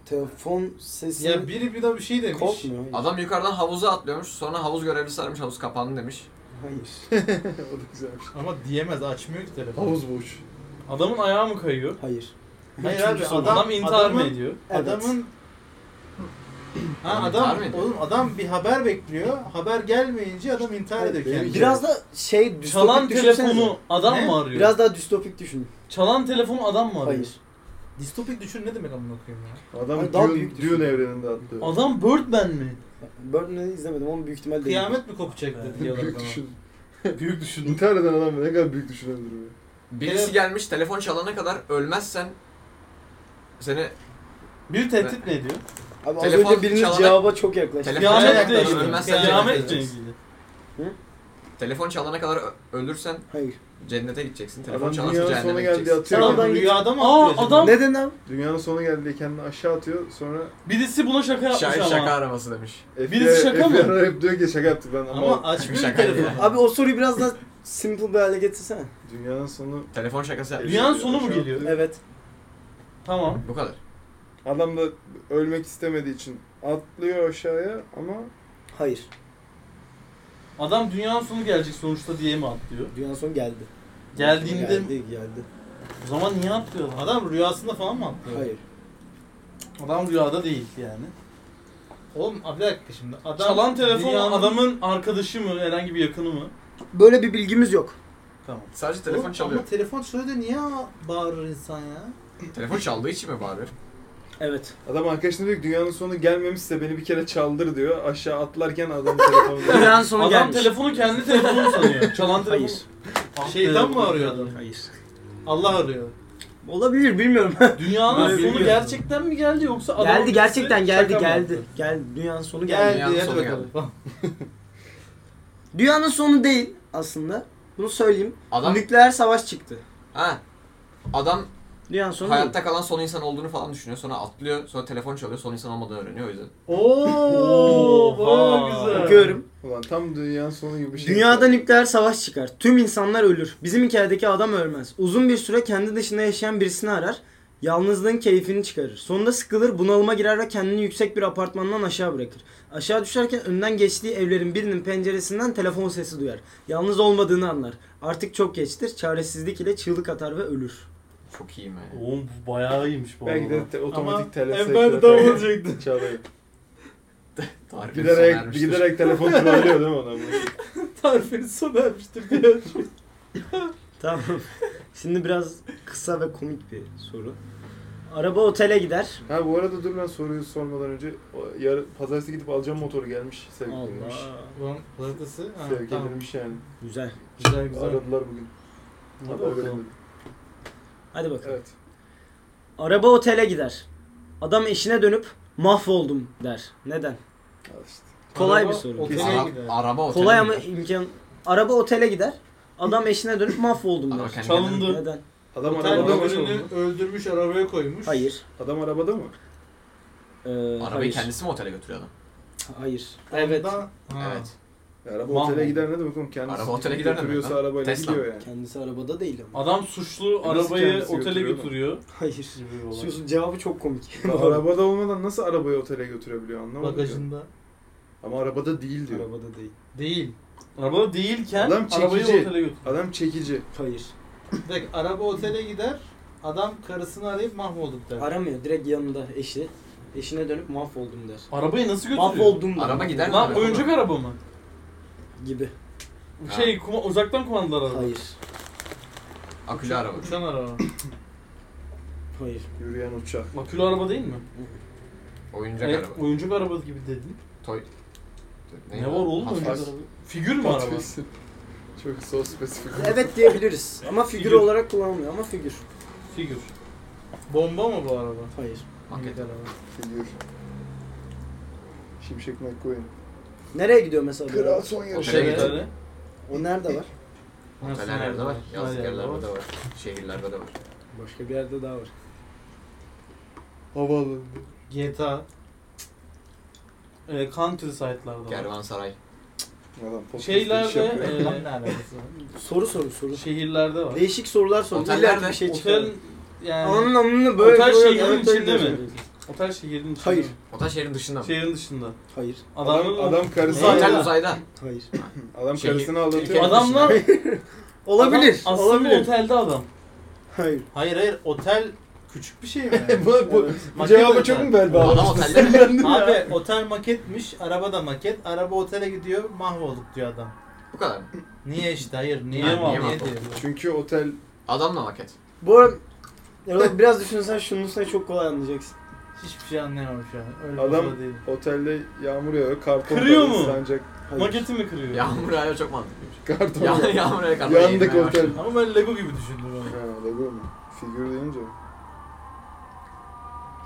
Telefon sesi Ya biri bir de bir şey demiş. korkmuyor. Hayır. adam yukarıdan havuza atlıyormuş. Sonra havuz görevlisi aramış havuz kapandı demiş. Hayır. o da güzelmiş. Ama diyemez açmıyor ki telefonu. Havuz boş. Adamın ayağı mı kayıyor? Hayır. Hayır abi Adam, adam, intihar mı adamın- ediyor? Evet. Adamın Ha Adam intihar adam mı ediyor? oğlum adam bir haber bekliyor. Haber gelmeyince adam intihar ediyor kendini. Biraz da şey distopik Çalan düşünsenize. telefonu adam Ne? mı arıyor? Biraz daha distopik düşünün. Çalan telefonu adam mı arıyor? Hayır. distopik düşün ne demek amına koyayım ya? Adam Ay, daha Dune, büyük Dune evreninde attı. Adam Birdman mi? Birdman'ı izlemedim ama büyük ihtimal değil. Kıyamet mi kopacak dedi diyorlar Büyük bana. düşün. Büyük düşün. İntihar eden adam ne kadar büyük düşünendir bu. Birisi Evet. gelmiş telefon çalana kadar ölmezsen seni Bir tehdit ne ediyor? Abi az Telefon önce biriniz çalana- cevaba çok yaklaştı. Telefon- Kıyamet Kıyamet de işte. işte. Ölmezsen Kıyamet cennet. cengi. telefon çalana kadar ö- ölürsen Hayır. cennete gideceksin. Telefon Adam çalarsa dünyanın sonu cehenneme geldi gideceksin. atıyor. Adam- Oradan git. Rüyada mı Aa, atlıyor adam- Neden abi? Dünyanın sonu geldi diye kendini aşağı atıyor. Sonra Birisi buna şaka yapmış Şair ama. şaka araması demiş. FBI, Birisi şaka mı? FBI arayıp diyor ki şaka yaptık lan acaba? ama, Ama açmıyor ki Şaka değil. telefonu. Abi o soruyu biraz daha simple bir hale getirsene. dünyanın sonu Telefon şakası yapmış. Dünyanın sonu mu Aşağı geliyor? atıyor. Evet. Tamam. Bu kadar. Adam da ölmek istemediği için atlıyor aşağıya ama Hayır. Adam dünyanın sonu gelecek sonuçta diye mi atlıyor? Dünyanın sonu geldi. Geldiğinde Geldi, geldi. o zaman niye atlıyor? lan? Adam rüyasında falan mı atlıyor? Hayır. Adam rüyada değil yani. Oğlum bir dakika şimdi. Adam Çalan telefon dünyanın- adamın arkadaşı mı? Herhangi bir yakını mı? Böyle bir bilgimiz yok. Sadece telefon Oğlum çalıyor. Ama telefon çalıyor da niye bağırır insan ya? Telefon çaldığı için mi bağırıyor? Evet. adam arkadaşına diyor ki dünyanın sonu gelmemişse beni bir kere çaldır diyor. Aşağı atlarken adam telefonu Dünyanın sonu adam gelmiş. telefonu kendi telefonu sanıyor. Çalan telefon. Hayır. Ah be, Şeytan bu mı arıyor adam? Hayır. Allah arıyor. Olabilir bilmiyorum. Dünyanın Ben sonu bilmiyorum. gerçekten mi geldi yoksa adamın geldi birisi gerçekten geldi şaka mı geldi. yaptı? Geldi dünyanın sonu geldi. Geldi Dünyanın hadi sonu bakalım. Dünyanın sonu değil aslında. Bunu söyleyeyim. Adam Nükleer savaş çıktı. ha adam Dünyanın sonu hayatta kalan son insan olduğunu falan düşünüyor. Sonra atlıyor. Sonra telefon çalıyor. Son insan olmadığını öğreniyor o yüzden. Oo, Oha. baya değil. güzel. Okuyorum. Ulan tam dünyanın sonu gibi bir şey. Dünyada nükleer savaş çıkar. Tüm insanlar ölür. Bizim hikayedeki adam ölmez. Uzun bir süre kendi dışında yaşayan birisini arar. Yalnızlığın keyfini çıkarır. Sonunda sıkılır, bunalıma girer ve kendini yüksek bir apartmandan aşağı bırakır. Aşağı düşerken önden geçtiği evlerin birinin penceresinden telefon sesi duyar. Yalnız olmadığını anlar. Artık çok geçtir. Çaresizlik ile çığlık atar ve ölür. Çok iyiyim yani. Oğlum bu bayağı iyiymiş bu Belki arada. de te- otomatik telefon. evvel davul çekti. Çalıyor. Tarifimiz sona Giderek, ermiştir. giderek telefon trollüyor değil mi ona? harfini sona ermiştir diye. Tamam. Şimdi biraz kısa ve komik bir soru. Araba otele gider. Ha bu arada dur ben soruyu sormadan önce o yar, pazartesi gidip alacağım motoru gelmiş. Sevgilimmiş. Ulan pazartesi. Ha, tamam. Sevgilimmiş yani. Güzel. Güzel güzel. Aradılar bugün. Hadi Haber bakalım. veremedim. Hadi bakalım. Evet. Araba otele gider. Adam eşine dönüp mahvoldum der. Neden? Al işte. Kolay Araba bir soru. otele Ara- gider. araba otele Kolay mi ama gider? imkan... Araba otele gider. Adam eşine dönüp mahvoldum Araba der. kendi kendine- Çalındı. Neden? Adam Otel arabada mı? müdürünü öldürmüş arabaya koymuş. Hayır. Adam arabada mı? Ee, Arabayı hayır. kendisi mi otele götürüyor adam? Hayır. Evet. Evet. Ya Araba Mahvoldum. otele gider ne demek oğlum? Kendisi Araba otele gider ne demek götürüyorsa lan? arabayla Tesla. gidiyor yani. Kendisi arabada değil ama. Adam suçlu Nasıl arabayı kendisi otele götürüyor lan? götürüyor. Hayır. Gibi bir olay. Susun cevabı çok komik. Lan arabada olmadan nasıl arabayı otele götürebiliyor anlamadım. ya. Bagajında. Ama arabada değil diyor. Arabada değil. Değil. Arabada değilken Adam çekici. arabayı otele götürüyor. Adam çekici. Hayır. Bir dakika, araba otele gider. Adam karısını arayıp mahvolduk der. Aramıyor. Direkt yanında eşi. Eşine dönüp mahvoldum der. Arabayı nasıl götürüyor? Mahvoldum der. Araba gider mi? Lan Araba oyuncak mı? araba mı? Gibi. Şey kuma, uzaktan kumandalı araba. Hayır. Akülü araba. Uçan araba. Hayır. Yürüyen uçak. Akülü araba değil mi? Oyuncak Evet, araba. oyuncak araba gibi dedin. Toy. Ne, var oğlum Hot oyuncak Wheels. araba? Figür mü araba? Patrice'in. Çok so spesifik. Evet diyebiliriz. Ama figür Figür. olarak kullanılmıyor ama figür. Figür. Bomba mı bu araba? Hayır. Maket. Figür. Şimşek McQueen. Nereye gidiyor mesela? bu araba? Kral son yarışı. Otele Evet. gider. O nerede var? Şey, Nasıl Her yerde var. Yazlık Her yerde yerlerde de var. Şehirlerde de var. Başka bir yerde daha var. Havalı. GTA. Ee, country site'larda var. Kervansaray. Adam podcast Şeylerde, iş yapıyor. Ee, Lan Şey ne alakası var? Soru soru soru. Şehirlerde var. Değişik sorular sor. Otel İlla ki nerede? bir şey çıkar. Otel yani Anın anını böyle Otel böyle şeyinin yanıtlayın içinde diyor. mi? otel şehrin içinde. Hayır. Otel şehrin dışında Şey, mı? Şehrin dışında. Hayır. Adam, adam karısı Zaten- Otel adam, uzayda. Hayır. Şey- karısını aldatıyor. Ülkenin Adamlar Olabilir. Adam, aslında Olabilir. otelde adam. Hayır. Hayır hayır otel küçük bir şey mi? bu, bu Maket cevabı otel. çok mu bel bağlı? Adam otelde mi? Abi otel maketmiş, araba da maket. Araba otele gidiyor, mahvolduk diyor adam. Bu kadar. Niye işte hayır niye Niye niye, mahvolduk? diyor. Çünkü otel Adamla maket. Bu arada Ya oğlum biraz düşünsen şunun üstüne çok kolay anlayacaksın. Hiçbir şey anlayamam şu an. Öyle Adam- adam... değil. otelde yağmur yağıyor. Karton Kırıyor parası mu? Ancak Hayır. Maketi mi kırıyor? Yağmur ayağı çok mantıklıymış. karton. Ya, yağmur ayağı karmaya Yandık girmeye otel. başladı. Ama ben Lego gibi düşündüm onu. Ha, Lego mu? Figür deyince.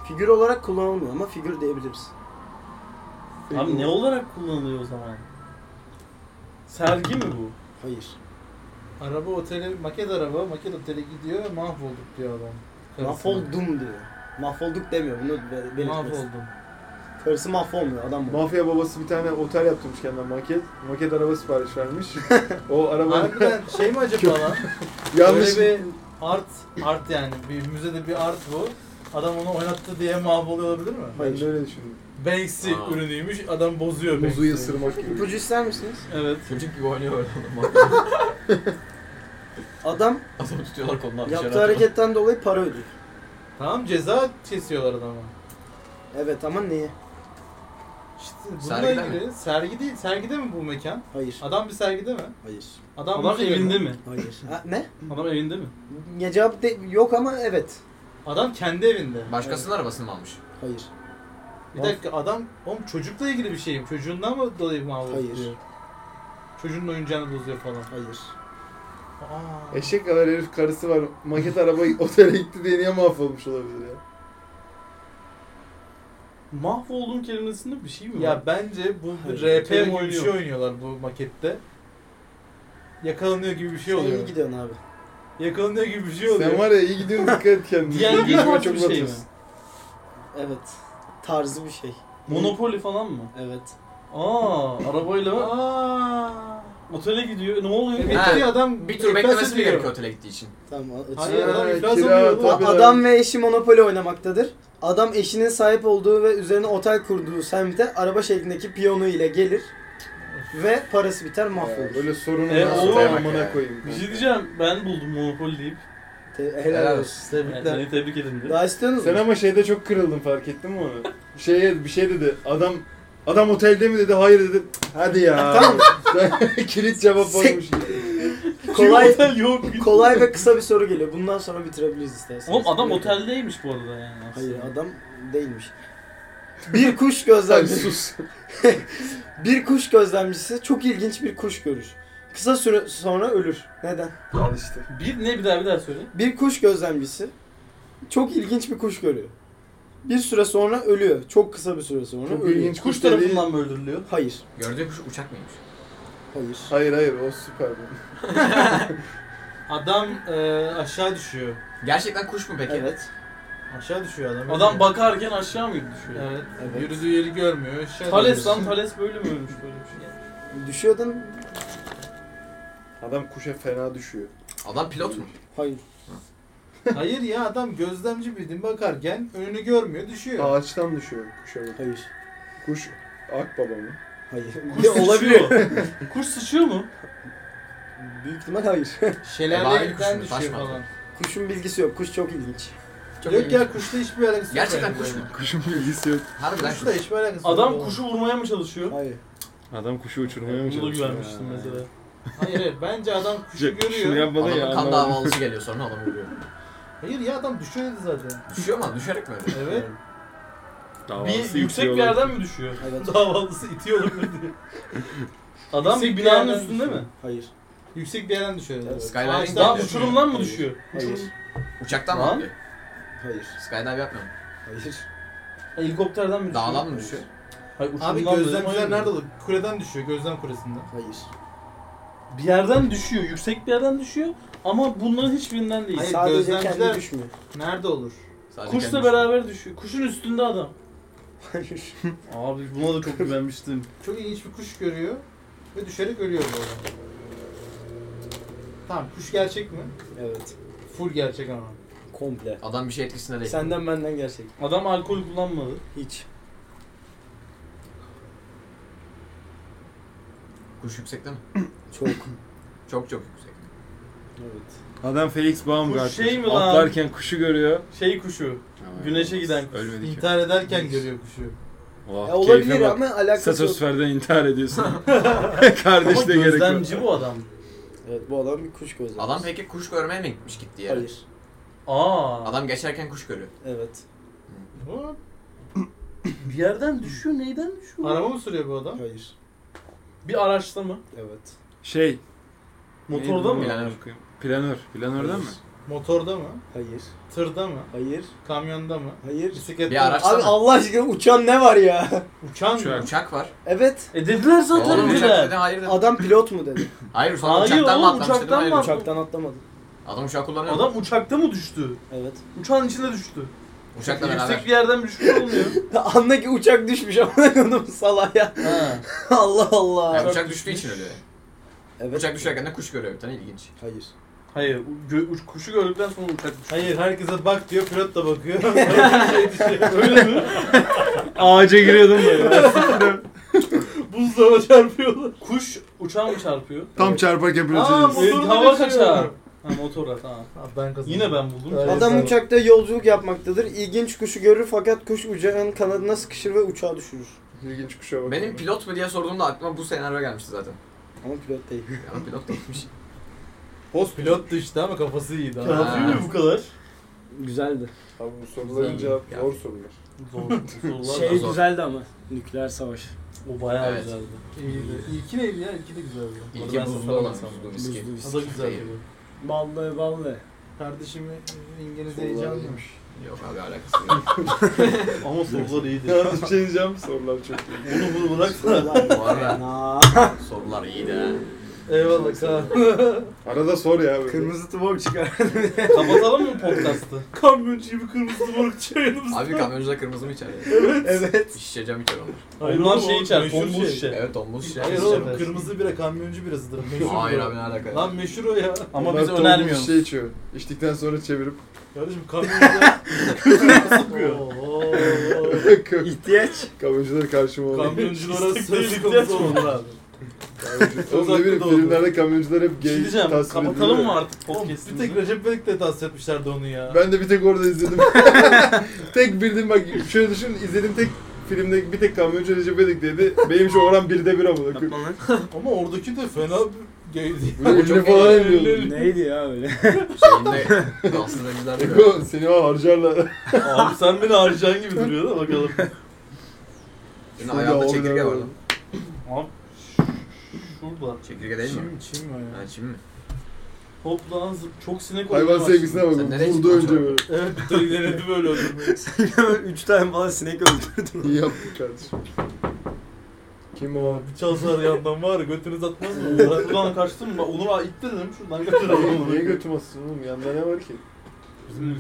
Figür olarak kullanılmıyor ama figür diyebiliriz. Abi ne olarak kullanılıyor o zaman? Sergi mi bu? Hayır. Araba otele, maket araba, maket otele gidiyor, mahvolduk diyor adam. Karısına. Mahvoldum diyor. Mahvolduk demiyor. Bunu be- belirtmez. Mahvoldum. Karısı mahvolmuyor adam bu. Mafya babası bir tane otel yaptırmış kendine maket. Maket araba sipariş vermiş. o araba Harbiden şey mi acaba lan? yanlış. Böyle bir art, art yani. Bir müzede bir art bu. Adam onu oynattı diye mahvoluyor olabilir mi? Ben de öyle düşündüm. Banksy Aa. ürünüymüş. Adam bozuyor Muzu Banksy'yi. ısırmak gibi. İpucu ister misiniz? Evet. Çocuk gibi oynuyor orada. Adam Adam tutuyorlar kolundan dışarı yaptığı atıyor. hareketten dolayı para ödüyor. Tamam ceza kesiyorlar adama. Evet ama neye? İşte bununla Sergide ilgili sergi değil. Sergide mi bu mekan? Hayır. Adam bir sergide mi? Hayır. Adam, şey Adam şey müzede evinde mi? Hayır. Ha, ne? Adam evinde mi? Ya cevap de- yok ama evet. Adam kendi evinde. Başkasının arabasını mı almış? Hayır. Bir dakika adam oğlum çocukla ilgili bir şey mi? Çocuğundan mı dolayı mı havlu Hayır. tutuyor? Çocuğunun oyuncağını bozuyor falan. Hayır. Aa. Eşek kadar herif karısı var. Maket araba otele gitti diye niye mahvolmuş olabilir ya? Mahvoldum kelimesinde bir şey mi var? Ya bence bu Hayır. RP Otele gibi bir oynuyor. şey oynuyorlar bu makette. Yakalanıyor gibi bir şey Sen iyi oluyor. gidiyorsun abi. Yakalanıyor gibi bir şey oluyor. Sen var ya iyi gidiyorsun dikkat et kendine. D&D Gözüme tarzı bir şey mi? batıyorsun. Evet. Tarzı bir şey. Monopoly falan mı? Evet. Aa, arabayla Aa. otele gidiyor. Ne oluyor? Evet Ha, diyor adam Bir tur beklemesi mi gerekiyor otele gittiği için? Tamam. a- Hayır Ha, adam iflas kira, oluyor. oğlum. tabii. A- Adam ve eşi monopoli oynamaktadır. Adam eşinin sahip olduğu ve üzerine otel kurduğu semte araba şeklindeki piyonu ile gelir ve parası biter Ya, mahvolur. Böyle sorun E, olmaz. oğlum. Tamam, amına koyayım. Bir şey diyeceğim. Ben buldum Monopoly deyip. Te- helal, Helal olsun. olsun. Yani Tebrikler. seni tebrik edin. de. Daha istiyorsunuz Sen mu? ama şeyde çok kırıldın fark ettin mi onu? Şeye bir şey dedi. Adam Adam otelde mi dedi? Hayır dedi. Hadi ya. tamam. Kilit cevap olmuş. Kolay Otel yok. kolay ve kısa bir soru geliyor. Bundan sonra bitirebiliriz isterseniz. Oğlum adam oteldeymiş bu arada yani. aslında. Hayır adam değilmiş. Bir kuş gözlemcisi. bir kuş gözlemcisi çok ilginç bir kuş görür. Kısa süre sonra ölür. Neden? Al işte. Bir ne bir daha bir daha söyle. Bir kuş gözlemcisi çok ilginç bir kuş görüyor. Bir süre sonra ölüyor. Çok kısa bir süre sonra Çok ölüyor. ilginç Kuş kuş dediği... tarafından mı öldürülüyor? Hayır. Gördüğü kuş uçak mıymış? Hayır. Hayır hayır o süper. Adam aşağı düşüyor. Gerçekten kuş mu peki? Evet. Aşağı düşüyor adam. Adam bakarken aşağı mı düşüyor? Evet. Evet. Yürüdüğü yeri görmüyor. Şey Thales lan Thales böyle mi ölmüş böyle bir şey? Düşüyordun. Adam kuşa fena düşüyor. Adam pilot mu? Hayır. Hayır ya adam gözlemci bildiğin bakarken önünü görmüyor düşüyor. Ağaçtan düşüyor kuşa. bak. Hayır. Kuş akbaba mı? Hayır. Kuş Ya, olabilir. sıçıyor. Kuş sıçıyor mu? Büyük ihtimal hayır. Bahri kuş Şelaleden mu? düşüyor Taş mı? falan. atıyor? Kuşun bilgisi yok. Kuş çok ilginç. Çok yok ilginç. ya kuşla hiçbir alakası yok. Gerçekten yani kuş böyle. mu? Kuşun bilgisi yok. Harbiden kuş. Kuşla hiçbir alakası yok. Adam oğlum. kuşu vurmaya mı çalışıyor? Hayır. Adam kuşu uçurmaya mı Bunu da çalışıyor? güvenmiştim mesela. Hayır hayır bence adam kuşu Şunu görüyor. yapmadan ya. Adamın kan anlamadım. davalısı geliyor sonra adam vuruyor. Hayır ya adam düşüyor dedi zaten. Düşüyor mu? Düşerek mi? öyle? Evet. Davası Bir yüksek bir yüklüyorlar. yerden mi düşüyor? Evet. Davalısı itiyor olabilir diye. Adam Yüksek bir bir binanın yerden üstünde mi? Hayır. Yüksek bir yerden düşüyor dedi. Skyline'in Ağaçtan Daha Evet. uçurumdan mı düşüyor? Hayır. Uçaktan mı Lan. atlıyor? Hayır. Skydive yapmıyor mu? Hayır. Helikopterden mi düşüyor? Dağdan mı düşüyor? Hayır, Abi uçurumdan gözlemciler böyle- nerede olur? Kuleden düşüyor, gözlem kulesinden. Hayır. Bir yerden düşüyor, yüksek bir yerden düşüyor ama bunların hiçbirinden değil. Hayır, Sadece gözlemciler- kendi düşmüyor. Nerede olur? Sadece kendi Kuşla düşüyor. beraber düşüyor. Kuşun üstünde adam. Hayır. Abi buna da çok güvenmiştim. Çok ilginç bir kuş görüyor ve düşerek ölüyor bu adam. Tamam, kuş gerçek mi? Evet. Full gerçek ama. Komple. Adam bir şey etkisinde değil. Senden benden gerçek. Adam alkol kullanmadı. Hiç. Kuş yüksekte mi? Çok. Çok çok yüksek. evet. Adam Felix Baumgart. Kuş şey mi lan? Atlarken kuşu görüyor. Şey kuşu. Güneşe giden kuş. Ölmedi ki. İntihar ederken görüyor kuşu. Oh, Ya olabilir keyfe bak. ama alakası yok. Satosferden intihar ediyorsun. Ama Kardeş de gerek yok. gözlemci bu adam. Evet bu adam bir kuş gözlemcisi. Adam peki kuş görmeye mi gitmiş gitti yere? Hayır. Aa. Adam geçerken kuş görüyor. Evet. Bu bir yerden düşüyor. Neyden düşüyor? araba mı sürüyor bu adam? Hayır. Bir araçta mı? Evet. Şey. Motorda neydi mı? bu? Planör. Planör. Planörden mi? Motorda mı? Hayır. Tırda mı? Hayır. Kamyonda mı? Hayır. Bisiklette Bir mi? araç- Abi Allah aşkına uçan ne var ya? Uçan mı? Uçak. Uçak var. Evet. E dediler zaten Oğlum uçak dediler. dedim hayır dedim. Adam pilot mu dedi? Hayır sonra Hayır uçaktan oğlum, mı atlamış dedim uçaktan mı hayır. dedim. atlamış? Uçaktan atlamadı. Adam uçak kullanıyor. Adam uçakta mı düştü? Evet. Uçağın içinde düştü. Uçakla Yüksek beraber. bir yerden bir düşüş olmuyor. Anla ki uçak düşmüş amına koydum salak ya. ha. Allah Allah. Yani uçak düştüğü için ölüyor. Evet. Uçak düşerken de kuş görüyor bir tane ilginç. Hayır. Hayır, u- gö- uç- kuşu gördükten sonra uçak düştü. Hayır herkese bak diyor pilot da bakıyor. Öyle şey mi? Ağaca giriyordum böyle. Buzdağına çarpıyorlar. Kuş uçağa mı çarpıyor? Tam çarparken Aa pilot motorda Hava düşüyor. kaçağı. Ha motora tamam. Ha, ben kazandım. Yine ben Ee, buldum. Evet. Adam tamam. uçakta yolculuk yapmaktadır. İlginç kuşu görür fakat kuş uçağın kanadına sıkışır ve uçağı düşürür. İlginç kuşa bak. Benim pilot mu diye sorduğumda aklıma bu senaryo gelmişti zaten. Ama pilot değil. Yani pilot değilmiş. Post pilot düştü ama kafası iyiydi. Kafası Ha. Kağıtlı mı bu kadar? Güzeldi. Abi bu soruların cevap Ya. zor sorular. Zor, sorular Şey- da- güzeldi ama. Nükleer savaş. O bayağı Evet. güzeldi. İyiydi. İlki neydi ya? İlki de güzeldi. İlki Orada ben buzlu sana olan baksam. buzlu viski. Buzlu O da güzeldi. Vallahi vallahi. Kardeşimi İngiliz heyecanlı. Yok abi alakası yok. Ama sorular iyiydi. Yalnız bir şey diyeceğim sorular çok iyi. bunu bunu bırak. Bu arada sorular iyiydi ha. Eyvallah Kaan. Arada sor ya böyle. Kırmızı tubom çıkar. Kapatalım mı podcast'ı? Kamyoncu gibi kırmızı moruk çayınımız. Abi kamyoncuda kırmızı mı içer? Evet. evet. İşe cam içer onlar. Ondan şey içer, meşhur tombul şey. şişe. Evet donmuş içer. Hayır içer oğlum onlar. kırmızı bira kamyoncu birasıdır. Meşhur Hayır bu. abi ne alaka? Lan meşhur o ya. Ama Bunlar biz tombul önermiyoruz. Şey içiyor. İçtikten sonra çevirip Kardeşim kamyoncuda Oo. İhtiyaç. kamyoncuları karşıma alıyor. Kamyonculara söz İstek konusu olur abi. Oğlum ne bileyim Uzakta da oldu. filmlerde kamyoncular hep Bir şey gay diyeceğim, tasvir ediliyor. kapatalım mı artık Oğlum, bir podcast'imizi? tek Recep İvedik de tahsis etmişlerdi onu ya. Ben de bir tek orada izledim. tek bildiğim bak şöyle düşün izlediğim tek filmde bir tek kamyoncu Recep İvedik dedi. Benim şu oran birde bir amına koyayım. Yapma lan. Ama oradaki de fena bir gaydi. Bu ne çok falan eğlenceli. emiyordun. Neydi ya öyle? Şeyinde danslı rejilerde böyle. Eko seni var harcarlar. Abi sen beni harcayan gibi duruyor da bakalım. Senin ayağında Şurada çekirge var harbiden. lan. Abi şurada. Çekirge değil mi? Çim çim var ya. Ha çim mi? Hopla zıp çok sinek Hayvan olmaya sevgisine başladı. bak. Sen nereye Vurdu önce çıktın böyle. Evet bir tane denedi böyle öldürmeyi. Üç tane falan sinek öldürdüm. İyi yaptın kardeşim. Kim o? Bir çalsalar yandan var ya götünüz atmaz mı? Buradan kaçtın mı? Onur abi itti dedim şuradan kaçıralım. Niye götüm atsın oğlum? Yanında ne var ki?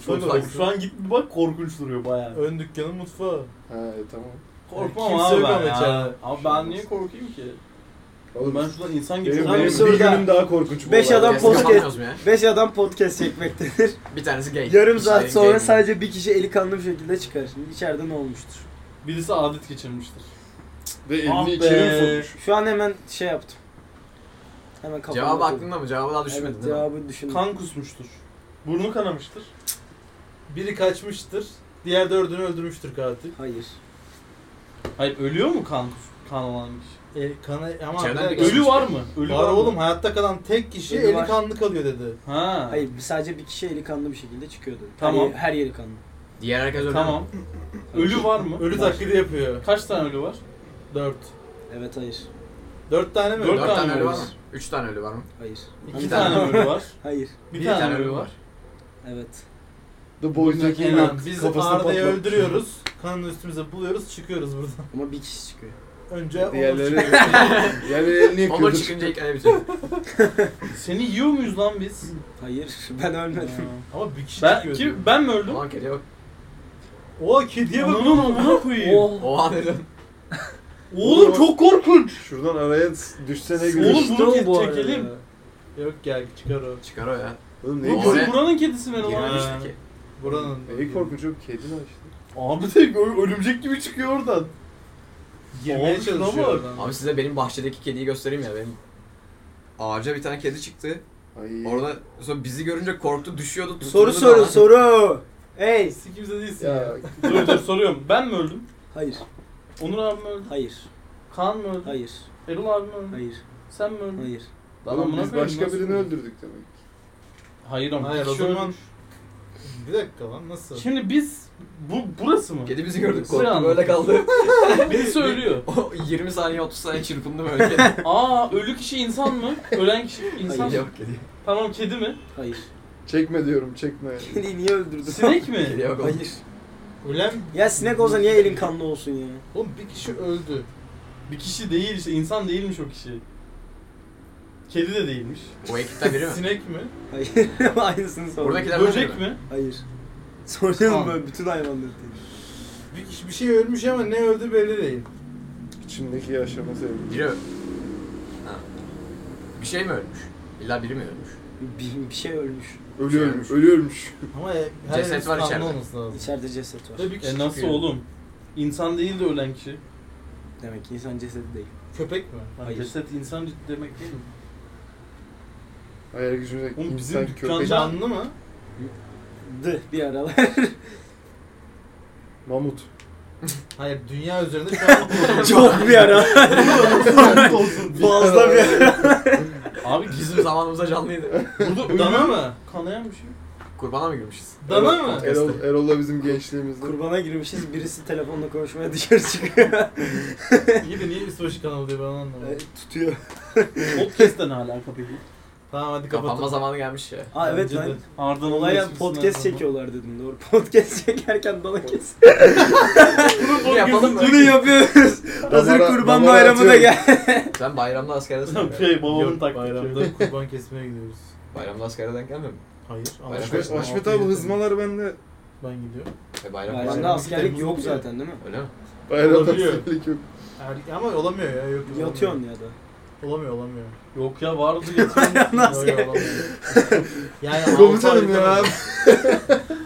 Şöyle bak, Şu an git bir bak korkunç duruyor bayağı. Ön dükkanın mutfağı. Ha e, tamam. Korkmam Kimse abi yok ben ama ya. içeride. Abi ben niye korkayım ki? Oğlum Ben şuradan insan gibi. benim, Abi benim bir soru bir daha. günüm daha korkunç. bu Beş olay. adam Biz post- kapatmıyoruz mu ya? Beş adam podcast çekmektedir. Bir tanesi gay. Yarım Bir saat tanesi sonra gay. sadece bir kişi eli kanlı bir şekilde çıkar. Şimdi içeride ne olmuştur? Birisi adet geçirmiştir. Ve Ah elini içeri mi be. sokmuş? Şu an hemen şey yaptım. Hemen kafamda. Cevabı koydum. aklında mı? Cevabı daha düşünmedin Evet, değil mi? cevabı düşündüm. Kan kusmuştur. Burnu kanamıştır. Biri kaçmıştır. Diğer dördünü öldürmüştür katil. Hayır. Hayır ölüyor mu kan kus- kan olan kişi? E, kana, ama İçeriden bir bir dakika. gözü Ölü var mı? Ölü var mı? oğlum hayatta kalan tek kişi Ölü eli var. kanlı kalıyor dedi. Ha. Hayır sadece bir kişi eli kanlı bir şekilde çıkıyordu. Tamam. Her, yeri- her yeri kanlı. Diğer herkes öyle Tamam. Ölü var mı? Ölü taklidi yapıyor. Kaç tane ölü var? Dört. Evet hayır. Dört tane mi? Dört 4 tane ölü var mı? var. 3 tane ölü var mı? Hayır. İki Bir tane ölü var. Hayır. Bir, tane, ölü var. Evet. The Boys'daki Hemen inan. Biz kafasını Arda'yı patlat. öldürüyoruz. Kanını üstümüze buluyoruz. Çıkıyoruz buradan. Ama bir kişi çıkıyor. Önce onu Diğerleri, diğerleri elini Onlar yakıyordur. çıkınca ilk ele bitiyor. Seni yiyor muyuz lan biz? Hayır. Ben ölmedim. Ama bir kişi Ben, çıkıyor. kim, ben mi öldüm? Ulan kediye bak. O kediye bak. Ananın amına koyayım. Oh. Oha dedim. Oğlum çok korkunç. Şuradan araya düşse ne Oğlum gülüş. bunu Oğlum kes- bu arada çekelim. ya. Yok gel çıkar o. Çıkar o ya. Oğlum Bu neyi Oğlum, korkunç? ne- bizim buranın kedisi mi lan? Giren Ya. işte ki. Buranın. Neyi korkunç yok? Kedi lan işte. Abi tek ö- örümcek gibi çıkıyor oradan. Girmeye Oğlum, şuna çalışıyor. bak. adam. Abi size benim bahçedeki kediyi göstereyim ya benim. Ağaca bir tane kedi çıktı. Ay. Orada sonra bizi görünce korktu düşüyordu. tutundu Soru da. soru soru. Ey. Siz kimse değilsin ya. Ya dur dur soruyorum. Ben mi öldüm? Hayır. Onur abi mi öldü? Hayır. Kaan mı öldü? Hayır. Erol abi mi öldü? Hayır. Sen mi öldün? Hayır. Lan oğlum amına biz koyayım, başka nasıl birini öldü? öldürdük demek. Hayır ama. Hayır, bir o kişi zaman- ölmüş. Bir dakika lan şey. nasıl? Şimdi biz bu burası mı? Kedi bizi Sıra gördü korktu anladım. böyle kaldı. Birisi ölüyor. O 20 saniye 30 saniye çırpındı böyle kedi. Aa ölü kişi insan mı? Ölen kişi insan Kedi mı? yok kedi. Tamam kedi mi? Hayır. Çekme diyorum çekme. Kediyi niye öldürdün? Sinek mi? Kedi yok oğlum. Hayır. Ulan Ya sinek olsa niye elin kanlı olsun ya? oğlum bir kişi öldü. Bir kişi değil işte insan değilmiş o kişi. Kedi de değilmiş. O ekipten biri mi? Sinek mi? Hayır. Aynısını sordum. Buradaki- Kedilerden Böcek biri mi? Hayır. Soruyorum Tamam. böyle bütün hayvanları değil. Bir kişi bir şey ölmüş ama ne öldü belli değil. İçimdeki yaşama sevdim. Biri ö- Ha. Bir şey mi ölmüş? İlla biri mi ölmüş? Bir, bir şey ölmüş. Ölü ölmüş. Ölü ölmüş. Ama her Ceset herif var kanlı içeride. olması lazım. İçeride ceset var. E kişi nasıl çıkıyor. oğlum? İnsan değil de ölen kişi. Hani Demek ki insan cesedi değil. Köpek mi? Hayır. Ceset insan demek değil mi? Hayal gücümüzde Oğlum bizim insan dükkanda- köpek. Canlı mı? Dı bir aralar. Mamut. Hayır dünya üzerinde canlı olsun. Çok bir ara. Fazla bir ara. Abi bizim zamanımızda canlıydı. Burada ölü Dana mü? mı? Kanayan bir şey. yok. Kurbana mı girmişiz? Dana mı? Erol, Erol'la bizim gençliğimizde. Kurbana girmişiz birisi telefonla konuşmaya dışarı çıkıyor. İyi de niye üstbaşı kanalı diyor ben onu anlamadım. E, Tutuyor. Podcast'te ne alaka peki? Tamam hadi Kapanma kapatalım. zamanı gelmiş ya. Aa evet Bence de. lan. Arda'nın Olaya geçmişinden podcast sonra. çekiyorlar dedim doğru. Podcast çekerken dana kes. Bunu yapalım mı? Bunu yapıyoruz. Hazır Damara- kurban damara bayramı da atıyorum. gel. Sen bayramda askerdesin. ya. Şey babamın Yok taktiği. bayramda kurban kesmeye gidiyoruz. bayramda askere denk gelmiyor mu? Hayır. ama Bayram- kaçtım, Haşmet altı abi yedi. hızmalar bende. Ben gidiyorum. E bayram. Bayramda Bayram. askerlik yok Temmuz zaten değil mi? Öyle mi? Bayram Olabiliyor. askerlik yok. Er- ama olamıyor ya. Yok, olamıyor. Yatıyorsun ya da. Olamıyor olamıyor. Yok ya vardı geçen. Nasıl yani Komutanım ya.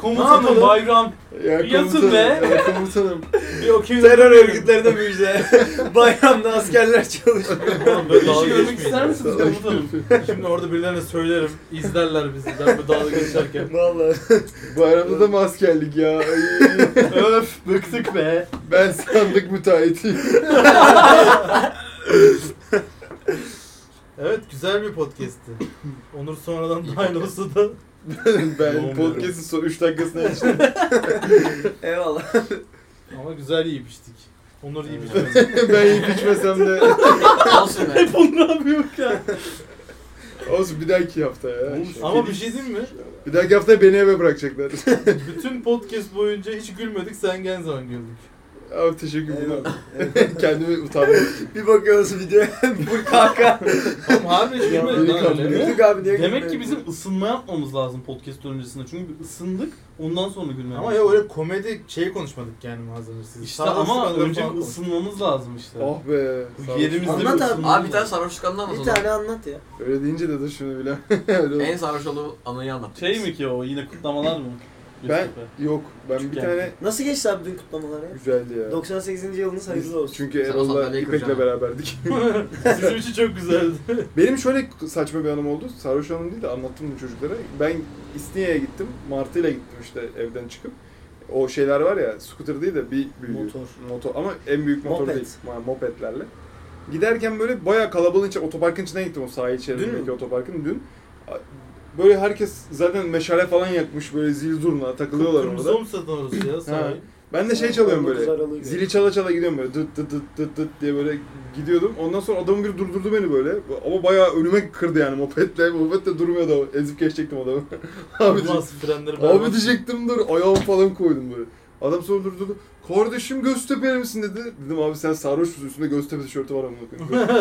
Komutanım bayram. Ya Yatın komutanım. be. Ya komutanım. Yok, terör örgütlerine müjde. Bayramda askerler çalışıyor. Oğlum böyle dalga İşi görmek geçmeyin. ister ya. misiniz komutanım? Şimdi orada birilerine söylerim. izlerler bizi. Ben böyle dalga geçerken. Vallahi. Bayramda da mı askerlik ya? Ay, Öf bıktık be. ben sandık müteahhitiyim. Evet güzel bir podcast'ti. Onur sonradan dahil olsa da. ben podcast'in son 3 dakikasına yetiştim. Eyvallah. Ama güzel yiyip içtik. Onur yiyip içmedi. ben yiyip içmesem de. Olsun be. Olsun bir dahaki hafta ya. Ama bir şey diyeyim mi? Bir dahaki hafta beni eve bırakacaklar. Bütün podcast boyunca hiç gülmedik. Sen gelen zaman güldük. Abi teşekkür ederim. Kendimi utandım. Bir bakıyoruz videoya. Bu kaka. Oğlum harbi hiç gülmedik beni lan öyle. Yürüdük abi diye. Demek ki bizim ısınma yapmamız lazım podcast öncesinde. Çünkü bir ısındık. Ondan sonra gülmeye Ama başladık. ya öyle komedi şey konuşmadık yani malzemesiz. İşte ama önce bir ısınmamız lazım işte. oh be. Bu yerimizde Anlat abi. ısınmamız Abi bir tane lazım. sarhoşluk anını anlat o Bir zaman. tane anlat ya. Öyle deyince de dur şunu bile. Öyle oldu. En sarhoş olduğu anıyı anlat. Şey mi ki o yine kutlamalar mı? Ben Yusuf'e. yok. Ben Küçük bir yani. tane Nasıl geçti abi dün kutlamaları ya? güzeldi ya. 98. yılınız hayırlı olsun. Çünkü Sen o Erol'la sandalyeyi İpek'le kıracaksın. beraberdik. Sizin için çok güzeldi. Benim şöyle saçma bir anım oldu. Sarhoş anım değil de anlattım bu çocuklara. Ben İstinye'ye gittim. Martı'yla gittim işte evden çıkıp. O şeyler var ya, scooter değil de bir büyüğü. Motor. Motor ama en büyük motor Moped. değil. Ma- Mopedlerle. Giderken böyle bayağı kalabalığın içi, otoparkın içine gittim o sahil çevresindeki otoparkın dün. A- Böyle herkes zaten meşale falan yakmış böyle zil zurna takılıyorlar Kırmızı orada. mı satın orası ya sahi? Ben de şey çalıyorum 19 böyle. Aralık'ı. Zili çala çala gidiyorum böyle dıt dıt dıt dıt dıt diye böyle gidiyordum. Ondan sonra adamın biri durdurdu beni böyle. Ama bayağı önüme kırdı yani mopedle. Moped de durmuyordu ama. Ezip geçecektim adamı. abi, diyecek- Olmaz frenleri ben. abi diyecektim dur. Ayağımı falan koydum böyle. Adam sonra durdurdu. Kardeşim Göztepe'li misin dedi. Dedim abi sen sarhoş musun? Üstünde Göztepe tişörtü var ama.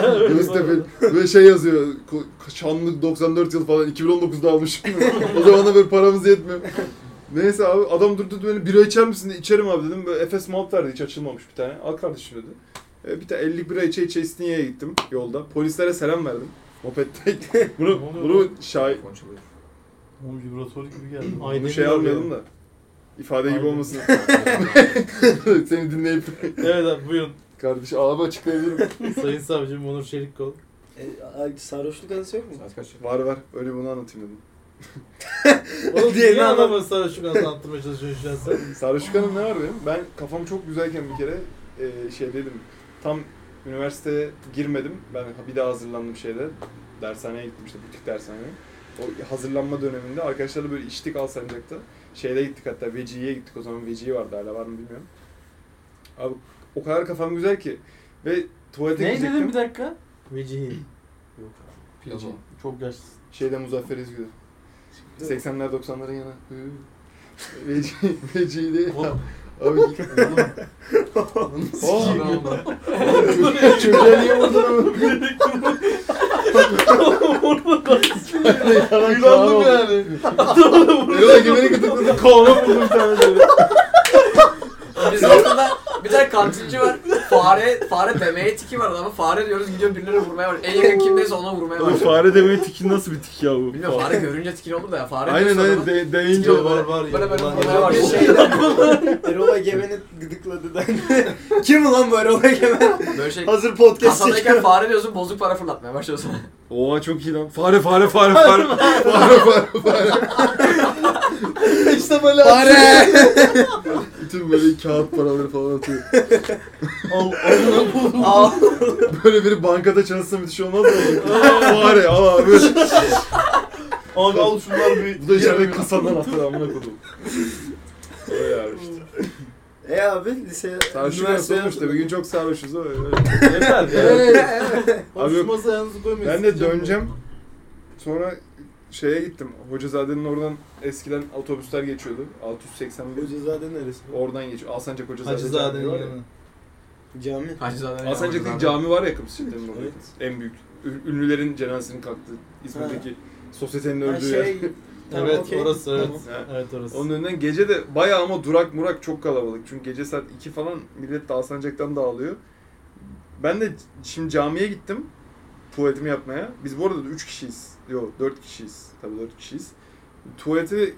Göztepe. Böyle şey yazıyor. Ko- Şanlı 94 yıl falan. 2019'da almışım. o zaman da böyle paramız yetmiyor. Neyse abi adam durdu dedi beni bira içer misin diye içerim abi dedim. Böyle Efes Malt verdi hiç açılmamış bir tane. Al kardeşim dedi. E, bir tane 50 bira içe içe İstinye'ye gittim yolda. Polislere selam verdim. Moped'de. bunu bunu şahit. Konuşuluyor. Oğlum vibratör gibi geldi. Bunu Aynı şey almayalım da. İfade gibi Aynen. olmasın. Seni dinleyip Evet abi buyurun. kardeş ağabey açıklayabilirim. Sayın savcım Onur Çelikkol. E, a- sarhoşluk anısı yok mu? Saat kaç? var var öyle bunu anlatayım dedim. Oğlum Diğerini niye anlat. adamı sarhoşluk anasını anlatmaya çalışıyorsun şu an sen? Sarhoşluk Hanım ne var benim? Ben kafam çok güzelken bir kere e, şey dedim. Tam üniversiteye girmedim. Ben bir daha hazırlandım şeyde. Dershaneye gittim işte butik dershaneye. O hazırlanma döneminde arkadaşlarla böyle içtik Alsancak'ta. Şeyde gittik hatta Vecihi'ye gittik o zaman Vecihi vardı hala var mı bilmiyorum. Abi o kadar kafam güzel ki ve tuvalete Ne gidecektim. dedim bir dakika? Vecihi. Pilav. Çok yaşlısın. Şeyde Muzaffer Ezgü. 80'ler 90'ların yanı. Hı. Veci, Veci de. Oğlum. Abi Abi ben ondan- çocuğa niye vurdun ama? Yalan Yılandım kağıt oldu. yani. Yola gömeri gıdıkladı. Koluma buldum bir tane böyle. Bizim ortada bir tane kantinci var. Fare, fare demeye tiki var ama fare diyoruz gidiyor birilerine vurmaya var. En yakın kimdeyse ona vurmaya Oğlum var. fare demeye tiki nasıl bir tik ya bu? Bilmiyorum fare görünce tikili olur da ya fare Aynen diyorsun aynen adama. de, deyince Tiki var. böyle- var ya, Böyle böyle ulan vurmaya ya. var. Erol Egemen'i gıdıkladı da. Kim ulan bu Erol Egemen? Böyle şey. Hazır podcast Kasadayken çekiyor. fare diyorsun bozuk para fırlatmaya başlıyorsun. Oha çok iyi lan. Fare fare fare fare. fare fare fare. işte böyle Fare. Bütün böyle kağıt paraları falan atıyor. Al. Böyle biri bankada çalışsa müthiş olmaz mı? Fare al abi. Abi al şunlar bir. Bu da içeride kasandan atıyor amına kodum. Öyle abi işte. E abi lise... Sarhoşluk nasıl üniversite- olmuştu? Bir gün çok sarhoşuz ama öyle. Yeter ya. Abi Abi şu yok. masaya yalnız koymayın. Ben de döneceğim. Sonra şeye gittim. Hocazade'nin oradan eskiden otobüsler geçiyordu. 681. Ucuzade neresi? Oradan geçiyor. Alsancak Hocazade. Hacızade'nin Camii var ya. yanına. Cami. Hacızade'nin Alsancak'taki cami var ya Kıbrıs Şehirleri'nin orada. En büyük. Ü- Ünlülerin cenazesinin kalktığı. İzmir'deki sosyetenin Ha, öldüğü yer. şey... Tamam, Evet okey. orası evet. Tamam. Evet orası. Onun önünden gece de bayağı ama durak murak çok kalabalık. Çünkü gece saat 2 falan millet de Alsancak'tan dağılıyor. Ben de şimdi camiye gittim. Tuvaletimi yapmaya. Biz bu arada 3 kişiyiz. Yok 4 kişiyiz. Tabii 4 kişiyiz. Tuvaleti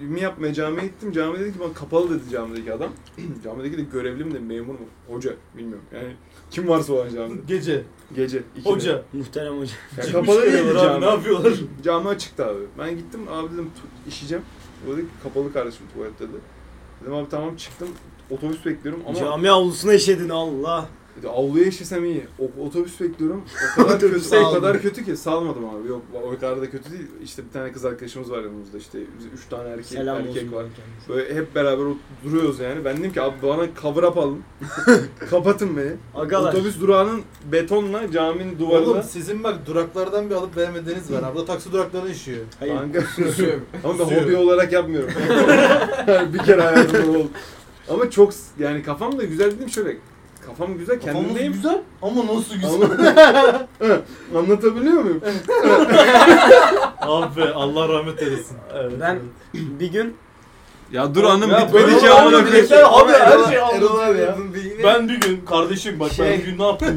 mi yapmaya camiye gittim. Cami dedi ki bana kapalı dedi camideki adam. camideki de görevli mi de memur mu? Hoca bilmiyorum. Yani kim varsa o an camide. Gece. Gece. ikide. Hoca. Muhterem hoca. Yani Çıkmış kapalı dedi geliyorlar abi, cami. Ne yapıyorlar? Cami açıktı abi. Ben gittim abi dedim tu- işeyeceğim. O dedi ki kapalı kardeşim tuvalet dedi. Dedim abi tamam çıktım. Otobüs bekliyorum ama Cami avlusuna işedin Allah. Dedi, avluya işesem iyi. O, otobüs bekliyorum. O kadar kötü, o kadar kötü ki salmadım abi. Yok o kadar da kötü değil. İşte bir tane kız arkadaşımız var yanımızda işte. Biz üç tane erkek, Selam erkek olsun. var. Böyle hep beraber ot- duruyoruz yani. Ben dedim ki abi bana cover up alın. Kapatın beni. Agalar. Otobüs durağının betonla caminin Oğlum duvarına. sizin bak duraklardan bir alıp vermediğiniz var. Abla taksi durakları işiyor. Hayır. Kanka- Susuyorum. Ama ben hobi olarak yapmıyorum. Yani bir kere hayatımda oldu. Ama çok s- yani kafam da güzel dedim şöyle. Kafam güzel Kafamız kendimdeyim. güzel ama nasıl güzel? Anla- Anlatabiliyor muyum? Abi Allah rahmet eylesin. Evet. Ben bir gün Ya dur anım Ya bitmedi böyle ki amına olmuyor koyayım. bilekler abi her Erol- şey Erol anlatıyor abi ya. yapın bir- Ben bir gün kardeşim bak ben Şey- bir gün ne yaptım?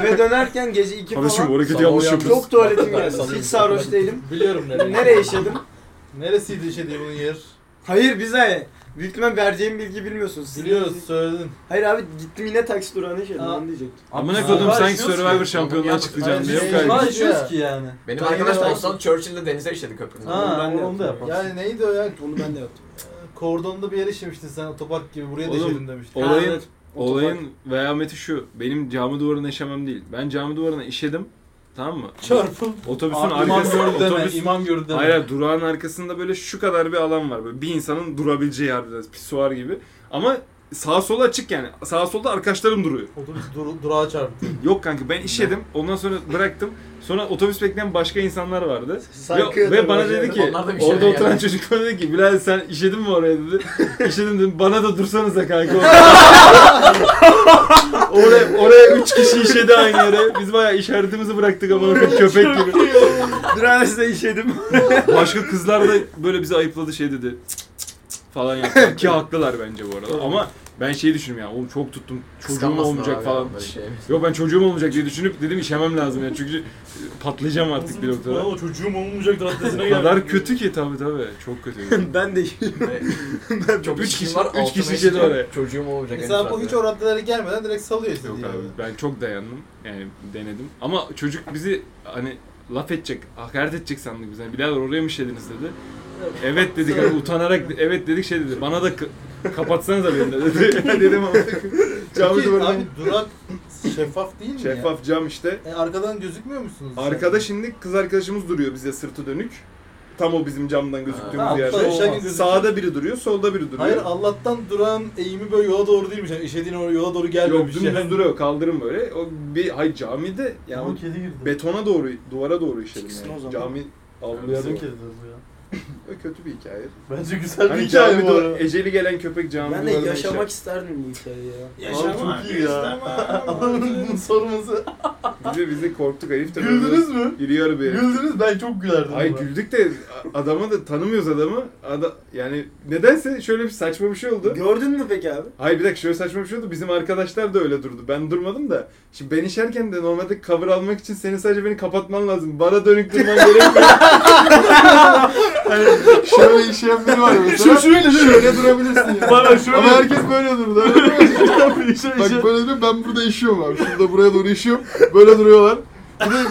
Eve dönerken gece 2 Kardeşim bu falan hareketi yanlış yapıyorsun. çok tuvaletim geldi. Hiç sarhoş değilim. Biliyorum nereye. Nereye işedim? Neresiydi işte bunun yer? Hayır bize. Büyük ihtimal vereceğim bilgi bilmiyorsunuz. Siz- Biliyoruz söyledin. Hayır abi gittim yine taksi durağına işedim. Aa. Ben diyecektim. Amına Aa, koydum sanki şey yaşıyoruz Survivor ki. şampiyonluğuna çıkacağım diye Hayır, yok şey- kaygı. yaşıyoruz ki yani. Ben Benim arkadaş yine da de- olsam Churchill'le denize işedi köprünün. Ha, ben de onu da yaptım. Yani neydi o ya? Onu ben de yaptım. Kordonda bir yere işemiştin sen otopark gibi. Buraya da Oğlum, işedin demiştin. Olayın, olayın vehameti şu. Benim cami duvarına işemem değil. Ben cami duvarına işedim. Tamam mı? Çarpıl. Otobüsün Abi, İmam arkasında gördü deme. otobüs İmam gördü deme. Hayır hayır, durağın arkasında böyle şu kadar bir alan var. Böyle bir insanın durabileceği harbiden pisuar gibi. Ama sağ sola açık yani. Sağ solda arkadaşlarım duruyor. Otobüs dur- durağa çarptı. Yok kanka ben işedim. Ondan sonra bıraktım. Sonra otobüs bekleyen başka insanlar vardı. Ve, Saygı ve bana duyuyorum. dedi ki Onlar da bir şey orada yani. oturan çocuk bana dedi ki Bilal sen işedin mi oraya dedi. İşedim dedim bana da dursanıza kanka. oraya, oraya üç kişi işedi aynı yere. Biz bayağı işaretimizi bıraktık ama köpek gibi. bir an size işedim. Başka kızlar da böyle bizi ayıpladı şey dedi. "Cık, cık, cık" falan yaptı. Ki haklılar bence bu arada. Ama ben şey düşündüm ya. Oğlum çok tuttum. Çocuğum Kıskanmasınlar olmayacak abi falan. böyle şey. Yok ben çocuğum olmayacak diye düşünüp dedim işemem lazım ya. Çünkü patlayacağım artık bir noktada. Ama çocuğum olmayacak raddesine O geldim. kadar kötü ki tabii tabii. Çok kötü. ben de Çok Üç işim kişi- var. üç altına kişi işeceğim. işedi oraya. Çocuğum olacak. Mesela E bu henüz hiç var. o raddelere gelmeden direkt salıyor Yok istediği yere. abi ben çok dayandım. Yani denedim. Ama çocuk bizi hani laf edecek, hakaret edecek sandık biz. Yani birader oraya mı işlediniz dedi. Evet dedik hani utanarak evet dedik şey dedi. Bana da k- kapatsanıza beni de dedi. Dedim ama cami Peki duvarına. abi durak şeffaf değil mi ya? Şeffaf cam işte. E, arkadan gözükmüyor musunuz? Arkada şimdi kız arkadaşımız duruyor bize sırtı dönük. Tam o bizim camdan gözüktüğümüz Ha, yerde. aptal, şagin gözüküyor. Sağda biri duruyor, solda biri duruyor. Hayır Allah'tan duran eğimi böyle yola doğru değilmiş. Yani işediğin or- yola doğru Yok gelmemiş. dümdüz yani. duruyor, kaldırım böyle. O bir hayır camide yani Ama kedi girdi. betona doğru, duvara doğru işedim Çıksın o yani. zaman. Cami avluya Bizim doğru. kedi bu ya. Ö, Kötü bir hikaye. Bence güzel bir Hani hikaye cami bu duvar, arada. eceli gelen köpek cami ben de duvarına yaşamak işer. isterdim bu hikayeyi ya. Abi çok iyi ya. Adamın bunun sorması. Bize bize korktuk herif de. Güldünüz mü? Yürüyor bir herif. Güldünüz ben çok gülerdim. Ay buna. güldük de adama da tanımıyoruz adamı. Ada, yani nedense şöyle bir saçma bir şey oldu. Gördün mü peki abi? Hayır bir dakika şöyle saçma bir şey oldu. Bizim arkadaşlar da öyle durdu. Ben durmadım da. Şimdi ben işerken de normalde cover almak için senin sadece beni kapatman lazım. Bana dönük durman gerekmiyor. hani şöyle işeyen biri var mesela. şöyle, şöyle durabilirsin ya. Bana şöyle. şey- Ama herkes böyle durdu. Bak böyle duruyor ben burada işiyorum abi. Şurada buraya doğru işiyorum. Böyle duruyorlar. Bir de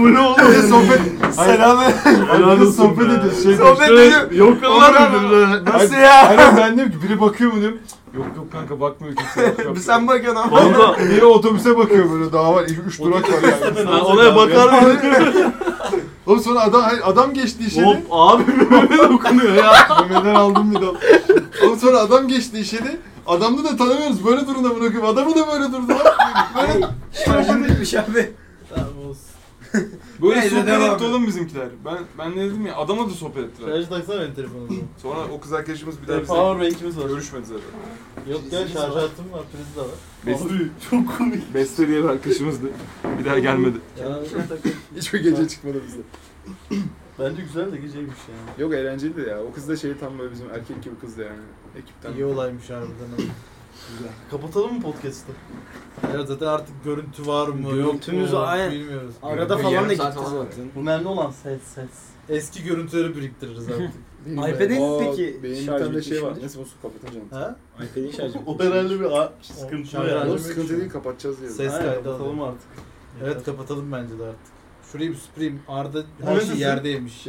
Bu ne oğlum? bir de sohbet. Selam. Selam sohbet ediyor. Şey sohbet ediyor. Yok Onlar- lan. Nasıl ya? Hani ben diyorum ki biri bakıyor mu diyorum. Yok yok kanka bakmıyor kimse. Sen bakıyorsun ama. Valla biri otobüse bakıyor böyle daha var. 3 durak var yani. Ha, Olaya bakar mı? Oğlum sonra adam hayır, adam geçti Hop işini. abi böyle dokunuyor ya. Memeden aldım bir dal. Oğlum sonra adam geçti işini. Adamı da tanımıyoruz. Böyle durun amına koyayım. Adamı da böyle durdu lan. Böyle Şarjındaymış abi. Tamam olsun. Böyle Neyse, sohbet devam etti et. oğlum bizimkiler. Ben ben ne dedim ya adama da sohbet ettiler. Şarjı taksana benim telefonumu. Sonra o kız arkadaşımız bir daha bize Şey- E, Power bank'imiz var. görüşmedi zaten. Yok ya şarj hattım var, priz de var. Abi çok komik. Beste diye bir arkadaşımızdı. Bir daha gelmedi. Ya, Hiçbir gece çıkmadı bizde. Bence güzel de geceymiş yani. Yok eğlenceliydi ya. O kız da şey tam böyle bizim erkek gibi kızdı yani. Ekipten. iyi olaymış harbiden. Güzel. Kapatalım mı podcast'ı? Ya zaten artık görüntü var mı? Görüntümüz mu? aynen. Bilmiyoruz. Arada Bir falan yarım da gitti saat falan var. zaten. Önemli olan ses ses. Eski görüntüleri biriktiririz artık. iPad'in Aa, peki Benim bir şarj tane şey bitmiş var. midir? Neyse olsun kapatacağım. ha? iPad'in şarjı O herhalde bir a- sıkıntı Şarj yani. Oğlum sıkıntı değil kapatacağız diye. Ses Aynen, kaydı kapatalım alalım. artık. Evet kapatalım bence de artık. Şurayı bir süpüreyim. Arda Ne her diyorsun? şey yerdeymiş.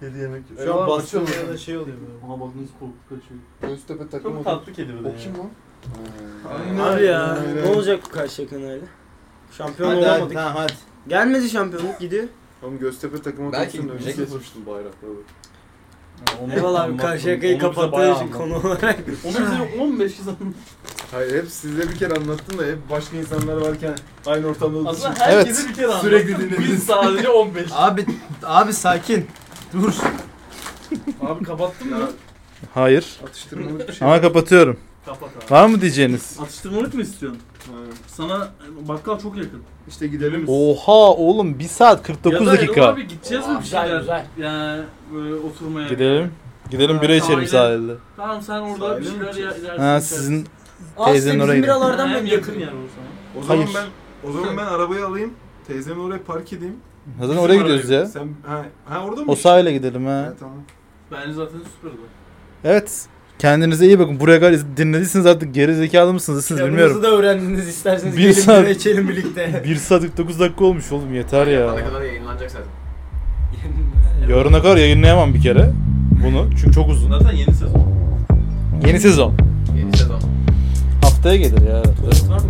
Kedi yemek yiyor. Şu an basıyorum. da şey oluyor böyle. Ona bak nasıl korkup kaçıyor. Göztepe takım Çok oldu. tatlı kedi bu da O ya. kim lan? Aynen. Abi ya Aynen. ne olacak bu karşı kanayla? Şampiyon Hadi hadi, olamadık. ha, hadi. Gelmedi şampiyonluk gidiyor. Ee, Oğlum Göztepe takımı Belki konusunda önce gidecek. kesmiştim bayrakları. Eyvallah abi karşı yakayı kapattığı için konu. konu olarak. Onu bize 15 yıl Hayır hep size bir kere anlattım da hep başka insanlar varken aynı ortamda olduğu için Aslında herkese bir kere anlattım. sürekli dinlediniz. Biz sadece 15. Abi abi sakin. Dur. Abi kapattın mı? Hayır. atıştırmalık bir şey. Ama kapatıyorum. Kapat abi. Var mı diyeceğiniz? Atıştırmalık mı istiyorsun? Aynen. Sana bakkal çok yakın. İşte gidelim. Oha oğlum 1 saat 49 ya da Erol dakika. abi gideceğiz mi bir Güzel, şeyler? güzel. Yani böyle oturmaya. Gidelim. Gidelim bira içelim sahilde. Tamam sen orada bir şeyler yer, yersin. Ha içersin. sizin Teyzenin Aslında bizim oraydı. biralardan Hem mı yakın yakın yer o zaman. O zaman Hayır. ben o zaman ben arabayı alayım. Teyzemin oraya park edeyim. zaten oraya gidiyoruz ya. Sen ha, ha orada mı? O sahile gidelim ha. Ha, tamam. Bence zaten süper olur. Evet. Kendinize iyi bakın. Buraya kadar dinlediyseniz artık geri zekalı mısınız? Siz bilmiyorum. Yanınızı da öğrendiniz isterseniz Bir gelin saat- bira içelim birlikte. 1 saat 49 dakika olmuş oğlum yeter Bana ya. kadar yayınlanacak zaten. Yarına kadar yayınlayamam bir kere bunu. Çünkü çok uzun. Zaten yeni sezon. Yeni sezon. Yeni sezon. Haftaya gelir ya. Var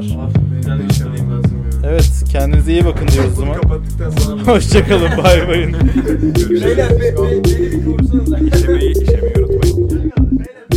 mı? Var. Ben de işlemeyeyim lazım. Evet kendinize iyi bakın diyoruz o Bunu zaman. kapattıktan sonra Hoşçakalın bay bayın. Beyler be, be, beni bir korsanız. İşemeyi, işemeyi unutmayın.